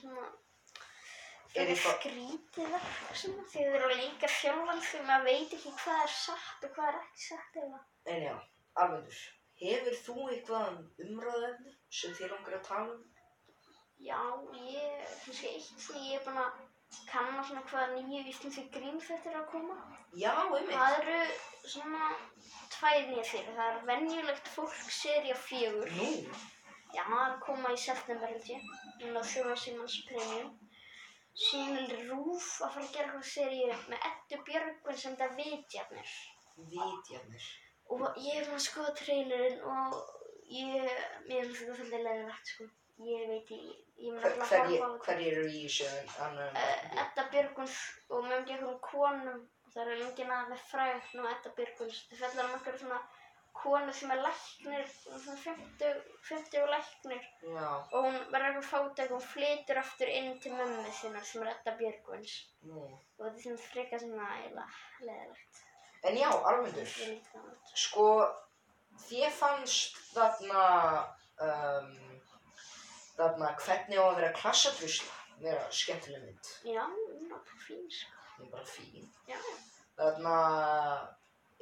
S2: svona
S1: Er
S2: það er
S1: eitthvað-
S2: skrítið verk svona því þið eru að leika sjálfan því maður veit ekki hvað er satt og hvað er ekki satt eða
S1: en já, alvegður, hefur þú eitthvað umræðefni sem þið langar að tala um?
S2: já, ég, kannski eitt sem ég er búin að kanna svona hvað nýju íslenski grínfættir eru að koma
S1: Já, einmitt.
S2: það eru svona tvær nýja fyrir, það er venjulegt fólk serið fjögur
S1: Nú,
S2: Já, það er að koma í september held ég. Núna á sjóra Simons Premium. Síðan er Rúf að fara að gera eitthvað seríu með Eddu Björgvin sem þetta vitjarnir.
S1: vitjarnir.
S2: Og ég er búin að skoða trailerinn og ég, mér finnst þetta fyrir leiðilegt sko. Ég veit í, ég mun
S1: Hver,
S2: alltaf að
S1: hverjir
S2: horfa á þetta.
S1: hverjir eru í þessu annar en
S2: Uh, Edda Björgvins og með ekki einhverjum konum. Það eru engin að með fræðin og Edda Björgvins. Það fellar um einhverjum svona konu sem er læknir, svona 50, 50 læknir.
S1: Já.
S2: og hún verður eitthvað fátæk og hún flytur aftur inn til mömmu sinna sem er Edda Björgvins
S1: Nú.
S2: og þetta er svona frekar svona eila leðilegt
S1: En já, Armundur,
S2: ég líka það út
S1: sko, þér fannst þarna, um, þarna hvernig á að vera klassatrusla vera skemmtileg mynd.
S2: já, hún er bara fín
S1: Ég
S2: sko
S1: er bara fín.
S2: já,
S1: Þarna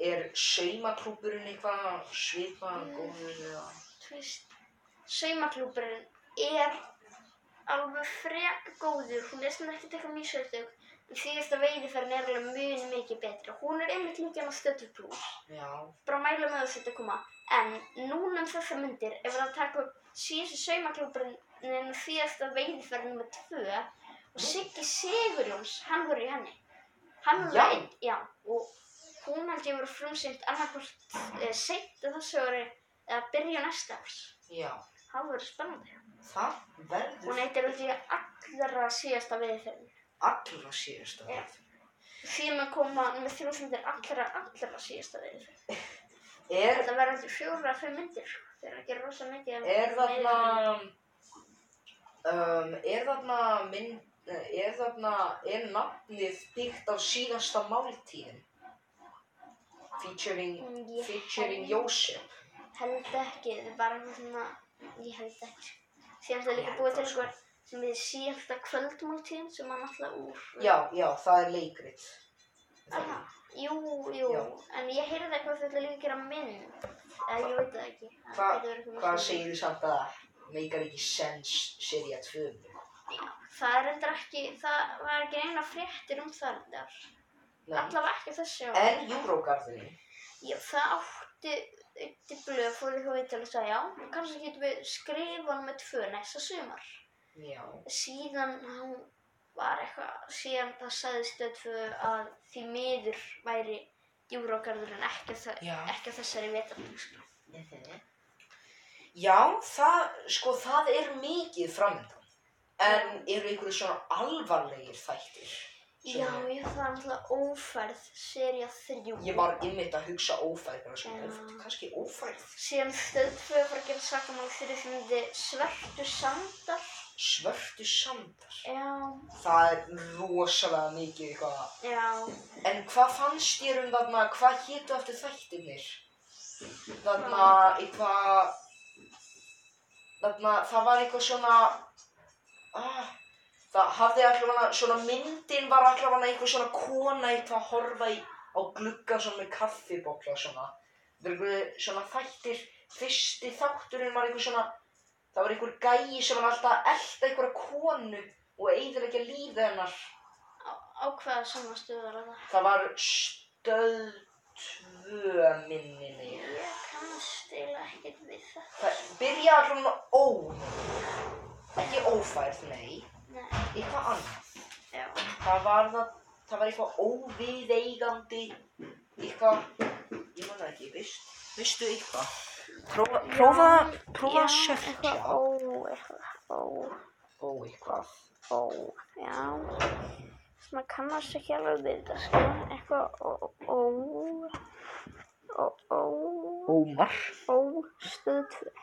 S1: er saumaklúburinn eitthvað svipaðan
S2: Mm.
S1: góður eða...
S2: þú veist saumaklúburinn er alveg frek góður hún er svona ekkert eitthvað mjög svolítug en síðasta veiðiferðin er alveg mjög mikið betri hún er einmitt líka með stöðuplús
S1: Já,
S2: bara mæla með þessu þetta koma en núna um þessar myndir ef við að taka upp síðustu saumaklúburinn en síðasta veiðferð nummer tvö og Siggi Sigurjóns hann voru í henni
S1: Já.
S2: hann var einn, já og hún held ég voru frumsýnt annarkvöld eh, seint að þessu ári eða byrja næsta árs
S1: já.
S2: Það verður spennandi.
S1: Það verður
S2: Hún heitir held ég allra síðasta viðferðin.
S1: allra síðasta
S2: Já.
S1: viðferð.
S2: Síðan að koma með þrjúsundir allra, allra síðasta viðferð.
S1: Er,
S2: Þetta verður held ég fjóra, fimm myndir. Það er ekki rosa mikið. af
S1: er þarna,
S2: viðferðum.
S1: um, er þarna mynd, er þarna, er nafnið byggt á síðasta máltíðin? Featuring,
S2: Mm, ég
S1: featuring
S2: held-
S1: Jósef.
S2: Held ekki, þetta er bara eitthvað svona, ég held ekki. Síðan það er líka
S1: Ég
S2: búið
S1: held
S2: til
S1: það,
S2: eitthvað sem við síðasta kvöldmáltíðin sem hann alltaf úr.
S1: Já, já, það er leikrit.
S2: Aha, jú, jú,
S1: Já.
S2: en ég heyrði eitthvað þetta líka að gera mynd, eða ég veit það ekki. Það
S1: Hva-
S2: getur verið eitthvað
S1: Hvað
S2: svona.
S1: segir þú samt að það meikar ekki sens serið að tvöðum?
S2: Já, það er reyndar ekki, það var ekki eina fréttir um það reyndar. Allavega ekki þessi ári.
S1: En Júrógarðinni,
S2: Já, það átti ytti blöð fór eitthvað við til að segja, já, kannski getum við skrifað með tvö næsta sumar.
S1: já,
S2: síðan hann var eitthvað, síðan það sagði stöðfu að því miður væri djúrógarðurinn ekki, þa
S1: Já.
S2: ekki á þessari sko. vetardagskrá.
S1: Já, það, sko, það er mikið framöndan. En eru einhverju svona alvarlegir þættir? sem
S2: Já,
S1: eru?
S2: ég það er alltaf ófærð, serja þrjú.
S1: Ég var ymmit að hugsa ófærð, bara
S2: Já.
S1: svona, ja. kannski ófærð.
S2: Síðan stöðfu var að gera sakamál fyrir sem myndi Svertu Sandar.
S1: Svörtu sandar.
S2: Já,
S1: Það er rosalega mikið eitthvað.
S2: já,
S1: En hvað fannst þér um þarna, hvað hétu eftir þættirnir? Þarna, eitthvað, þarna, það var eitthvað svona, ah, það hafði allavega, svona myndin var allavega eitthvað svona kona eitthvað að horfa í, á glugga svona með kaffibokla svona. Það var eitthvað svona þættir, fyrsti þátturinn var eitthvað svona, það var eitthvað gæi sem var alltaf að elda eitthvað konu og eiginlega lífið hennar.
S2: á, á hvaða samanstöðu var það?
S1: Það var stöð tvö minni mig.
S2: Ég kannast eiginlega ekkert við það.
S1: Það byrjaði allavega með ó. Ekki ófærð, nei.
S2: Nei,
S1: Eitthvað annað.
S2: já,
S1: Það var það, það var eitthvað óviðeigandi. Eitthvað, ég man það ekki, veist, veistu eitthvað? Prófa,
S3: Já, já, Eitthvað, ó, eitthvað, ó,
S1: Ó, eitthvað.
S3: ó, já. Svona kannast ekki alveg við þetta, sko. Eitthvað, ó, ó, ó, ó,
S1: Ómar,
S3: ó, stöð 2,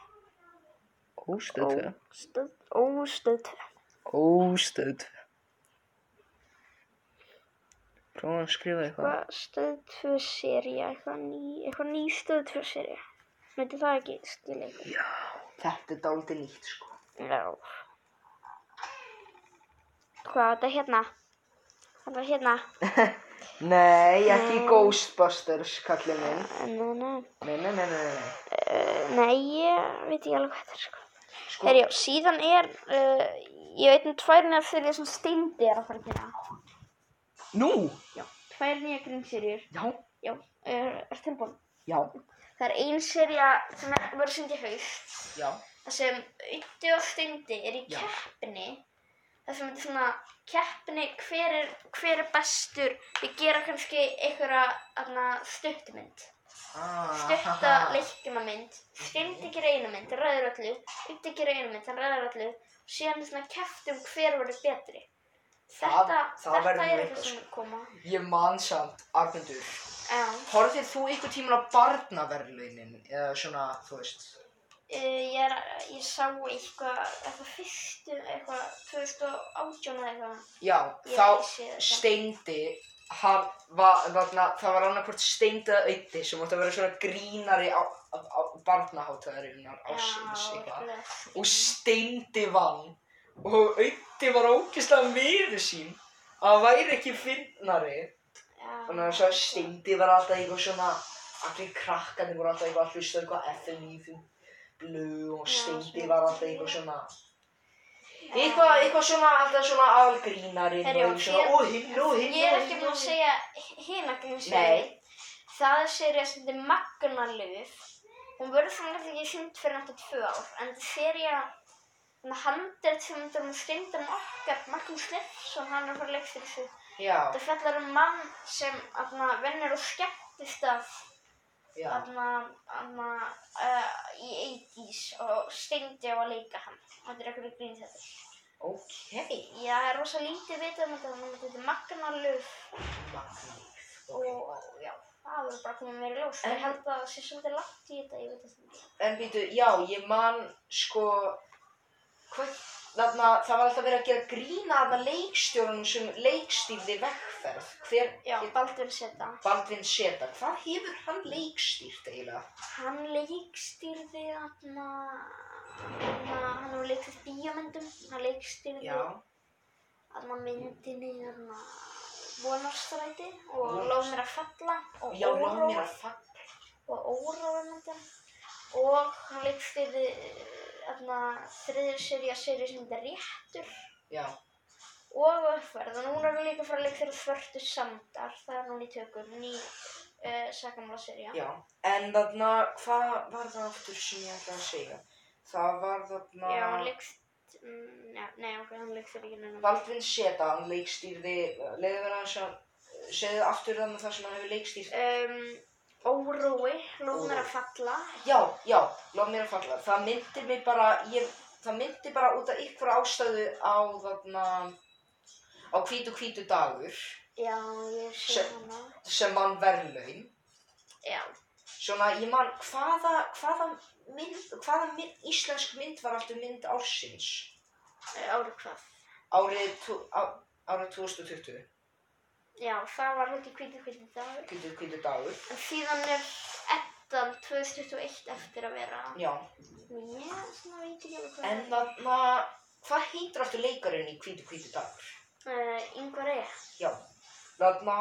S1: ó
S3: Ó.
S1: stöð
S3: stöð, ó, stöð 2.
S1: tvö, ó stöð tvö. Prófa að skrifa eitthvað.
S3: Eitthvað stöð 2 sería, eitthvað ný, eitthvað ný stöð 2 sería. Myndi það ekki skilja ykkur?
S1: Já, þetta er dálítið nýtt sko.
S3: Já. Hvað, þetta er hérna? Þetta er hérna?
S1: Nei, ekki
S3: Nei.
S1: Ghostbusters, kallið minn.
S3: Nei, nei.
S1: Nei, nei, nei, nei, nei.
S3: Uh, nei, ég veit ekki alveg hvað þetta er sko.
S1: Sko,
S3: Herjá, síðan er, uh, ég veit um tvær nýjar serið sem Steindi er að fara að gera.
S1: nú,
S3: Tvær nýjar grínserjur,
S1: já,
S3: já, uh, er tilbúin.
S1: já,
S3: Það er ein serja sem er, verður sýnd í haust,
S1: já,
S2: það sem Utti og Steindi er í
S1: Já.
S2: keppni það sem þetta er svona keppni hver er, hver er bestur við gera kannski einhverja þarna, stuttmynd
S1: Ah,
S2: stutta leikjumamynd Steindi gera eina mynd, hann ræður öllu Utti gera eina mynd, hann ræður öllu og síðan er svona keppt um hver verður betri
S1: Það-
S2: þetta,
S1: það
S2: þetta
S1: verður
S2: er
S1: eitthvað, sko.
S2: eitthvað sem er að koma
S1: Ég man samt, Arnundur,
S2: Já,
S1: horfðir þú einhvern tíman á barnaverlunin, eða svona, þú veist,
S2: uh, ég, er, ég sá eitthvað, eitthvað fyrstu, eitthvað 2018 eða eitthvað.
S1: já,
S2: Ég hef ekki
S1: þá
S2: séð þetta.
S1: steindi, hann, var, þarna, það var annarkvort steindi að auði sem átti að vera svona grínari á, á, á barnahátæðarinnar ásins, eitthvað. og steindi vann og auði var ógeðslega miður sín að hann væri ekki finnari þannig að svo steindi var alltaf eitthvað svona allir krakkarnir voru alltaf eitthvað að hlusta á eitthvað FNÍFU blu og
S2: Já,
S1: steindi
S2: svona.
S1: var alltaf eitthvað svona eitthvað, eitthvað svona alltaf svona algrínarinn og
S2: Herjá,
S1: eitthvað svona
S2: ég-
S1: og hinn og hinn
S2: Ég er ekki búin að segja hina
S1: Nei.
S2: grínserið. Það er serið sem þetta er Magnalöf. Hún verður þannig ekki sýnd fyrir náttúrulega tvö ár. En þetta serið að handelt sem þetta er um steindan okkar, Magnús Leifsson, hann er að fara að leik fyrir þessu.
S1: já,
S2: Þetta fjallar um mann sem aðna, vennir og skemmtist af
S1: Já.
S2: Anna, anna, uh, í 80s og steindi á að leika hann. Þetta er eitthvað grín þetta.
S1: Ok.
S2: Já, það er rosa lítið vitað um þetta, þannig að þetta er magnalöf
S1: Magnað. Ok.
S2: og já, það verður bara komið meira í ljós.
S1: En-
S2: Ég held að það sé svolítið langt í þetta, ég veit þetta ekki.
S1: En býtu, já, ég man, sko, hvað, þarna, það var alltaf verið að gera grína að leikstjórnum sem leikstýrði vegferð. Hver,
S2: Já,
S1: hét
S2: Baldur Seta.
S1: Baldvin Seta, hvað hefur hann leikstýrt eiginlega?
S2: Hann leikstýrði þarna, þarna, hann hefur leikstýrt bíómyndum, hann leikstýrði þarna myndinni þarna vonarstræti og
S1: Vonarstræti.
S2: lág mér að falla og
S1: Já, lág mér
S2: óróa
S1: að fagna.
S2: og óróa myndin og hann leikstýrði eh, þarna þriður serið að serið sem þetta réttur
S1: Já,
S2: og uppverð og núna er hann líka að fara að leikstýra svörtu samdar, það er núna í tökum, ný uh, sakamla serið.
S1: já. En þarna, hvað var það aftur sem ég ætlaði að segja? Það var þarna...
S2: Já, hann leikst, mm, já, nei, ok, hann leikstýrði ekki núna.
S1: Baldvin Seta, hann leikstýrði, leiði verið hans að segja aftur þannig það sem hann hefur leikstýrt.
S2: um, órói,
S1: Órói.
S2: lóð mér að falla.
S1: Já, já, lof mér að falla. Það myndi mig bara, ég, það myndi bara út af ykkur ástæðu á þarna, á hvítu hvítu dagur
S2: Já, ég sé
S1: Sem-
S2: hana.
S1: sem vann verðlaun.
S2: Já,
S1: Svona, ég man, hvaða, hvaða mynd, hvaða mynd, íslensk mynd var alltaf mynd ársins?
S2: ára uh, hvað.
S1: Árið, tú, á, árið 2020,
S2: Já, það var hluti kvítið kvítið dagur.
S1: hvítu hvítu dagur.
S2: En síðan er ettan 2021 eftir að vera.
S1: Já,
S2: Ég svona veit ekki alveg hvað.
S1: en þarna, hvað heitir aftur leikarinn í hvítu hvítu dagur?
S2: Uh, Yngvar E.
S1: Já, þarna,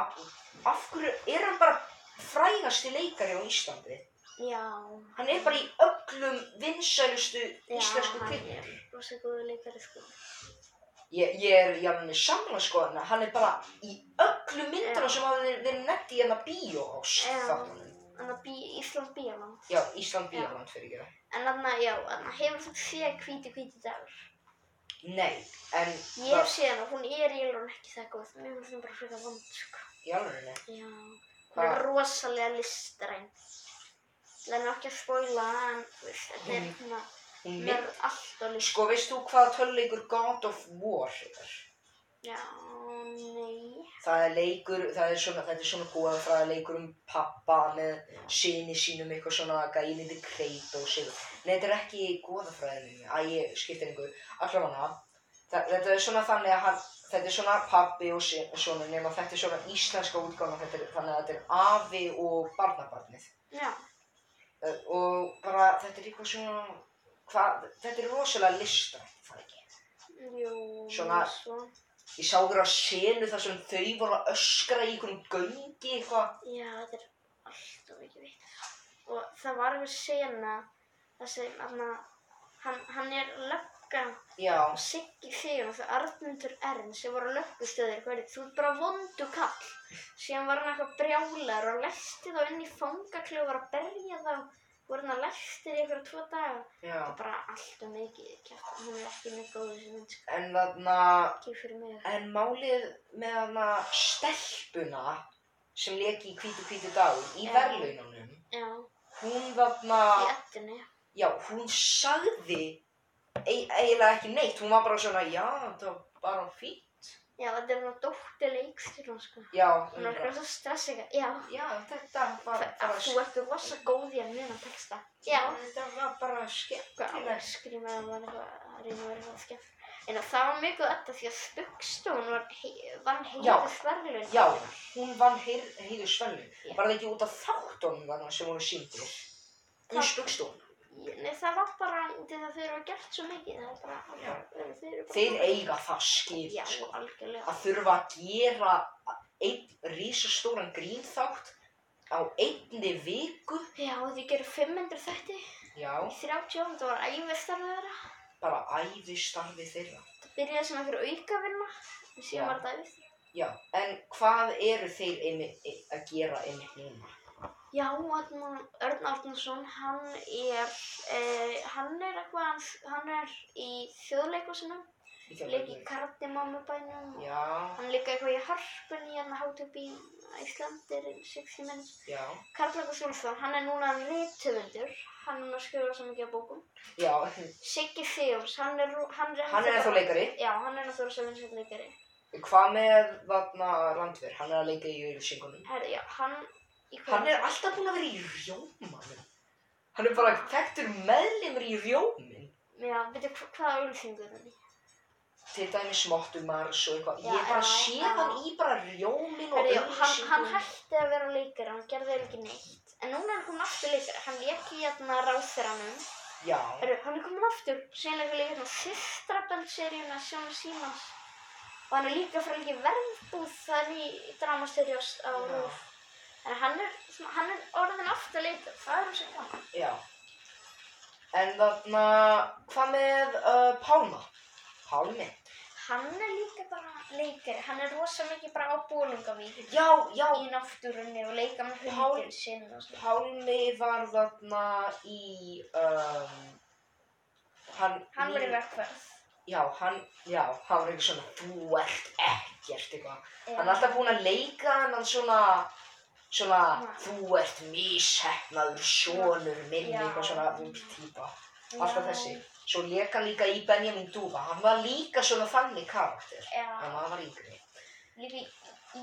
S1: af hverju, er hann bara frægasti leikari á Íslandi?
S2: Já.
S1: Hann er bara í öllum vinsælustu
S2: Já,
S1: íslensku
S2: hann
S1: kvikmyndir.
S2: er Rosa góðu leikari sko.
S1: Ég, ég er í alveg samla sko hann, hann er bara í öllum myndunum
S2: Já.
S1: sem hafa verið verið nett í hérna hennar bíóás
S2: Já.
S1: þáttunum.
S2: Þannig að bí, Ísland Bíaland.
S1: Já, Ísland
S2: Já.
S1: bíóland fyrir ekki það.
S2: En þannig að, já, þannig að hefur þú séð kvítið kvítið dagur?
S1: Nei, en
S2: Ég hef séð hana, hún er í alveg ekki það góð. Mér finnst hún bara frekar vond sko.
S1: í alveg nei.
S2: Já, hún
S1: Hvað?
S2: er rosalega listræn. Það er nú ekki að spoila en þú veist, þetta er
S1: Mhm.
S2: hérna,
S1: Hún
S2: hún er
S1: mynd,
S2: alltaf list.
S1: sko veist þú hvaða töluleikur God of War er?
S2: Já, nei.
S1: Það er leikur, það er svona, þetta er svona góðafræða leikur um pappa með sinni sínum eitthvað svona gæðindi kreit og sér. Nei, þetta er ekki góðafræðinni, að ég skipta einhver. Allra hana, þetta er svona þannig að hann, þetta er svona pappi og sin- svona, nema þetta er svona íslenska útgáma, þetta er, þannig að þetta er afi og barnabarnið.
S2: Já,
S1: Eh, Og bara, þetta er eitthvað svona, hvað, þetta er rosalega listrænt, það ekki.
S2: jú,
S1: Svona-
S2: svo.
S1: Ég sá þér á senu þar sem þau voru að öskra í einhverjum göngi eitthvað.
S2: Já, þetta er alltaf ekki veit. Og það var við sena, það sem, hérna, hann, hann er lögga
S1: Já.
S2: og Siggi Sigur og það Arnundur Ern sem voru löggustöðir, hvað er þetta? Þú ert bara vondu kall. Síðan var hann eitthvað brjálar og lesti þá inn í fangakljóð og var að berja þá. Voru hann að lesti í eitthvað tvo daga.
S1: Já,
S2: Bara allt og mikið kjátt. Hún er ekki mjög góð þessi mynd, sko.
S1: en þarna,
S2: Ekki fyrir mig.
S1: en málið með þarna stelpuna sem leki í hvítu hvítu dag í
S2: Já.
S1: verðlaununum,
S2: Já,
S1: hún þarna,
S2: í ettinni.
S1: já, hún sagði ei- eiginlega ekki neitt, hún var bara svona, já, það var bara fínt.
S2: Já, þetta er hann dótti leikstur hún, sko.
S1: Já, hún
S2: Hún er
S1: bara,
S2: eitthvað svo stressið. Já,
S1: já, þetta var
S2: að
S1: bara,
S2: þú ert rosa góð í að muna texta. Já.
S1: þetta var bara
S2: Hvað
S1: skemmtilegt.
S2: áskrifa það var eitthvað, að reyna að vera eitthvað skemmt. En það var mjög góð þetta því að Spugstón var, hei, var
S1: Já.
S2: heiðið sverlun.
S1: Já, hún vann heiðu svelnum,
S2: Já.
S1: var það ekki út af þáttunum þarna sem voru síndir? Hún
S2: Það-
S1: spugst hún.
S2: Nei, það var bara, þegar þau eru að gert svo mikið, það er bara,
S1: Já.
S2: þau eru bara.
S1: Þeir eiga það skip,
S2: Já,
S1: sko.
S2: algjörlega.
S1: að þurfa að gera einn rísastóran grínþátt á einni viku
S2: Já, þau gerir 500 þætti
S1: já,
S2: í 30 ára, það var æfistarfið þeirra.
S1: bara æfistarfi þeirra
S2: Það byrjaði sem einhver aukavinna, en
S1: Já.
S2: síðan var þetta æfistarfið.
S1: já, en hvað eru þeir einmi, e- að gera einmitt núna
S2: Já, Arnur, Örn Árnason, hann er, eh, hann er eitthvað, hann er í þjóðleikúsinu
S1: Í
S2: Svo leik
S1: Keflavík.
S2: í kardimammabænum og
S1: Já,
S2: hann leik eitthvað í harpunni hérna hátt upp í Íslandir in 60 minutes.
S1: já,
S2: Karl-Leikus Úlfsson, hann er núna rithöfundur, hann er núna að skrifa svo mikið af bókum.
S1: já,
S2: Siggi Fjóms, hann er... rú- Hann er,
S1: hann er ennþá leikari.
S2: Já, hann er náttúrulega sem vinsett leikari.
S1: Hvað með þarna Landver? Hann er að leika í auðlýsingunum.
S2: Herri, já, hann... Í hverju-
S1: Hann er alltaf búinn að vera í rjómanum. Hann er bara þekktur meðlimur í rjómin.
S2: Já, veitu hva- hvaða auðlýsingu er hann í?
S1: Til dæmis Mottumars og eitthvað.
S2: Já,
S1: Ég bara
S2: já,
S1: sé
S2: já.
S1: hann í bara rjómin og
S2: Herri, já, hann, hann
S1: auglýsingum.
S2: hætti að vera leikari, hann gerði eiginlega ekki neitt. En núna er hann komin aftur leikari, hann leik í hérna ráþeranum.
S1: Já,
S2: Herri, hann er komin aftur, sérlega leik hérna Sistrabend-seríuna, Sjónu Símans. Og hann er líka frá leik í verðbúð, það er ný dramaseríu á
S1: Já.
S2: Rúf. En hann er, svona- hann er orðin aftur leikari, það er hans eitthvað.
S1: já. En þarna, hvað með uh, Pálma? Pálmi?
S2: Hann er líka bara leikari, hann er rosa mikið bara á bólingavík.
S1: Já, já,
S2: Í náttúrunni og leika með
S1: Pál-
S2: hundin sinn og svona.
S1: Pálmi var þarna í, um, hann,
S2: Hann var í verkverð.
S1: já, hann, já, hann var eitthvað svona, þú ert ekkert eitthvað. Hann er
S2: Já.
S1: alltaf búinn að leika hennan svona, svona,
S2: Já.
S1: þú ert mishefnaður, sonur minn,
S2: Já.
S1: eitthvað svona, þú veist, típa, alltaf
S2: Já.
S1: þessi. Svo leika hann líka í Benjamin Dúfa, hann var líka svona þannig karakter,
S2: Já,
S1: hann var yngri.
S2: líka í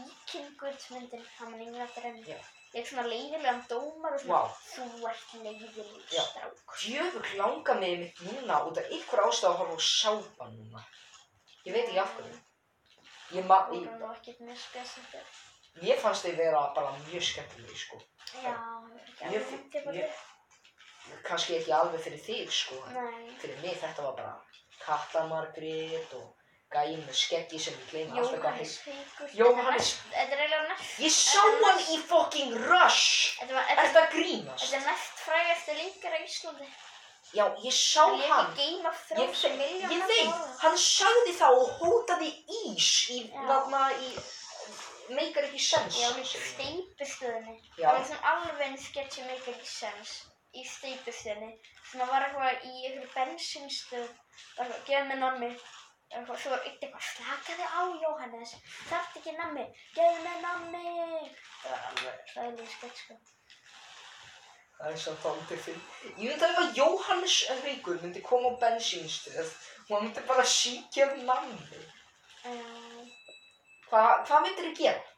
S2: íkynguðsmyndir, hann er yngla drömm.
S1: Já.
S2: Ég er svona leiðilegan dómar og svona,
S1: Vá.
S2: þú ert leiðileg
S1: Já.
S2: strák.
S1: Djöfull langar mig mitt núna út af ykkur ástæðu að horfa á sápa núna. Ég veit ekki af hverju. Ég, ma,
S2: Það
S1: ég,
S2: voru nú ekkert mjög skessandi.
S1: ég fannst þau vera bara mjög skemmtileg, sko.
S2: Já, hann er ekki
S1: Ég-
S2: alveg myndið bara
S1: ég- Kanski ekki alveg fyrir þig, sko. en
S2: Nei.
S1: Fyrir mig þetta var bara Katta Margrét og gæinn með skeggi sem ég gleyma alltaf hvað
S2: Jóhannes
S1: heitir.
S2: Haukur.
S1: Jóhannes.
S2: Þetta er eiginlega næst.
S1: Ég sá hann í fucking Rush!
S2: Þetta var,
S1: Er
S2: þetta
S1: það
S2: þetta
S1: grínast?
S2: er næst frægastu leikar á Íslandi.
S1: Já, ég sá
S2: Hann lék
S1: hann.
S2: í Game of
S1: Ég,
S2: Thrones og
S1: ég
S2: milljón
S1: veit, hann sagði það og hótaði ís í,
S2: Já.
S1: þarna í, meikar ekki sens.
S2: Já, líka í steipustöðinni.
S1: Já.
S2: Það var svona alveg eins sketch sem make ekki sens í steipustöðinni. Svona var eitthvað í einhverju bensinstöð, var eitthvað, gefðu mér nammi. Eitthvað, svo var eitt eitthvað, slakaði á Jóhannes, þarft ekki nammi, gefðu mér nammi. Það var alveg ræðilega sketch sko.
S1: Það er svo dálítið fyrir. Ég veit alveg að Jóhannes Haugur myndi koma á bensínstöð og hann myndi bara síkja um nammi.
S2: Um,
S1: Hva, hvað myndir þið gera?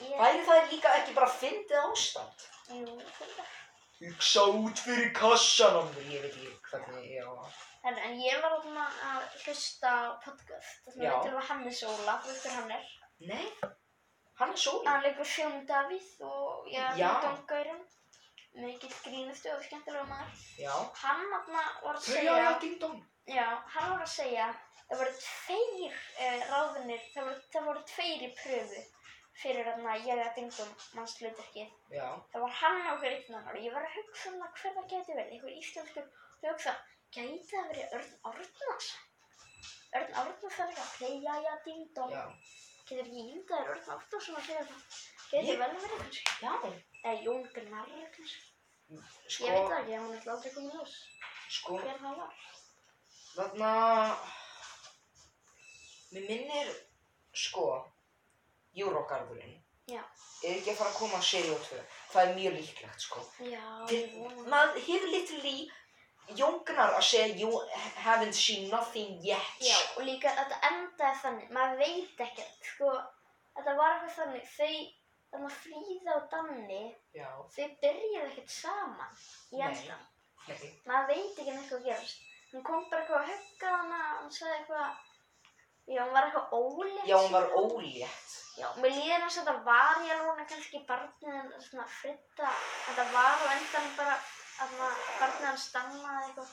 S2: ég,
S1: Væri það líka ekki bara fyndið ástand?
S2: jú, þetta.
S1: Hugsa út fyrir kassan á mér, ég veit ekki hvernig ég á að...
S2: En, en ég var þarna að hlusta á podcast, þannig
S1: Já.
S2: að þetta var Hannes Óla, veitur hann er.
S1: Nei, hann er sólinn.
S2: Hann leikur Sjón Davíð og ég er
S1: Já.
S2: með Dongaurum. Mikill grínustu og skemmtilega maður.
S1: Já.
S2: Hann þarna var að segja,
S1: Hauja, ding dong.
S2: já, hann var að segja, það voru tveir eh, ráðunir, það voru, það voru tveir í pröfu fyrir þarna ég að dingum mannslutverkið.
S1: Já,
S2: Það var hann og hver einn annar og ég var að hugsa um það hver það gæti verið, einhver íslenskur. Og ég hugsa, gæti það verið Örn Árnars? Örn Árnars er eitthvað, playa ya ding dong.
S1: já.
S2: Getur ekki ímyndaður Örn Árnarsson að segja það? Getur
S1: Ég-
S2: vel verið kannski.
S1: Já.
S2: Eða Jón Gnarr kannski?
S1: Sko,
S2: Ég veit það ekki, hann ætla aldrei að koma í ljós
S1: sko,
S2: hver það var.
S1: þarna... Mér minnir, sko, Júrógarðurinn.
S2: Já.
S1: er ekki að fara að koma að seríu 2 það er mjög líklegt sko
S2: Já,
S1: Til-
S2: ég vona.
S1: maður hefur literally jóngnar að segja you haven't seen nothing yet
S2: Já, og líka þetta endaði þannig, maður veit ekkert, sko, þetta var eitthvað þannig, þau, þannig að Fríða og Danni,
S1: Já.
S2: þau byrjuðu ekkert saman í
S1: Nei.
S2: endan.
S1: Nei.
S2: Maður veit ekki neitt hvað gerist. Hún kom bara eitthvað að hugga hana, hún sagði eitthvað, já, hún var eitthvað ólétt.
S1: já hún var ólétt
S2: Já, mér líður eins og þetta var ég alveg kannski barnið en svona fritta, þetta var og endan bara að barnið hann stannaði eitthvað.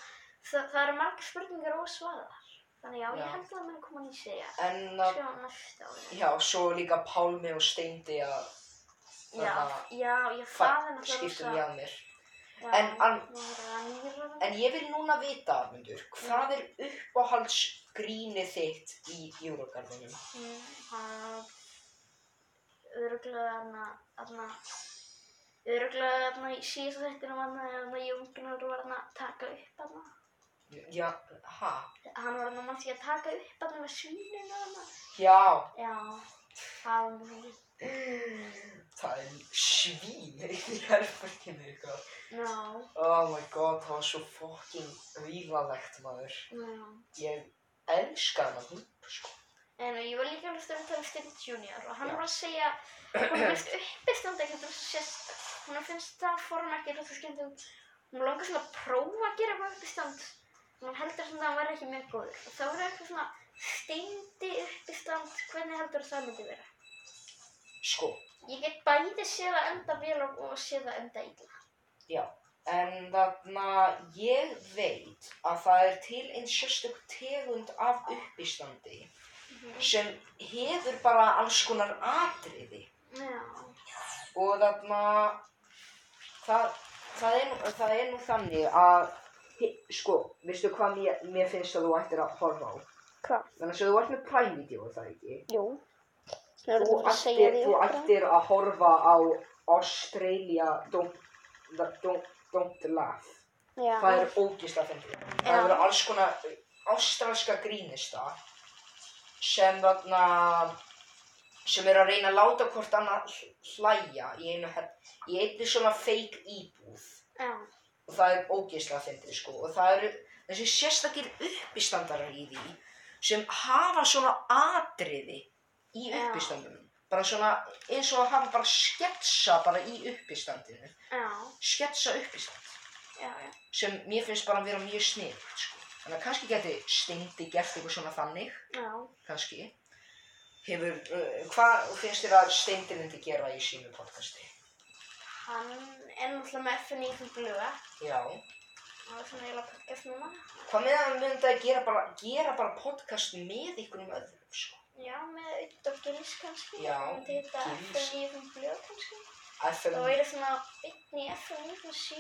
S2: Það, það eru margir spurningar ósvarðar. Þannig já,
S1: Já.
S2: ég held að það muni koma ný serja.
S1: en að,
S2: Sjá næsta ári.
S1: já svo líka Pálmi og Steindi að
S2: Já,
S1: þarna-
S2: já, ég það er
S1: fa-
S2: náttúrulega
S1: skiptum ég að mér
S2: Já,
S1: en an-
S2: nú er það nýra.
S1: en ég vil núna vita Armundur, hvað er uppáhaldsgrínið þitt í Júrógarðunum
S2: Mm, Það er öruglega þarna, þarna, öruglega þarna í síðasta þættinu var þarna, þarna Jóngnar var þarna að taka upp þarna.
S1: Já, ha?
S2: Hann var nú mann því að taka upp allir með svíninu og hann.
S1: Já,
S2: Já, það var nú ekki.
S1: það er svín í herberginu eitthvað.
S2: Já,
S1: Oh my god, það var svo fucking vílalegt maður.
S2: já.
S1: Ég elska hana húpp, sko.
S2: En ég var líka að hlusta um Tony Stint Jr. og hann
S1: Já.
S2: var að segja, hún finnst uppistand ekkert rosa sérstakt. Hún finnst það form ekki rosa skemmtilegt. Hún langar svona að prófa að gera eitthvað uppistand. Hún heldur svona að hann verði ekki mjög góður. Og þá er eitthvað svona steindi uppistand, hvernig heldur það myndi vera?
S1: Sko,
S2: Ég get bæði séð að enda vel og, og séð að enda illa.
S1: já. En þarna, ég veit að það er til einn sérstök tegund af uppistandi
S3: Mhm.
S1: sem hefur bara alls konar atriði.
S2: Já,
S1: og þarna það, það, er, nú- það er nú þannig að hi- sko, veistu hvað mér, mér finnst að þú ættir að horfa á
S3: Hvað?
S1: þannig að þú ert með Prime Video er það ekki
S3: Jú. Það er
S1: þú
S3: búin að segja
S1: ættir,
S3: því
S1: þú
S3: okkur.
S1: ættir að horfa á Australia Don't, don't, don't Laugh
S3: Já.
S1: það er ógist að fyndi það
S2: Já.
S1: eru alls konar ástralska grínista sem þarna sem eru að reyna að láta hvort annað hl- hlæja í einu her- í einni svona fake íbúð
S2: já,
S1: og það er ógeðslega fyndið sko og það eru þessi sérstakir uppistandarar í því sem hafa svona atriði í
S2: Já.
S1: uppistandunum bara svona eins og að hafa bara sketsa bara í uppistandinu
S2: já,
S1: sketsa uppistand
S2: já, já.
S1: sem mér finnst bara að vera mjög snið sko. þannig að kannski geti Steindi gert eitthvað svona þannig
S2: já.
S1: kannski hefur, uh, hvað finnst þér að Steindi myndi gera í sínu podcasti?
S2: Hann er náttúrulega með FNI fyrir blöða.
S1: Já,
S2: Það var svona eiginlega podcast núna.
S1: hvað með að hann myndi að gera bara, gera bara podcast með ykkur um öðrum sko
S2: Já, með Udd og Gils kannski.
S1: Já,
S2: Það myndi hitta
S1: Gils.
S2: FM9.blöð kannski.
S1: FM,
S2: Það væri svona bytni FM9.7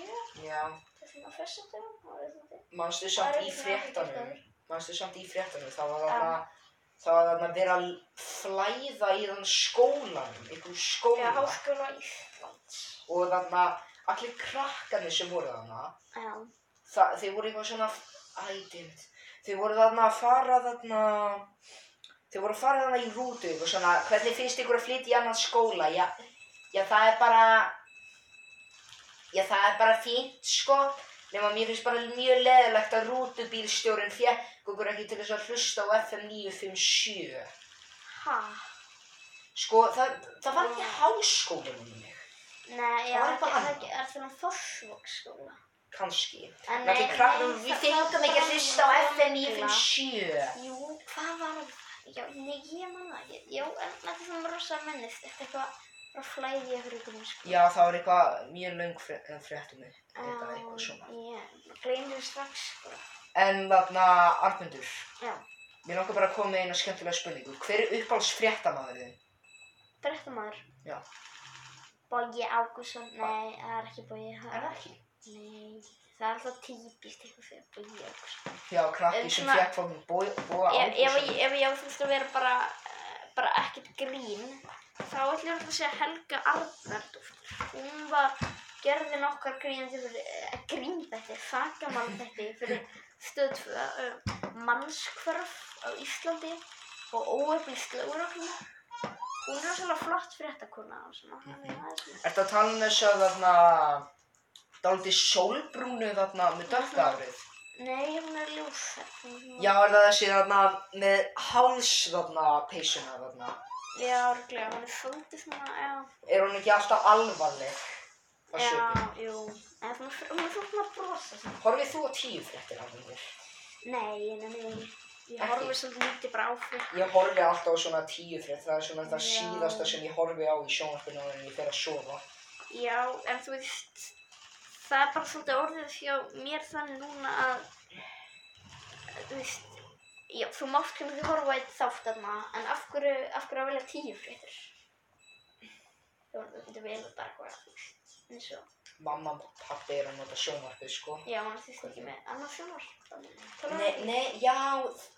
S1: já,
S2: til svona fyrstundum. Það væri svona til.
S1: manstu
S2: Það
S1: samt
S2: er
S1: í
S2: svona
S1: fréttanum,
S2: ekki
S1: manstu samt í fréttanum, það var
S2: Já.
S1: þarna, það var þarna verið að flæða í þann skólanum, einhver
S2: Já,
S1: skóla,
S2: háskóla Íslands.
S1: og þarna allir krakkarnir sem voru þarna,
S2: Já,
S1: það, þeir voru eitthvað svona, ædimt, þeir voru þarna að fara þarna, þeir voru að fara þarna í rútu, eitthvað svona, hvernig finnst ykkur að flytja í annan skóla, já, já það er bara, já það er bara fínt sko, nema mér finnst bara mjög leðilegt að rútubílstjórin fjekk okkur ekki til þess að hlusta á FM 957,
S2: ha?
S1: sko, það, það var ekki háskólinum mig,
S2: Nei, já,
S1: Það var
S2: það
S1: eitthvað
S2: er
S1: annað.
S2: ekki, það er svona Þorsvogsskóla.
S1: kannski.
S2: En
S1: Nei, nei, krakkum, við fengum ekki að hlusta á FM 957.
S2: Jú, hvað var það? Já, nei, ég man það ekki. Jú, en þetta er svona rosa minnist. Þetta er eitthvað frá flæði yfir ykkur um sko.
S1: Já, það var eitthvað mjög löng fré- eh, frétt um mig, þetta
S2: Já,
S1: eitthvað svona.
S2: Ég gleymdi því strax, sko.
S1: En þarna, Arnundur,
S2: Já,
S1: mér langar bara að koma með eina skemmtilega spurningu. Hver er uppáhalds fréttamaður þinn?
S2: fréttamaður.
S1: Já.
S2: Bogi Ágússon, nei, það er ekki Bogi.
S1: Er það ekki?
S2: Nei, það er alltaf típist eitthvað fyrir Bogi Ágússon.
S1: Já, krakki
S2: Um,
S1: sem
S2: svona-
S1: fekk fólk bóða bóða
S2: Ef, ef, ég- ef ég á þurft að vera bara, eh, bara ekkert grín, þá ætlum ég alltaf að segja Helga Arnardóttir. Hún var, gerði nokkar grín fyrir, eh, grín þetta, sakamann þetta fyrir stöð 2, mannskvörf á Íslandi og óöfnist löguröfnum. Hún er svona flott fyrir þetta kona og svona, það er svona.
S1: Ertu að tala um þess að þarna, dálítið sólbrúnu þarna
S2: Mhm.
S1: með dökkafrið?
S2: Nei, hún er ljósefn.
S1: Já, er það þessi þarna með háls þarna peysuna þarna?
S2: Já, örglega, hún er svolítið svona, já.
S1: Er hún ekki alltaf alvarleg? á svipinn?
S2: Já, jú. En svona, hún er svona að brosa svona.
S1: Horfið þú á tíu fréttir af þér?
S2: Nei, nei, nei. Ég
S1: Ekki?
S2: horfi svolítið lítið bara á fyrir.
S1: Ég horfi alltaf á svona tíu frétt, það er svona það
S2: Já.
S1: síðasta sem ég horfi á í sjónvarpinu áður en ég fer að sofa.
S2: Já, en þú veist, það er bara svolítið orðið hjá mér þannig núna að, þú veist, já, þú mátt kannski horfa á eitt þátt þarna, en af hverju, af hverju að velja tíu fréttur? Þú þú getur vel bara eitthvað, þú veist, eins og,
S1: Mamma og pappi er að nota sjónvarpið, sko.
S2: já, hún er því ekki með annað sjónvarp.
S1: Nei, nei, já,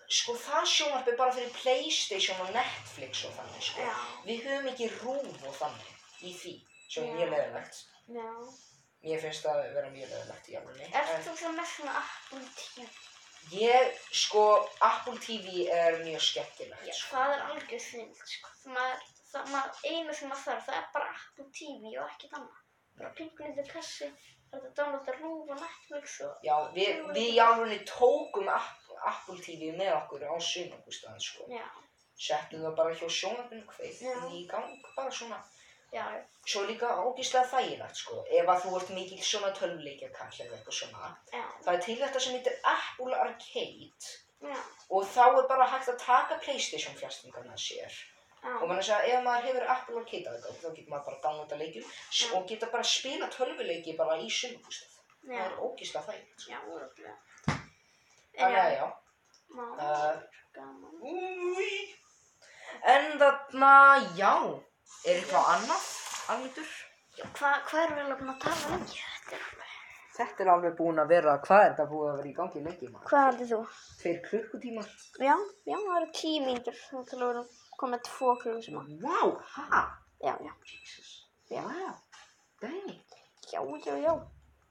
S1: sko það sjónvarp er bara fyrir Playstation og Netflix og þannig, sko.
S2: Já,
S1: Við höfum ekki rúf og þannig í því, sem er
S2: Já.
S1: mjög leðilegt.
S2: já.
S1: Mér finnst það vera mjög leðilegt í alveg.
S2: Ert þú svona með svona Apple TV?
S1: Ég, sko, Apple TV er mjög skemmtilegt,
S2: Já,
S1: sko.
S2: það er algjör snill, sko. Það maður, það maður, eina sem maður þarf, það er bara Apple TV og ekkert annað. Bara pingulindu kassi, þetta downloada rúf og Netflix og...
S1: Já, við, við í alveg tókum App- Apple TV með okkur á sumangustæðan, sko.
S2: Já,
S1: Settum það bara hjá sjónvöndinu
S2: Já.
S1: kveið í gang, bara svona.
S2: já,
S1: Svo líka ógislega þægilegt, sko, ef að þú ert mikill svona tölvuleikja kall eða eitthvað svona.
S2: já,
S1: Það er til þetta sem heitir Apple Arcade
S2: já,
S1: og þá er bara hægt að taka Playstation fjastingarna sér. Og
S2: já,
S1: mann að segja, ef maður hefur Apple Arcade aðgang, þá getur maður bara downloada leikjum s- og geta bara spila tölvuleiki bara í sumabústað. Það
S2: já,
S1: er ógislega þægilegt.
S2: já, örugglega. En
S1: Þannig að
S2: já,
S1: já.
S2: má,
S1: Uh,
S2: gaman.
S1: Új. En þarna, já, er eitthvað annað, Alvítur?
S2: Já, Hvað hva erum við alveg búin að tala lengi? Þetta er alveg...
S1: Þetta er alveg búin að vera, hvað er þetta búið að vera í gangi lengi, maður?
S3: Hvað heldur þú?
S1: Tveir klukkutímar?
S3: Já, já, það eru tíu mínútur. Þú til að vera komið tvo klukkum sem að.
S1: Vá, hæ?
S3: Já, já,
S1: Jesus.
S3: Já.
S1: Vá, dæmi.
S3: já, já, já.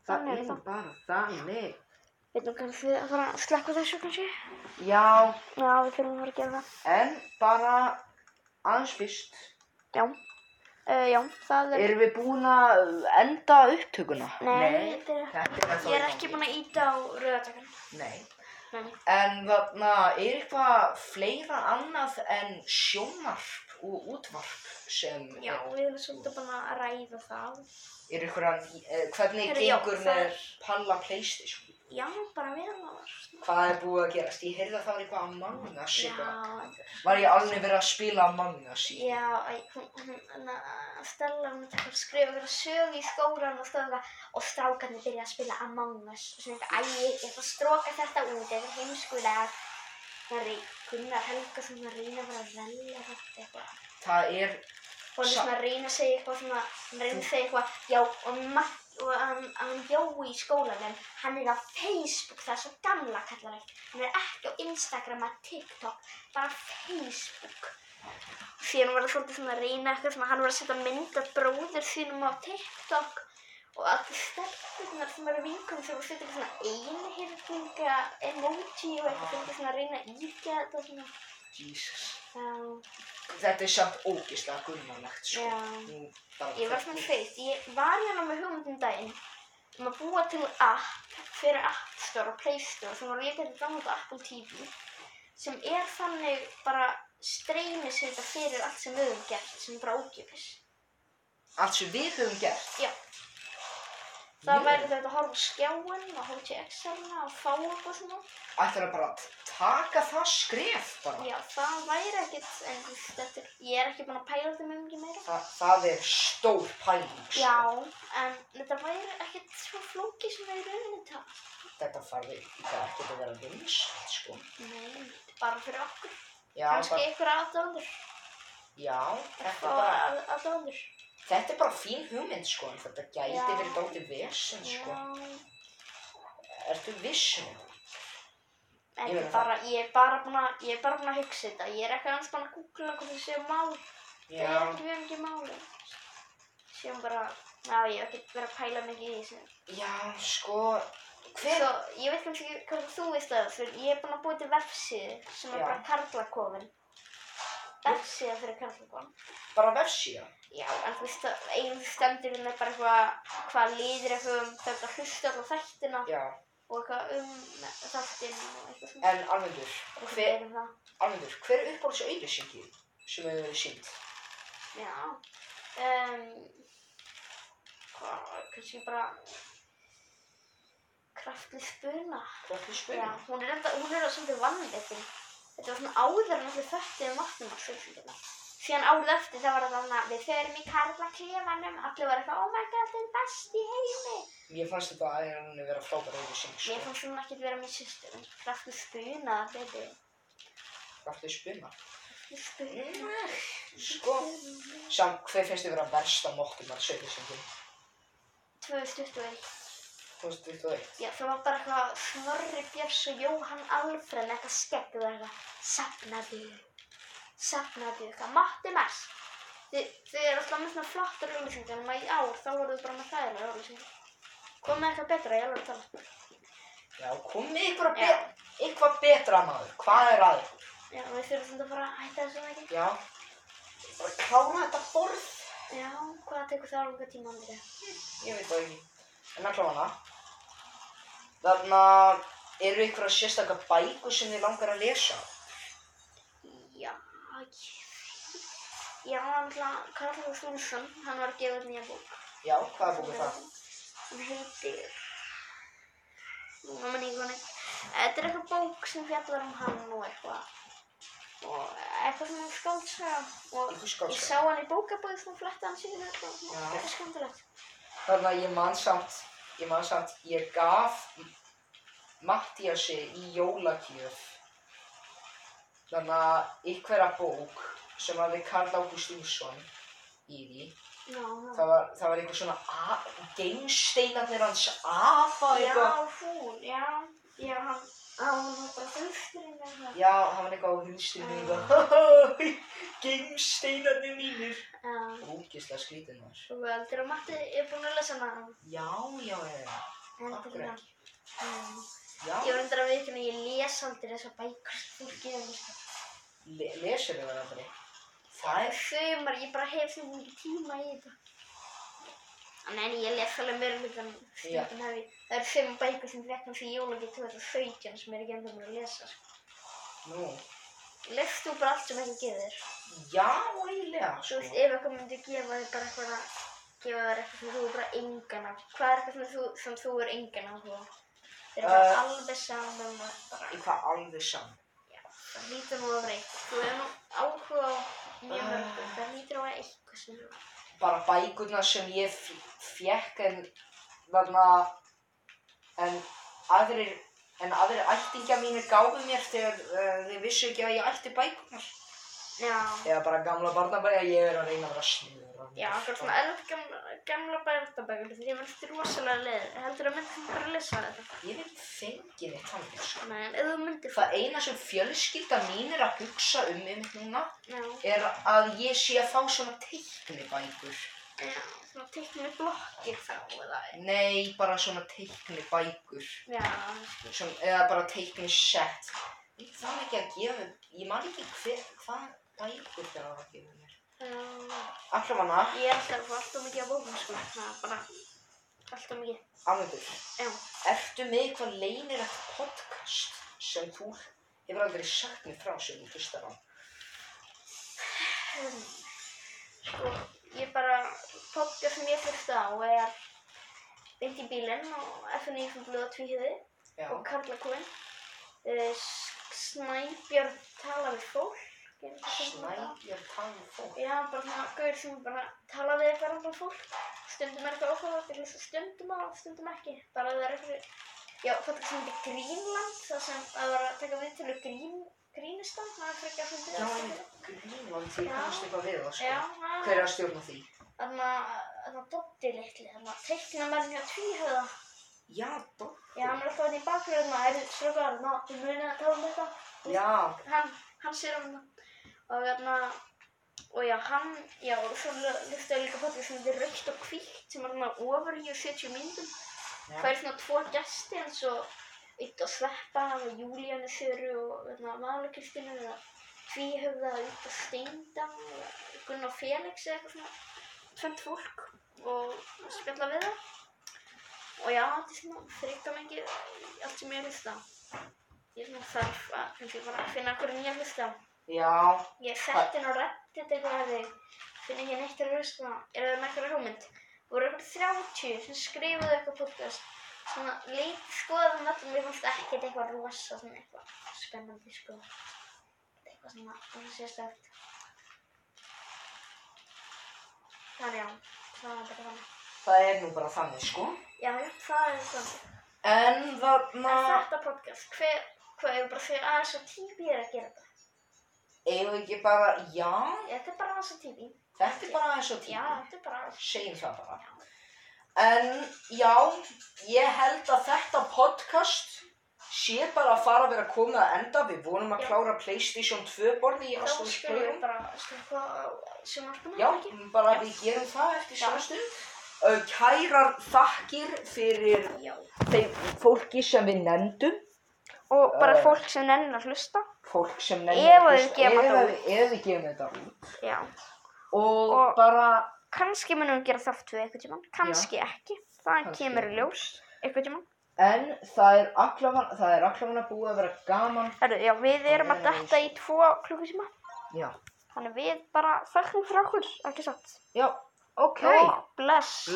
S1: Það
S3: Þannig er
S1: er
S3: það.
S1: bara þannig.
S3: Við erum kannski að fara að slekka þessu kannski.
S1: Já,
S3: Já, við þurfum að fara að gera það.
S1: en bara aðeins fyrst.
S3: Já, uh, já, það er...
S1: Erum við búin að enda upptökuna?
S3: Nei,
S2: þetta er-
S1: þetta er
S2: Ég er ekki búin að íta á rauðatakann.
S1: Nei.
S2: Nei.
S1: En þarna, er eitthvað fleira annað en sjónvarp og útvarp sem...
S2: Já, við erum svolítið búin að ræða það.
S1: Er eitthvað, hvernig
S2: Heyrðu, já,
S1: gengur
S2: það
S1: með
S2: er-
S1: Palla Playstation?
S2: Já, bara vel að varst.
S1: Hvað er búið að gerast? Ég heyrði að það var eitthvað Among Us eitthvað.
S2: Já,
S1: Var ég alveg verið að spila Among Us í?
S2: Já, æ, hún, hún, hún, að Stella, hún tekur að skrifa verið sögu í skólan og stöða og strákarnir byrja að spila Among Us og svona eitthvað, æ, ég ætla að stróka þetta út, þetta er heimskulega það er Gunnar Helga sem að reyna að vera að velja þetta eitthvað
S1: Það er,
S2: og hann er
S1: Sa-
S2: svona að reyna að segja eitthvað svona, hann reyna að segja eitthvað, já, og Matt og hann, hann Jói í skólanum, hann er á Facebook, það er svo gamla kallar eitt, hann er ekki á Instagram eða TikTok, bara Facebook. Síðan var það svolítið svona að reyna eitthvað svona, hann var að setja mynd af bróður sínum á TikTok og allir stelpunar sem eru vinkum sem var að setja eitthvað svona einhyrninga emoji og eitthvað svolítið svona að reyna að ýkja þetta svona.
S1: Jesus,
S2: Já.
S1: þetta er samt ógislega gulmalegt, sko.
S2: Já.
S1: Nú, bara-
S2: Ég var svona hreitt, ég var hérna með hugmyndum daginn um að búa til app fyrir App Store og Play Store sem var líka til gamla Apple TV sem er þannig bara streymisveita fyrir allt sem við höfum gert sem er bara ógjöfis.
S1: Allt sem við höfum gert.
S2: Já. Það
S1: Jú.
S2: væri þetta að horfa á skjáinn og horfa til Excel-na hérna og fá eitthvað svona.
S1: Ætlar að bara t- taka það skref bara.
S2: Já, það væri ekkert, en þú veist, þetta er, ég er ekki búin að pæla þetta mjög mikið meira.
S1: Þa, það er stór pæling, sko.
S2: Já, en þetta væri ekkert svo flókið sem við erum rauninni tala.
S1: Þetta þarf líka ekki að vera vinsælt, sko.
S2: Nei, bara fyrir okkur.
S1: Já,
S2: Kanski
S1: bara,
S2: einhver aðdóndur.
S1: já þetta, er bara,
S2: Aðdóndur.
S1: þetta er bara fín hugmynd, sko, en þetta gæti
S2: Já.
S1: verið dálítið vesen, sko. Ertu viss um það?
S2: En
S1: Ég
S2: ég
S1: veit
S2: er bara, ég er bara búin að, ég er bara búin að hugsa þetta. Ég er ekki aðeins búin að googla hvað það séu mál. Það er
S1: Já,
S2: ekki mjög mikið máli. Sjáum bara, já, ég hef ekki verið að pæla mikið í þessu.
S1: já, sko, hver,
S2: Svo, ég veit kannski ekki hvað þú veist það, fyrir ég er búin að búið til vefsíðu sem er
S1: Já.
S2: bara karlakofin. Vefsíða fyrir karlakofin.
S1: bara vefsíða?
S2: Já, en þú veist að einu stendur hérna bara eitthvað, hvað liðir eitthvað um þetta hlusta alltaf þættina
S1: Já,
S2: og eitthvað um þáttinn og eitthvað svona.
S1: en alvegdur,
S2: Og svo
S1: hver,
S2: erum það.
S1: alvegdur, hver er uppáhalds auðlýsingin sem hefur verið sínt?
S2: Já. Um, hvað, kannski bara kraftið spuna.
S1: Hvernig
S2: Já,
S1: spurning?
S2: hún er enda, hún er svolítið vannleitin. Þetta var svona áður en allir þöttið um vatnum að fjölskyldina. Síðan árið eftir það var það þannig að við förum í karla klefanum, allir var eitthvað, oh my god, þetta er best í heimi.
S1: Mér fannst þetta að hann vera frábær auðlýsing,
S2: Mér
S1: sko.
S2: fannst hún ekkert vera mér sýstur, hún kraftu spuna, baby.
S1: Hvernig spurning?
S2: Kraftu spuna.
S1: Mm, Sko, sam, hver finnst þið vera versta mokkumar auðlýsingin?
S2: 2021.
S1: Þú veist, þú veit.
S2: Já, það var bara eitthvað Snorri Björns og Jóhann Alfred með eitthvað skegg og eitthvað. Sapnaðu, sapnaðu, eitthvað. Matti Mers. Þið, þið eru alltaf með svona flottar auðlýsingar, en í ár þá voruð þið bara með þær auðlýsingar. Komið eitthvað betra, ég alveg að tala.
S1: Já, komið ykkur að
S2: Já.
S1: bet, eitthvað betra maður. Hvað er að ykkur?
S2: Já, við þurfum samt að fara að hætta þessu ekki.
S1: Já. Bara klára þetta borð.
S2: Já, hvað tekur það langa tíma, Andri?
S1: Ég veit það ekki. En að klára hana. Þarna eru ykkur að sérstakka bækur sem þið langar að lesa.
S2: Já, ég... Já, náttúrulega Karl Svonsson, hann var að gefa út nýja bók.
S1: Já, hvaða bók er það?
S2: Hún heitir... Nú man ég konar. Þetta er eitthvað bók sem fjallar um hann og eitthvað. Og eitthvað svona skáldsaga. Og
S1: Einhver
S2: ég
S1: skálska.
S2: sá hann í bókabóð svona fletta hann síðan eitthvað. og
S1: Já.
S2: Þetta er skondulegt.
S1: Þarna ég man samt, ég man samt, ég gaf Mattiasi í jólagjöf. Þarna einhverja bók sem hafði Karl Ágúst Úrsson í því.
S2: Já, já.
S1: Það var, það var eitthvað svona a- geimsteinarnir hans afa eitthvað.
S2: Já, hún, já. Já, hann, hann var bara þurfturinn eða eitthvað.
S1: Já, það var eitthvað á hulstunni eitthvað. geimsteinarnir mínir.
S2: Já.
S1: Ógislega skrítið maður.
S2: Þú heldur að Matti er búinn að lesa hana?
S1: Já, já, já, já. Af hverju
S2: Heldur hann?
S1: ekki?
S2: Mm. Ég
S1: Já,
S2: var endur að viðkynna, ég les aldrei þessar bækur sem þú gefur. sko.
S1: le lesur þau það aldrei? Það er
S2: Sumar, ég bara hef svona mikið tíma í þetta. En en ég les alveg meira hlutan, stundum hef ég, það eru sömu bækur sem um vekkan fyrir jólagið 2017 sem er ekki endur mér að lesa. sko.
S1: Nú,
S2: Lest þú bara allt sem ekki gefur þér.
S1: já, eiginlega,
S2: Svo
S1: sko.
S2: veist, ef eitthvað myndi gefa þér bara eitthvað að gefa þér eitthvað sem þú er bara engan af. Hvað er eitthvað sem þú, sem þú er engan af þú? Þeir eru bara
S1: Eh.
S2: alveg saman og bara
S1: Eitthvað alveg saman.
S2: Það hlýtur nú að vera eitthvað. Þú hefur nú áhuga á mjög mörgum.
S1: Ah.
S2: Það hlýtur að vera eitthvað sem þú...
S1: Bara bækurna sem ég f- fékk en þarna, en aðrir, en aðrir ættingja mínir gáfu mér þegar uh, þeir vissu ekki að ég ætti bækurnar.
S2: Já.
S1: Eða bara gamla barnabæja, ég er að reyna að vera sniður.
S2: Já, það er svona erfitt gamla, gamla bærtabækur. Því finnst þér rosalega leið. Heldur að myndir bara að lesa þetta?
S1: Ég hef ekki fengið neitt þannig, sko.
S2: Nei, en ef þú myndir...
S1: Það eina sem fjölskylda mín er að hugsa um um núna
S2: Já.
S1: er að ég sé að fá svona teiknibækur.
S2: Já. Svona teiknir blokkir þá eða...
S1: Nei, bara svona teiknibækur.
S2: Já.
S1: sem, eða bara teiknum sett það er ekki að gefa ég man ekki hver, hvað bækur það var að gefa mér
S2: Já.
S1: allavega
S2: Ég er alltaf að fá alltaf mikið af bókum, sko. Það er bara... Alltaf mikið.
S1: Amundur
S2: Já.
S1: ertu með eitthvað leynilegt podcast sem þú hefur aldrei sagt mér frá sem þú hlustar á
S2: Hmm. Sko, ég bara, podcast sem ég hlusta á er Beint í bílinn og FNI fyrir blöða tvíhiði
S1: já,
S2: og Karla Kúinn. Uh, Snæbjörn tala við fólk. er það sem það heitir?
S1: snæbjörn tala fólk
S2: Já, bara svona gaur sem bara tala við eitthvað annað fólk. Stundum er eitthvað áhugavert, ég hlusta stundum á, stundum ekki. Bara ef það er eitthvað, já, podcast sem heitir Grínland, það sem að var að taka við til grín, grínistan, það er frekar fundið.
S1: já, ég grínum því
S2: Já.
S1: kannast eitthvað við það
S2: Já,
S1: sko
S2: það-
S1: hver er að stjórna því
S2: Þannig að Doddi litli, þannig að teikna mér mjög tvíhauða.
S1: já, dó-
S2: Já, hann er alltaf hann í bakgrunna, er slökar, ná, þú munið að tala um þetta.
S1: já,
S2: Hann, hann sér hann og þarna, og já, hann, já, og svo lustaði líka potið sem þetta er raukt og hvítt sem er hann ofur í 70 myndum.
S1: Já.
S2: Það er svona tvo gesti eins og Ytt og Sveppa og Júlíanu Söru og þarna Vala Kristinu eða tvíhauða Ytt og Steinda og Gunnar Felix eða eitthvað svona tvönd fólk og spjalla við það og já, þetta er svona freka mikið allt sem ég hlusta á. ég er svona þarf að kannski bara finna hverju nýja hlusta á.
S1: já
S2: ég setti inn á reddit eitthvað að þig finna ekki neitt að hlusta á. er það með eitthvað hugmynd voru eitthvað 30 sem skrifuðu eitthvað podcast svona leit skoðum öllum ég fannst ekkert eitthvað rosa svona eitthvað spennandi sko eitthvað svona, svona sérstakt þannig já, það var bara þannig
S1: það er nú bara þannig sko
S2: Já, það er það.
S1: en
S2: En
S1: þarna
S2: þetta podcast, hver, hvað, ég bara fyrir aðeins og tími er að gera þetta.
S1: eigum við ekki bara, já
S2: Þetta er bara aðeins og tími.
S1: þetta er bara eins og
S2: Já,
S1: tíma
S2: þetta er bara aðeins.
S1: segjum það bara.
S2: Já.
S1: En já, ég held að þetta podcast sé bara að fara að vera komið að enda. Við vonum að
S2: Já.
S1: klára PlayStation 2 borði í
S2: Þá
S1: Astros
S2: skulum við
S1: Playroom.
S2: bara, skulum við hvað á sjónvarpinu?
S1: Já,
S2: ekki?
S1: bara
S2: Já.
S1: við gerum það eftir
S2: Já.
S1: samstund. uh, kærar þakkir fyrir
S4: Já.
S1: þeim fólki sem við nefndum
S2: og bara
S1: Eh.
S2: fólk sem nennir að hlusta
S1: fólk sem nefnum
S2: Ef að við gefum
S1: ef,
S2: þetta
S1: að við- ef við gefum þetta út
S2: já,
S1: og,
S2: Og-
S1: bara
S2: kannski munum við gera þátt við eitthvað tímann, kannski ekki það
S1: Kannski
S2: kemur í
S1: ekki.
S2: ljós eitthvað tímann,
S1: en það er allavega það er allavega búið að vera gaman
S2: herru, já, við erum að
S1: Nei,
S2: detta í tvo klukkutíma,
S1: já,
S2: þannig við bara þökkum fyrir okkur, ekki satt
S1: já, ok
S2: og bless
S1: Bless.